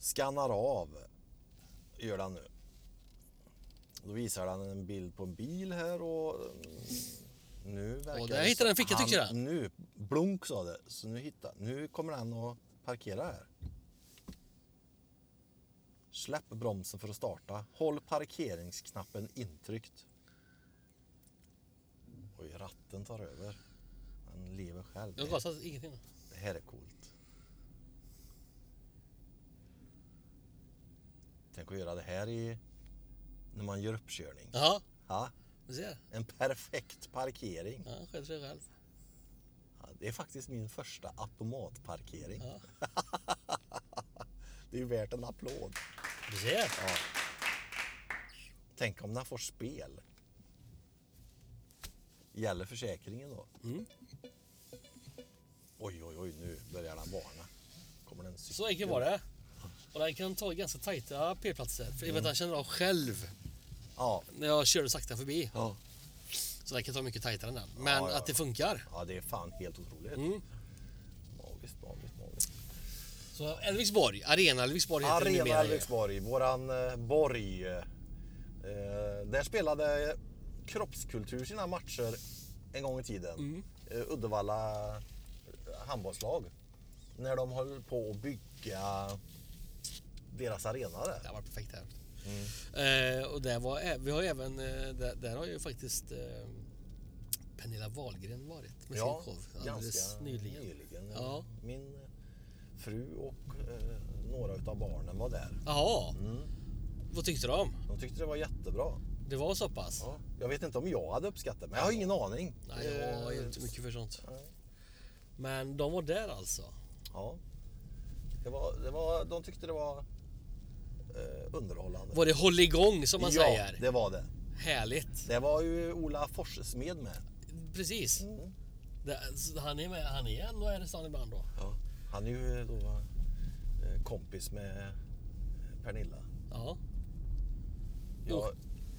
Speaker 1: Skannar av. Gör den nu. Då visar den en bild på en bil här och mm, nu verkar
Speaker 2: där
Speaker 1: det
Speaker 2: hittar
Speaker 1: som-
Speaker 2: den fickan, tycker
Speaker 1: han-
Speaker 2: jag.
Speaker 1: Nu, blunk sa det. Så nu, hittar, nu kommer den att parkera här. Släpp bromsen för att starta. Håll parkeringsknappen intryckt. Oj, ratten tar över. Den lever själv.
Speaker 2: jag har
Speaker 1: Det-
Speaker 2: gasat ingenting.
Speaker 1: det här är coolt. Tänk att göra det här i... När man gör uppkörning.
Speaker 2: Jaha,
Speaker 1: Ja,
Speaker 2: du ser.
Speaker 1: en perfekt parkering.
Speaker 2: Ja, sköter sig själv.
Speaker 1: Ja, det är faktiskt min första automatparkering.
Speaker 2: Ja.
Speaker 1: Det är ju värt en applåd.
Speaker 2: Du ser.
Speaker 1: Tänk om den får spel. Gäller försäkringen då?
Speaker 2: Mm.
Speaker 1: Oj, oj, oj, nu börjar den varna. Kommer den cykel?
Speaker 2: Så enkelt var det. Och den kan ta ganska tajta p-platser. För mm. jag känner av själv
Speaker 1: Ja.
Speaker 2: när jag körde sakta förbi.
Speaker 1: ja.
Speaker 2: Så den kan ta mycket tajtare än den. Men
Speaker 1: Ja, ja,
Speaker 2: att det
Speaker 1: ja.
Speaker 2: funkar.
Speaker 1: Ja, det är fan helt otroligt.
Speaker 2: Mm.
Speaker 1: Magiskt, magiskt, magiskt.
Speaker 2: Så Elviksborg, Arena Elviksborg heter det
Speaker 1: Arena
Speaker 2: numera ju.
Speaker 1: Elfsborg, våran eh, borg. Eh, där spelade eh, kroppskultur sina matcher en gång i tiden.
Speaker 2: Mm.
Speaker 1: Eh, Uddevalla handbollslag. När de höll på att bygga deras arena där.
Speaker 2: Det var perfekt här.
Speaker 1: Mm.
Speaker 2: Eh, och där var, ä- vi har ju även, eh, där, där har ju faktiskt eh, Pernilla Wahlgren varit med sin show alldeles
Speaker 1: ganska
Speaker 2: nyligen.
Speaker 1: Ja.
Speaker 2: Ja.
Speaker 1: Min fru och eh, några utav barnen var där.
Speaker 2: Jaha,
Speaker 1: Mm.
Speaker 2: vad tyckte de?
Speaker 1: De tyckte det var jättebra.
Speaker 2: Det var så pass?
Speaker 1: Ja. Jag vet inte om jag hade uppskattat men jag har ingen aning.
Speaker 2: Nej, jag har ju inte
Speaker 1: Eh,
Speaker 2: mycket för sånt.
Speaker 1: nej.
Speaker 2: Men de var där alltså?
Speaker 1: Ja. Det var, det var, de tyckte det var eh, underhållande.
Speaker 2: Var det hålligång som man
Speaker 1: ja,
Speaker 2: säger?
Speaker 1: det var det.
Speaker 2: Härligt!
Speaker 1: Det var ju Ola Forssmed med.
Speaker 2: Precis. Det, så han är med, han är ändå här i stan ibland då.
Speaker 1: Ja. Han är ju då eh, kompis med Pernilla.
Speaker 2: Ja.
Speaker 1: Jag,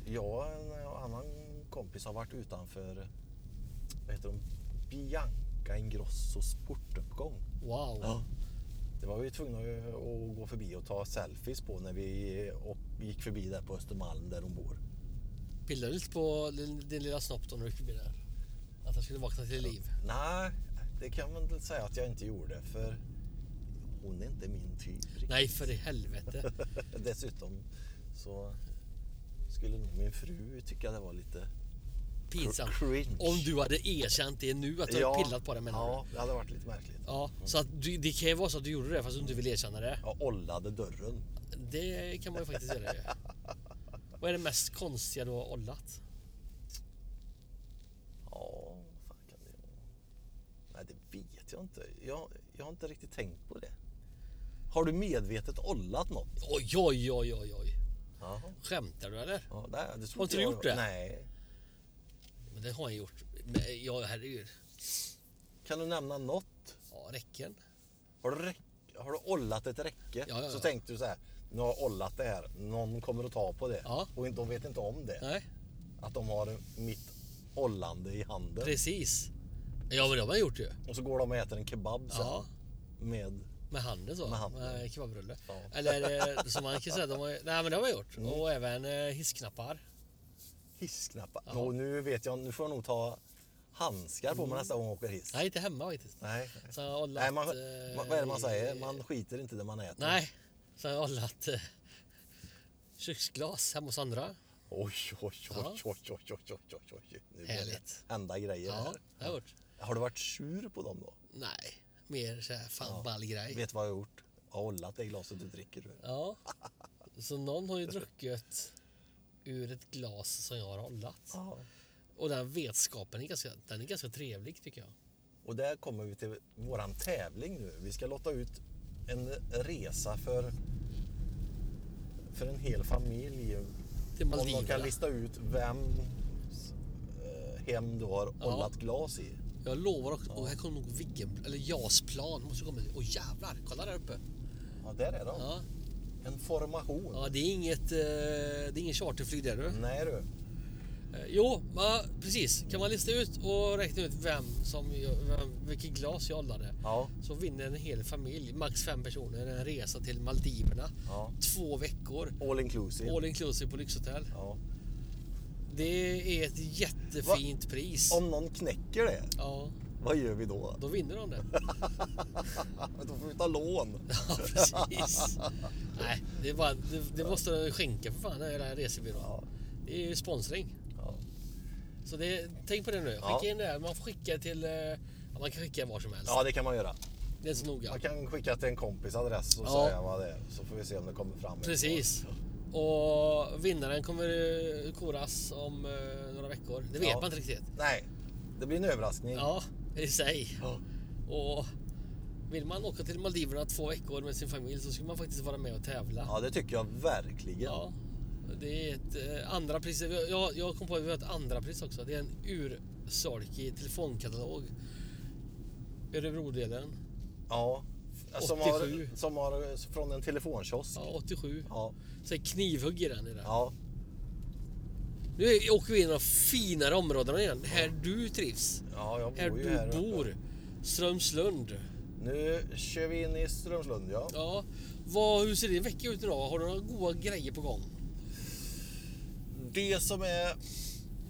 Speaker 1: jag och en eh, annan kompis har varit utanför vad heter hon? Bianca Ingrossos portuppgång.
Speaker 2: Wow.
Speaker 1: Det var vi tvungna att att gå förbi och ta selfies på när vi upp- gick förbi där på Östermalm där hon bor.
Speaker 2: Pillade lite på din, din lilla snopp då när du gick förbi där. Att han skulle vakna till liv.
Speaker 1: Nej, det kan man väl säga att jag inte gjorde för hon är inte min typ. riktigt.
Speaker 2: Nej för i helvete.
Speaker 1: Dessutom så skulle nog min fru tycka det var lite...
Speaker 2: Pinsamt.
Speaker 1: Cringe.
Speaker 2: Om du hade erkänt det nu att du hade pillat på det menar
Speaker 1: Ja,
Speaker 2: ja.
Speaker 1: det hade varit lite märkligt.
Speaker 2: ja. Så att du, det kan ju vara så att du gjorde det fast du inte vill erkänna det.
Speaker 1: Jag ollade dörren.
Speaker 2: Det kan man ju faktiskt göra ju. Vad är det mest konstiga du har ollat?
Speaker 1: Ja, vad fan kan det vara? Nej, det vet jag inte. Jag, jag har inte riktigt tänkt på det. Har du medvetet ollat något?
Speaker 2: Oj, oj, oj, oj, oj.
Speaker 1: Jaha.
Speaker 2: Skämtar du eller?
Speaker 1: Ja, nej, det tror
Speaker 2: Har inte du
Speaker 1: jag-
Speaker 2: gjort det?
Speaker 1: Nej.
Speaker 2: Men det har jag gjort. Men, ja, herregud.
Speaker 1: Kan du nämna något?
Speaker 2: Ja, räcken.
Speaker 1: Har du, räck- har du ollat ett räcke?
Speaker 2: Ja, ja,
Speaker 1: Så
Speaker 2: ja.
Speaker 1: tänkte du så här, nu har jag ollat det här, någon kommer att ta på det.
Speaker 2: Ja.
Speaker 1: Och de vet inte om det,
Speaker 2: Nej,
Speaker 1: att de har mitt ollande i handen.
Speaker 2: precis. Ja, men det har man gjort ju.
Speaker 1: Och så går de och äter en kebab sen.
Speaker 2: Ja,
Speaker 1: Med,
Speaker 2: med handen så.
Speaker 1: Med handen.
Speaker 2: Med kebabrulle.
Speaker 1: Ja. Mm.
Speaker 2: Eller eh, som man kan säga, de har, nej men det har man gjort. Och även eh, hissknappar.
Speaker 1: Hissknappar.
Speaker 2: Ja.
Speaker 1: Nå, nu vet jag, nu får jag nog ta handskar på
Speaker 2: Mm.
Speaker 1: mig nästa gång jag åker hiss.
Speaker 2: Nej, inte hemma faktiskt.
Speaker 1: Nej.
Speaker 2: Så jag har ollat,
Speaker 1: nej man,
Speaker 2: eh,
Speaker 1: man, vad är det man säger? Man skiter inte i det man äter.
Speaker 2: Nej, så har jag ollat eh, köksglas hemma hos andra.
Speaker 1: Oj, oj,
Speaker 2: Ja.
Speaker 1: oj, oj, oj, oj, oj, oj, oj. Nu blir
Speaker 2: Härligt.
Speaker 1: det hända grejer
Speaker 2: Ja,
Speaker 1: här.
Speaker 2: det har jag gjort.
Speaker 1: Har du varit sur på dem då?
Speaker 2: Nej, mer så här fan ball grej.
Speaker 1: Vet du vad jag har gjort? Jag har hållat det glaset du dricker ur.
Speaker 2: Ja. Så någon har ju druckit ur ett glas som jag har hållat.
Speaker 1: Ja.
Speaker 2: Och den vetskapen är ganska, den är ganska trevlig tycker jag.
Speaker 1: Och där kommer vi till våran tävling nu. Vi ska låta ut en resa för, för en hel familj.
Speaker 2: Till
Speaker 1: Om de kan
Speaker 2: Maldiverna.
Speaker 1: lista ut vem eh, hem du har
Speaker 2: Ja.
Speaker 1: ollat glas i.
Speaker 2: Jag lovar också, och här kommer nog Viggen, eller JAS plan måste komma. Åh jävlar, kolla där uppe.
Speaker 1: Ja, där är de.
Speaker 2: Ja,
Speaker 1: En formation.
Speaker 2: ja det är inget, eh, det är ingen charterflyg där du.
Speaker 1: Nej du.
Speaker 2: Eh, Jo, ja, precis. Kan man lista ut och räkna ut vem som, vem, vilket glas jag hållade.
Speaker 1: Ja.
Speaker 2: Så vinner en hel familj, max fem personer, en resa till Maldiverna.
Speaker 1: ja.
Speaker 2: Två veckor.
Speaker 1: All inclusive.
Speaker 2: All inclusive på lyxhotell.
Speaker 1: Ja.
Speaker 2: Det är ett jättefint pris.
Speaker 1: Om någon knäcker det,
Speaker 2: Ja,
Speaker 1: vad gör vi då?
Speaker 2: då vinner de det.
Speaker 1: Då får vi ta lån.
Speaker 2: Ja, precis. Nej, det, är bara, det, det måste de skänka för fan, den här resebyrån.
Speaker 1: Ja.
Speaker 2: Det är ju sponsring.
Speaker 1: Ja.
Speaker 2: Så det, tänk på det nu. Skicka
Speaker 1: Ja.
Speaker 2: in det här. Man får skicka till... eh, Ja, man kan skicka var som helst.
Speaker 1: ja, det kan man göra.
Speaker 2: Det är inte så noga.
Speaker 1: Man kan skicka till en kompis adress och
Speaker 2: Ja.
Speaker 1: säga vad det är. Så får vi se om det kommer fram.
Speaker 2: Precis. Och vinnaren kommer eh, koras om eh, några veckor. Det vet
Speaker 1: Ja.
Speaker 2: man inte riktigt.
Speaker 1: Nej, det blir en överraskning.
Speaker 2: Ja, i sig.
Speaker 1: Ja.
Speaker 2: Och vill man åka till Maldiverna två veckor med sin familj så ska man faktiskt vara med och tävla.
Speaker 1: Ja, det tycker jag verkligen.
Speaker 2: Ja, det är ett eh, andra pris. Jag, jag kom på att vi har ett andra pris också. Det är en ursolkig telefonkatalog. Örebrodelen.
Speaker 1: Ja, Alltså, Som, har,
Speaker 2: 87.
Speaker 1: som har från en telefonkiosk.
Speaker 2: Ja, 87.
Speaker 1: Ja.
Speaker 2: Så är knivhugg i den. I den.
Speaker 1: ja.
Speaker 2: Nu är- åker vi in i de finare områdena igen. Här du trivs.
Speaker 1: Ja, jag bor
Speaker 2: Här
Speaker 1: ju
Speaker 2: du
Speaker 1: här uppe.
Speaker 2: bor. Strömslund.
Speaker 1: Nu kör vi in i Strömslund, ja.
Speaker 2: Ja. Vad, hur ser din vecka ut idag? Har du några goda grejer på gång?
Speaker 1: Det som är...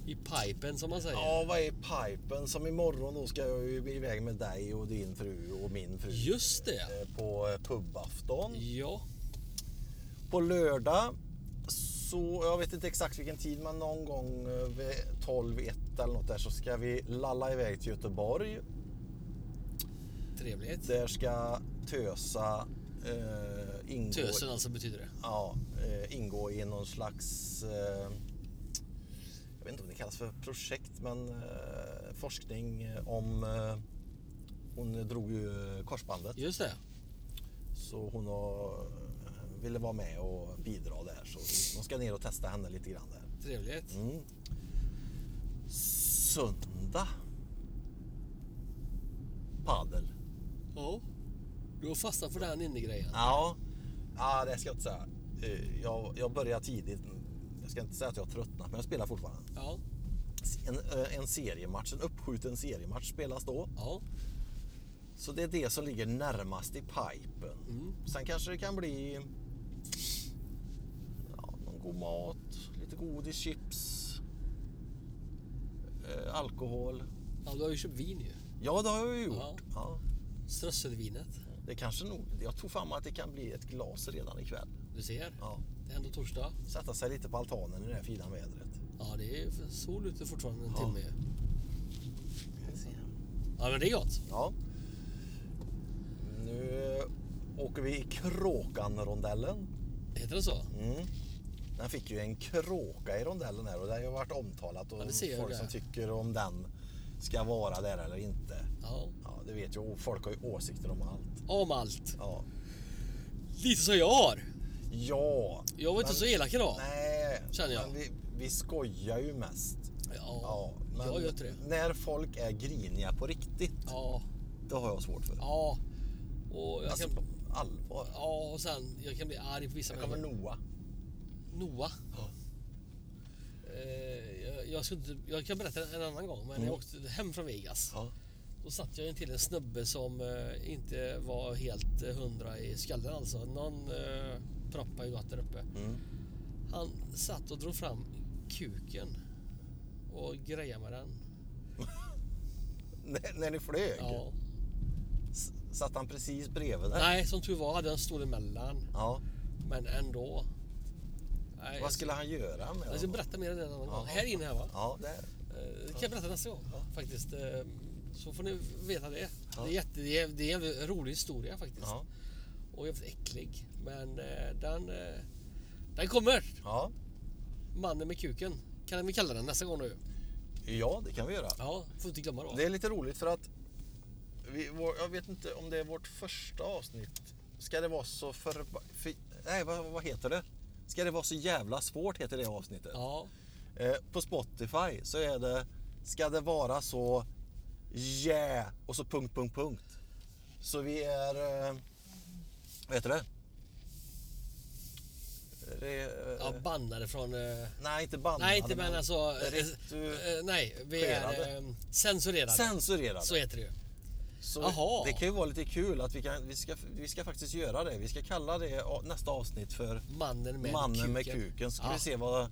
Speaker 2: I pipen som man säger.
Speaker 1: Ja, vad är pipen? Som imorgon då ska jag ju iväg med dig och din fru och min fru.
Speaker 2: Just det.
Speaker 1: eh, På eh, pubafton.
Speaker 2: Ja.
Speaker 1: På lördag så, jag vet inte exakt vilken tid, men någon gång eh, vid 12, 1 eller något där så ska vi lalla iväg till Göteborg.
Speaker 2: Trevligt.
Speaker 1: Där ska Tösa eh, ingå,
Speaker 2: Tösen alltså betyder det.
Speaker 1: ja, eh, ingå i någon slags, eh, jag vet inte om det kallas för projekt, men eh, forskning om, eh, hon drog ju korsbandet.
Speaker 2: Just det.
Speaker 1: Så hon har, ville vara med och bidra där. Så de ska ner och testa henne lite grann där.
Speaker 2: Trevligt.
Speaker 1: Mm. Söndag. Padel.
Speaker 2: Ja. Du har fastnat för den innegrejen.
Speaker 1: Ja. ja, det ska jag inte säga. Eh, Jag, jag börjar tidigt. Jag ska inte säga att jag har tröttnat, men jag spelar fortfarande.
Speaker 2: Ja.
Speaker 1: En, eh, en seriematch, en uppskjuten seriematch spelas då.
Speaker 2: Ja.
Speaker 1: Så det är det som ligger närmast i pipen. Sen kanske det kan bli ja, någon god mat, lite godis, chips, eh, alkohol.
Speaker 2: ja du har ju köpt vin ju.
Speaker 1: Ja, det har jag ju gjort.
Speaker 2: Ja.
Speaker 1: Ja.
Speaker 2: Strösselvinet.
Speaker 1: det kanske nog, jag tror fan att det kan bli ett glas redan ikväll.
Speaker 2: Du ser.
Speaker 1: Ja.
Speaker 2: Det är ändå torsdag.
Speaker 1: Sätta sig lite på altanen i det här fina vädret.
Speaker 2: Ja, det är sol ute fortfarande en
Speaker 1: Ja.
Speaker 2: timme ju. Ja, men det är gott.
Speaker 1: Ja. Nu eh, åker vi i Kråkan-rondellen.
Speaker 2: Heter det så?
Speaker 1: Mm. Den fick ju en kråka i rondellen här och det har ju varit omtalat och
Speaker 2: Ja, det ser jag
Speaker 1: folk
Speaker 2: ju
Speaker 1: som
Speaker 2: det.
Speaker 1: tycker om den ska vara där eller inte.
Speaker 2: Ja.
Speaker 1: Ja, det vet jag. Och Folk har ju åsikter om allt.
Speaker 2: Om allt.
Speaker 1: Ja.
Speaker 2: Lite som jag har.
Speaker 1: Ja.
Speaker 2: Jag var inte så elak idag.
Speaker 1: Nej,
Speaker 2: Känner jag.
Speaker 1: men vi, vi skojar ju mest.
Speaker 2: Ja,
Speaker 1: Ja, men
Speaker 2: jag gör inte det.
Speaker 1: när folk är griniga på riktigt,
Speaker 2: Ja,
Speaker 1: det har jag svårt för.
Speaker 2: ja. Och jag
Speaker 1: alltså
Speaker 2: kan,
Speaker 1: på allvar.
Speaker 2: ja, och sen jag kan bli arg på vissa
Speaker 1: Här kommer
Speaker 2: människor.
Speaker 1: Noah.
Speaker 2: Noah.
Speaker 1: Ja.
Speaker 2: Eh, jag, jag, ska inte, jag kan berätta en annan gång, men jag åkte hem från Vegas.
Speaker 1: Mm. Ja.
Speaker 2: Då satt jag intill en snubbe som eh, inte var helt eh, hundra i skallen alltså. Någon eh, propp har ju gått där uppe.
Speaker 1: Mm.
Speaker 2: Han satt och drog fram kuken och grejade med den.
Speaker 1: När, när ni flög,
Speaker 2: Ja.
Speaker 1: s- satt han precis bredvid dig?
Speaker 2: Nej, som tur var hade jag en stol emellan.
Speaker 1: Ja.
Speaker 2: Men ändå. Nej,
Speaker 1: Vad
Speaker 2: jag
Speaker 1: skulle han göra med
Speaker 2: Jag ska
Speaker 1: honom?
Speaker 2: berätta mer om det en annan gång.
Speaker 1: Ja.
Speaker 2: Här inne här va?
Speaker 1: Ja, det är
Speaker 2: Eh, Det kan jag berätta nästa gång faktiskt. Eh, Så får ni veta det.
Speaker 1: Ja.
Speaker 2: Det, är jätte, det, är, det är en rolig historia faktiskt.
Speaker 1: ja.
Speaker 2: Och jävligt äcklig. Men eh, den, eh, den kommer!
Speaker 1: ja.
Speaker 2: Mannen med kuken. Kan vi kalla den nästa gång nu?
Speaker 1: ja, det kan vi göra.
Speaker 2: Ja, får inte glömma då.
Speaker 1: Det är lite roligt för att vi, vår, jag vet inte om det är vårt första avsnitt. Ska det vara så för, för Nej, vad, vad heter det? Ska det vara så jävla svårt heter det avsnittet.
Speaker 2: Ja,
Speaker 1: Eh, på Spotify så är det Ska det vara så yeah och så punkt, punkt, punkt. Så vi är... Eh, vad heter det? Re, eh,
Speaker 2: ja bannade från... eh,
Speaker 1: Nej, inte bannade.
Speaker 2: Nej, inte men alltså... eh,
Speaker 1: Retu-
Speaker 2: eh, Nej, vi är eh,
Speaker 1: Censurerade.
Speaker 2: censurerade.
Speaker 1: Censurerade.
Speaker 2: Så heter det ju.
Speaker 1: Så
Speaker 2: Jaha.
Speaker 1: det kan ju vara lite kul att vi, kan, vi, ska, vi ska faktiskt göra det. Vi ska kalla det a- nästa avsnitt för
Speaker 2: Mannen med
Speaker 1: Mannen
Speaker 2: kuken.
Speaker 1: med kuken. Så ska
Speaker 2: Ja.
Speaker 1: vi se vad,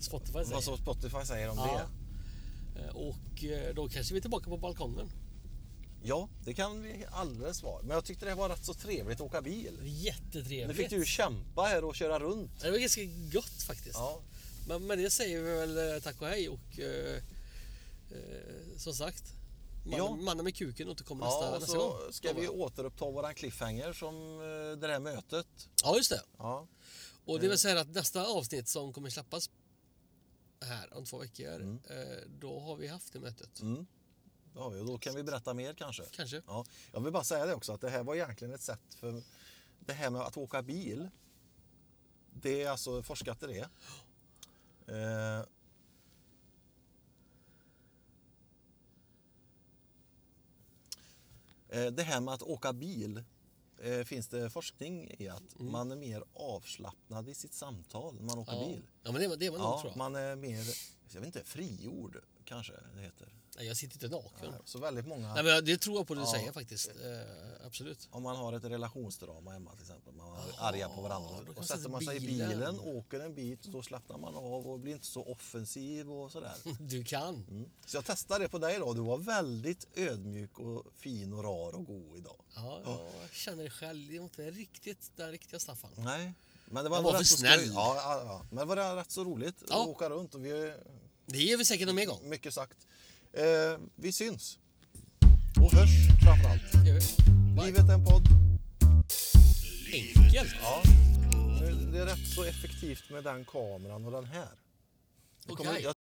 Speaker 2: Spotify säger.
Speaker 1: vad som Spotify säger om
Speaker 2: Ja.
Speaker 1: det.
Speaker 2: Eh, Och eh, då kanske vi är tillbaka på balkongen.
Speaker 1: Ja, det kan vi alldeles vara. Men jag tyckte det var rätt så trevligt att åka bil.
Speaker 2: Jättetrevligt.
Speaker 1: Nu fick du ju kämpa här och köra runt.
Speaker 2: Det var ganska gott faktiskt.
Speaker 1: Ja,
Speaker 2: Men med det säger vi väl eh, tack och hej och eh, eh, som sagt, mannen,
Speaker 1: Ja.
Speaker 2: mannen med kuken återkommer
Speaker 1: ja
Speaker 2: nästa,
Speaker 1: och
Speaker 2: nästa
Speaker 1: så
Speaker 2: gång.
Speaker 1: ska vi återuppta våran cliffhanger som eh, det här mötet.
Speaker 2: Ja, just det.
Speaker 1: Ja,
Speaker 2: Och
Speaker 1: Eh.
Speaker 2: det vill säga att nästa avsnitt som kommer släppas här om två veckor,
Speaker 1: Mm.
Speaker 2: eh, då har vi haft det mötet.
Speaker 1: ja då kan vi berätta mer kanske.
Speaker 2: Kanske.
Speaker 1: Ja, jag vill bara säga det också att det här var egentligen ett sätt för det här med att åka bil. Det är alltså forskat i det. Eh, eh, Det här med att åka bil eh, finns det forskning i att man är mer avslappnad i sitt samtal när man åker
Speaker 2: Mm. Ja.
Speaker 1: bil.
Speaker 2: ja, men det, var- det var nog
Speaker 1: Ja,
Speaker 2: tror jag.
Speaker 1: man är mer jag vet inte, friord kanske det heter.
Speaker 2: Nej, jag sitter inte naken. Nej.
Speaker 1: Så väldigt många,
Speaker 2: men jag- det tror jag på det du
Speaker 1: Ja.
Speaker 2: säger faktiskt. Eh, absolut.
Speaker 1: om man har ett relationsdrama hemma till exempel, man är arga på varandra.
Speaker 2: då kan
Speaker 1: Och
Speaker 2: man
Speaker 1: sätter man sig i
Speaker 2: bilen.
Speaker 1: bilen, åker en bit, då slappnar man av och blir inte så offensiv och sådär.
Speaker 2: Du kan.
Speaker 1: Mm. Så jag testade det på dig idag. Du var väldigt ödmjuk och fin och rar och god idag.
Speaker 2: Ja, jag känner det själv. Det är inte riktigt den riktiga Staffan.
Speaker 1: Nej, men det var,
Speaker 2: Jag var
Speaker 1: rätt
Speaker 2: för
Speaker 1: så
Speaker 2: snäll.
Speaker 1: skoj. Ja, ja, ja. Men det var rätt så roligt
Speaker 2: Ja.
Speaker 1: att åka runt och vi är
Speaker 2: Det ger vi säkert någon mer gång.
Speaker 1: mycket sagt. Eh, vi syns. Och hörs framförallt.
Speaker 2: Det gör vi. Bye.
Speaker 1: Livet är en podd.
Speaker 2: Enkelt.
Speaker 1: Ja. Nu- Det är rätt så effektivt med den kameran och den här. Det kommer-
Speaker 2: Okej.
Speaker 1: jag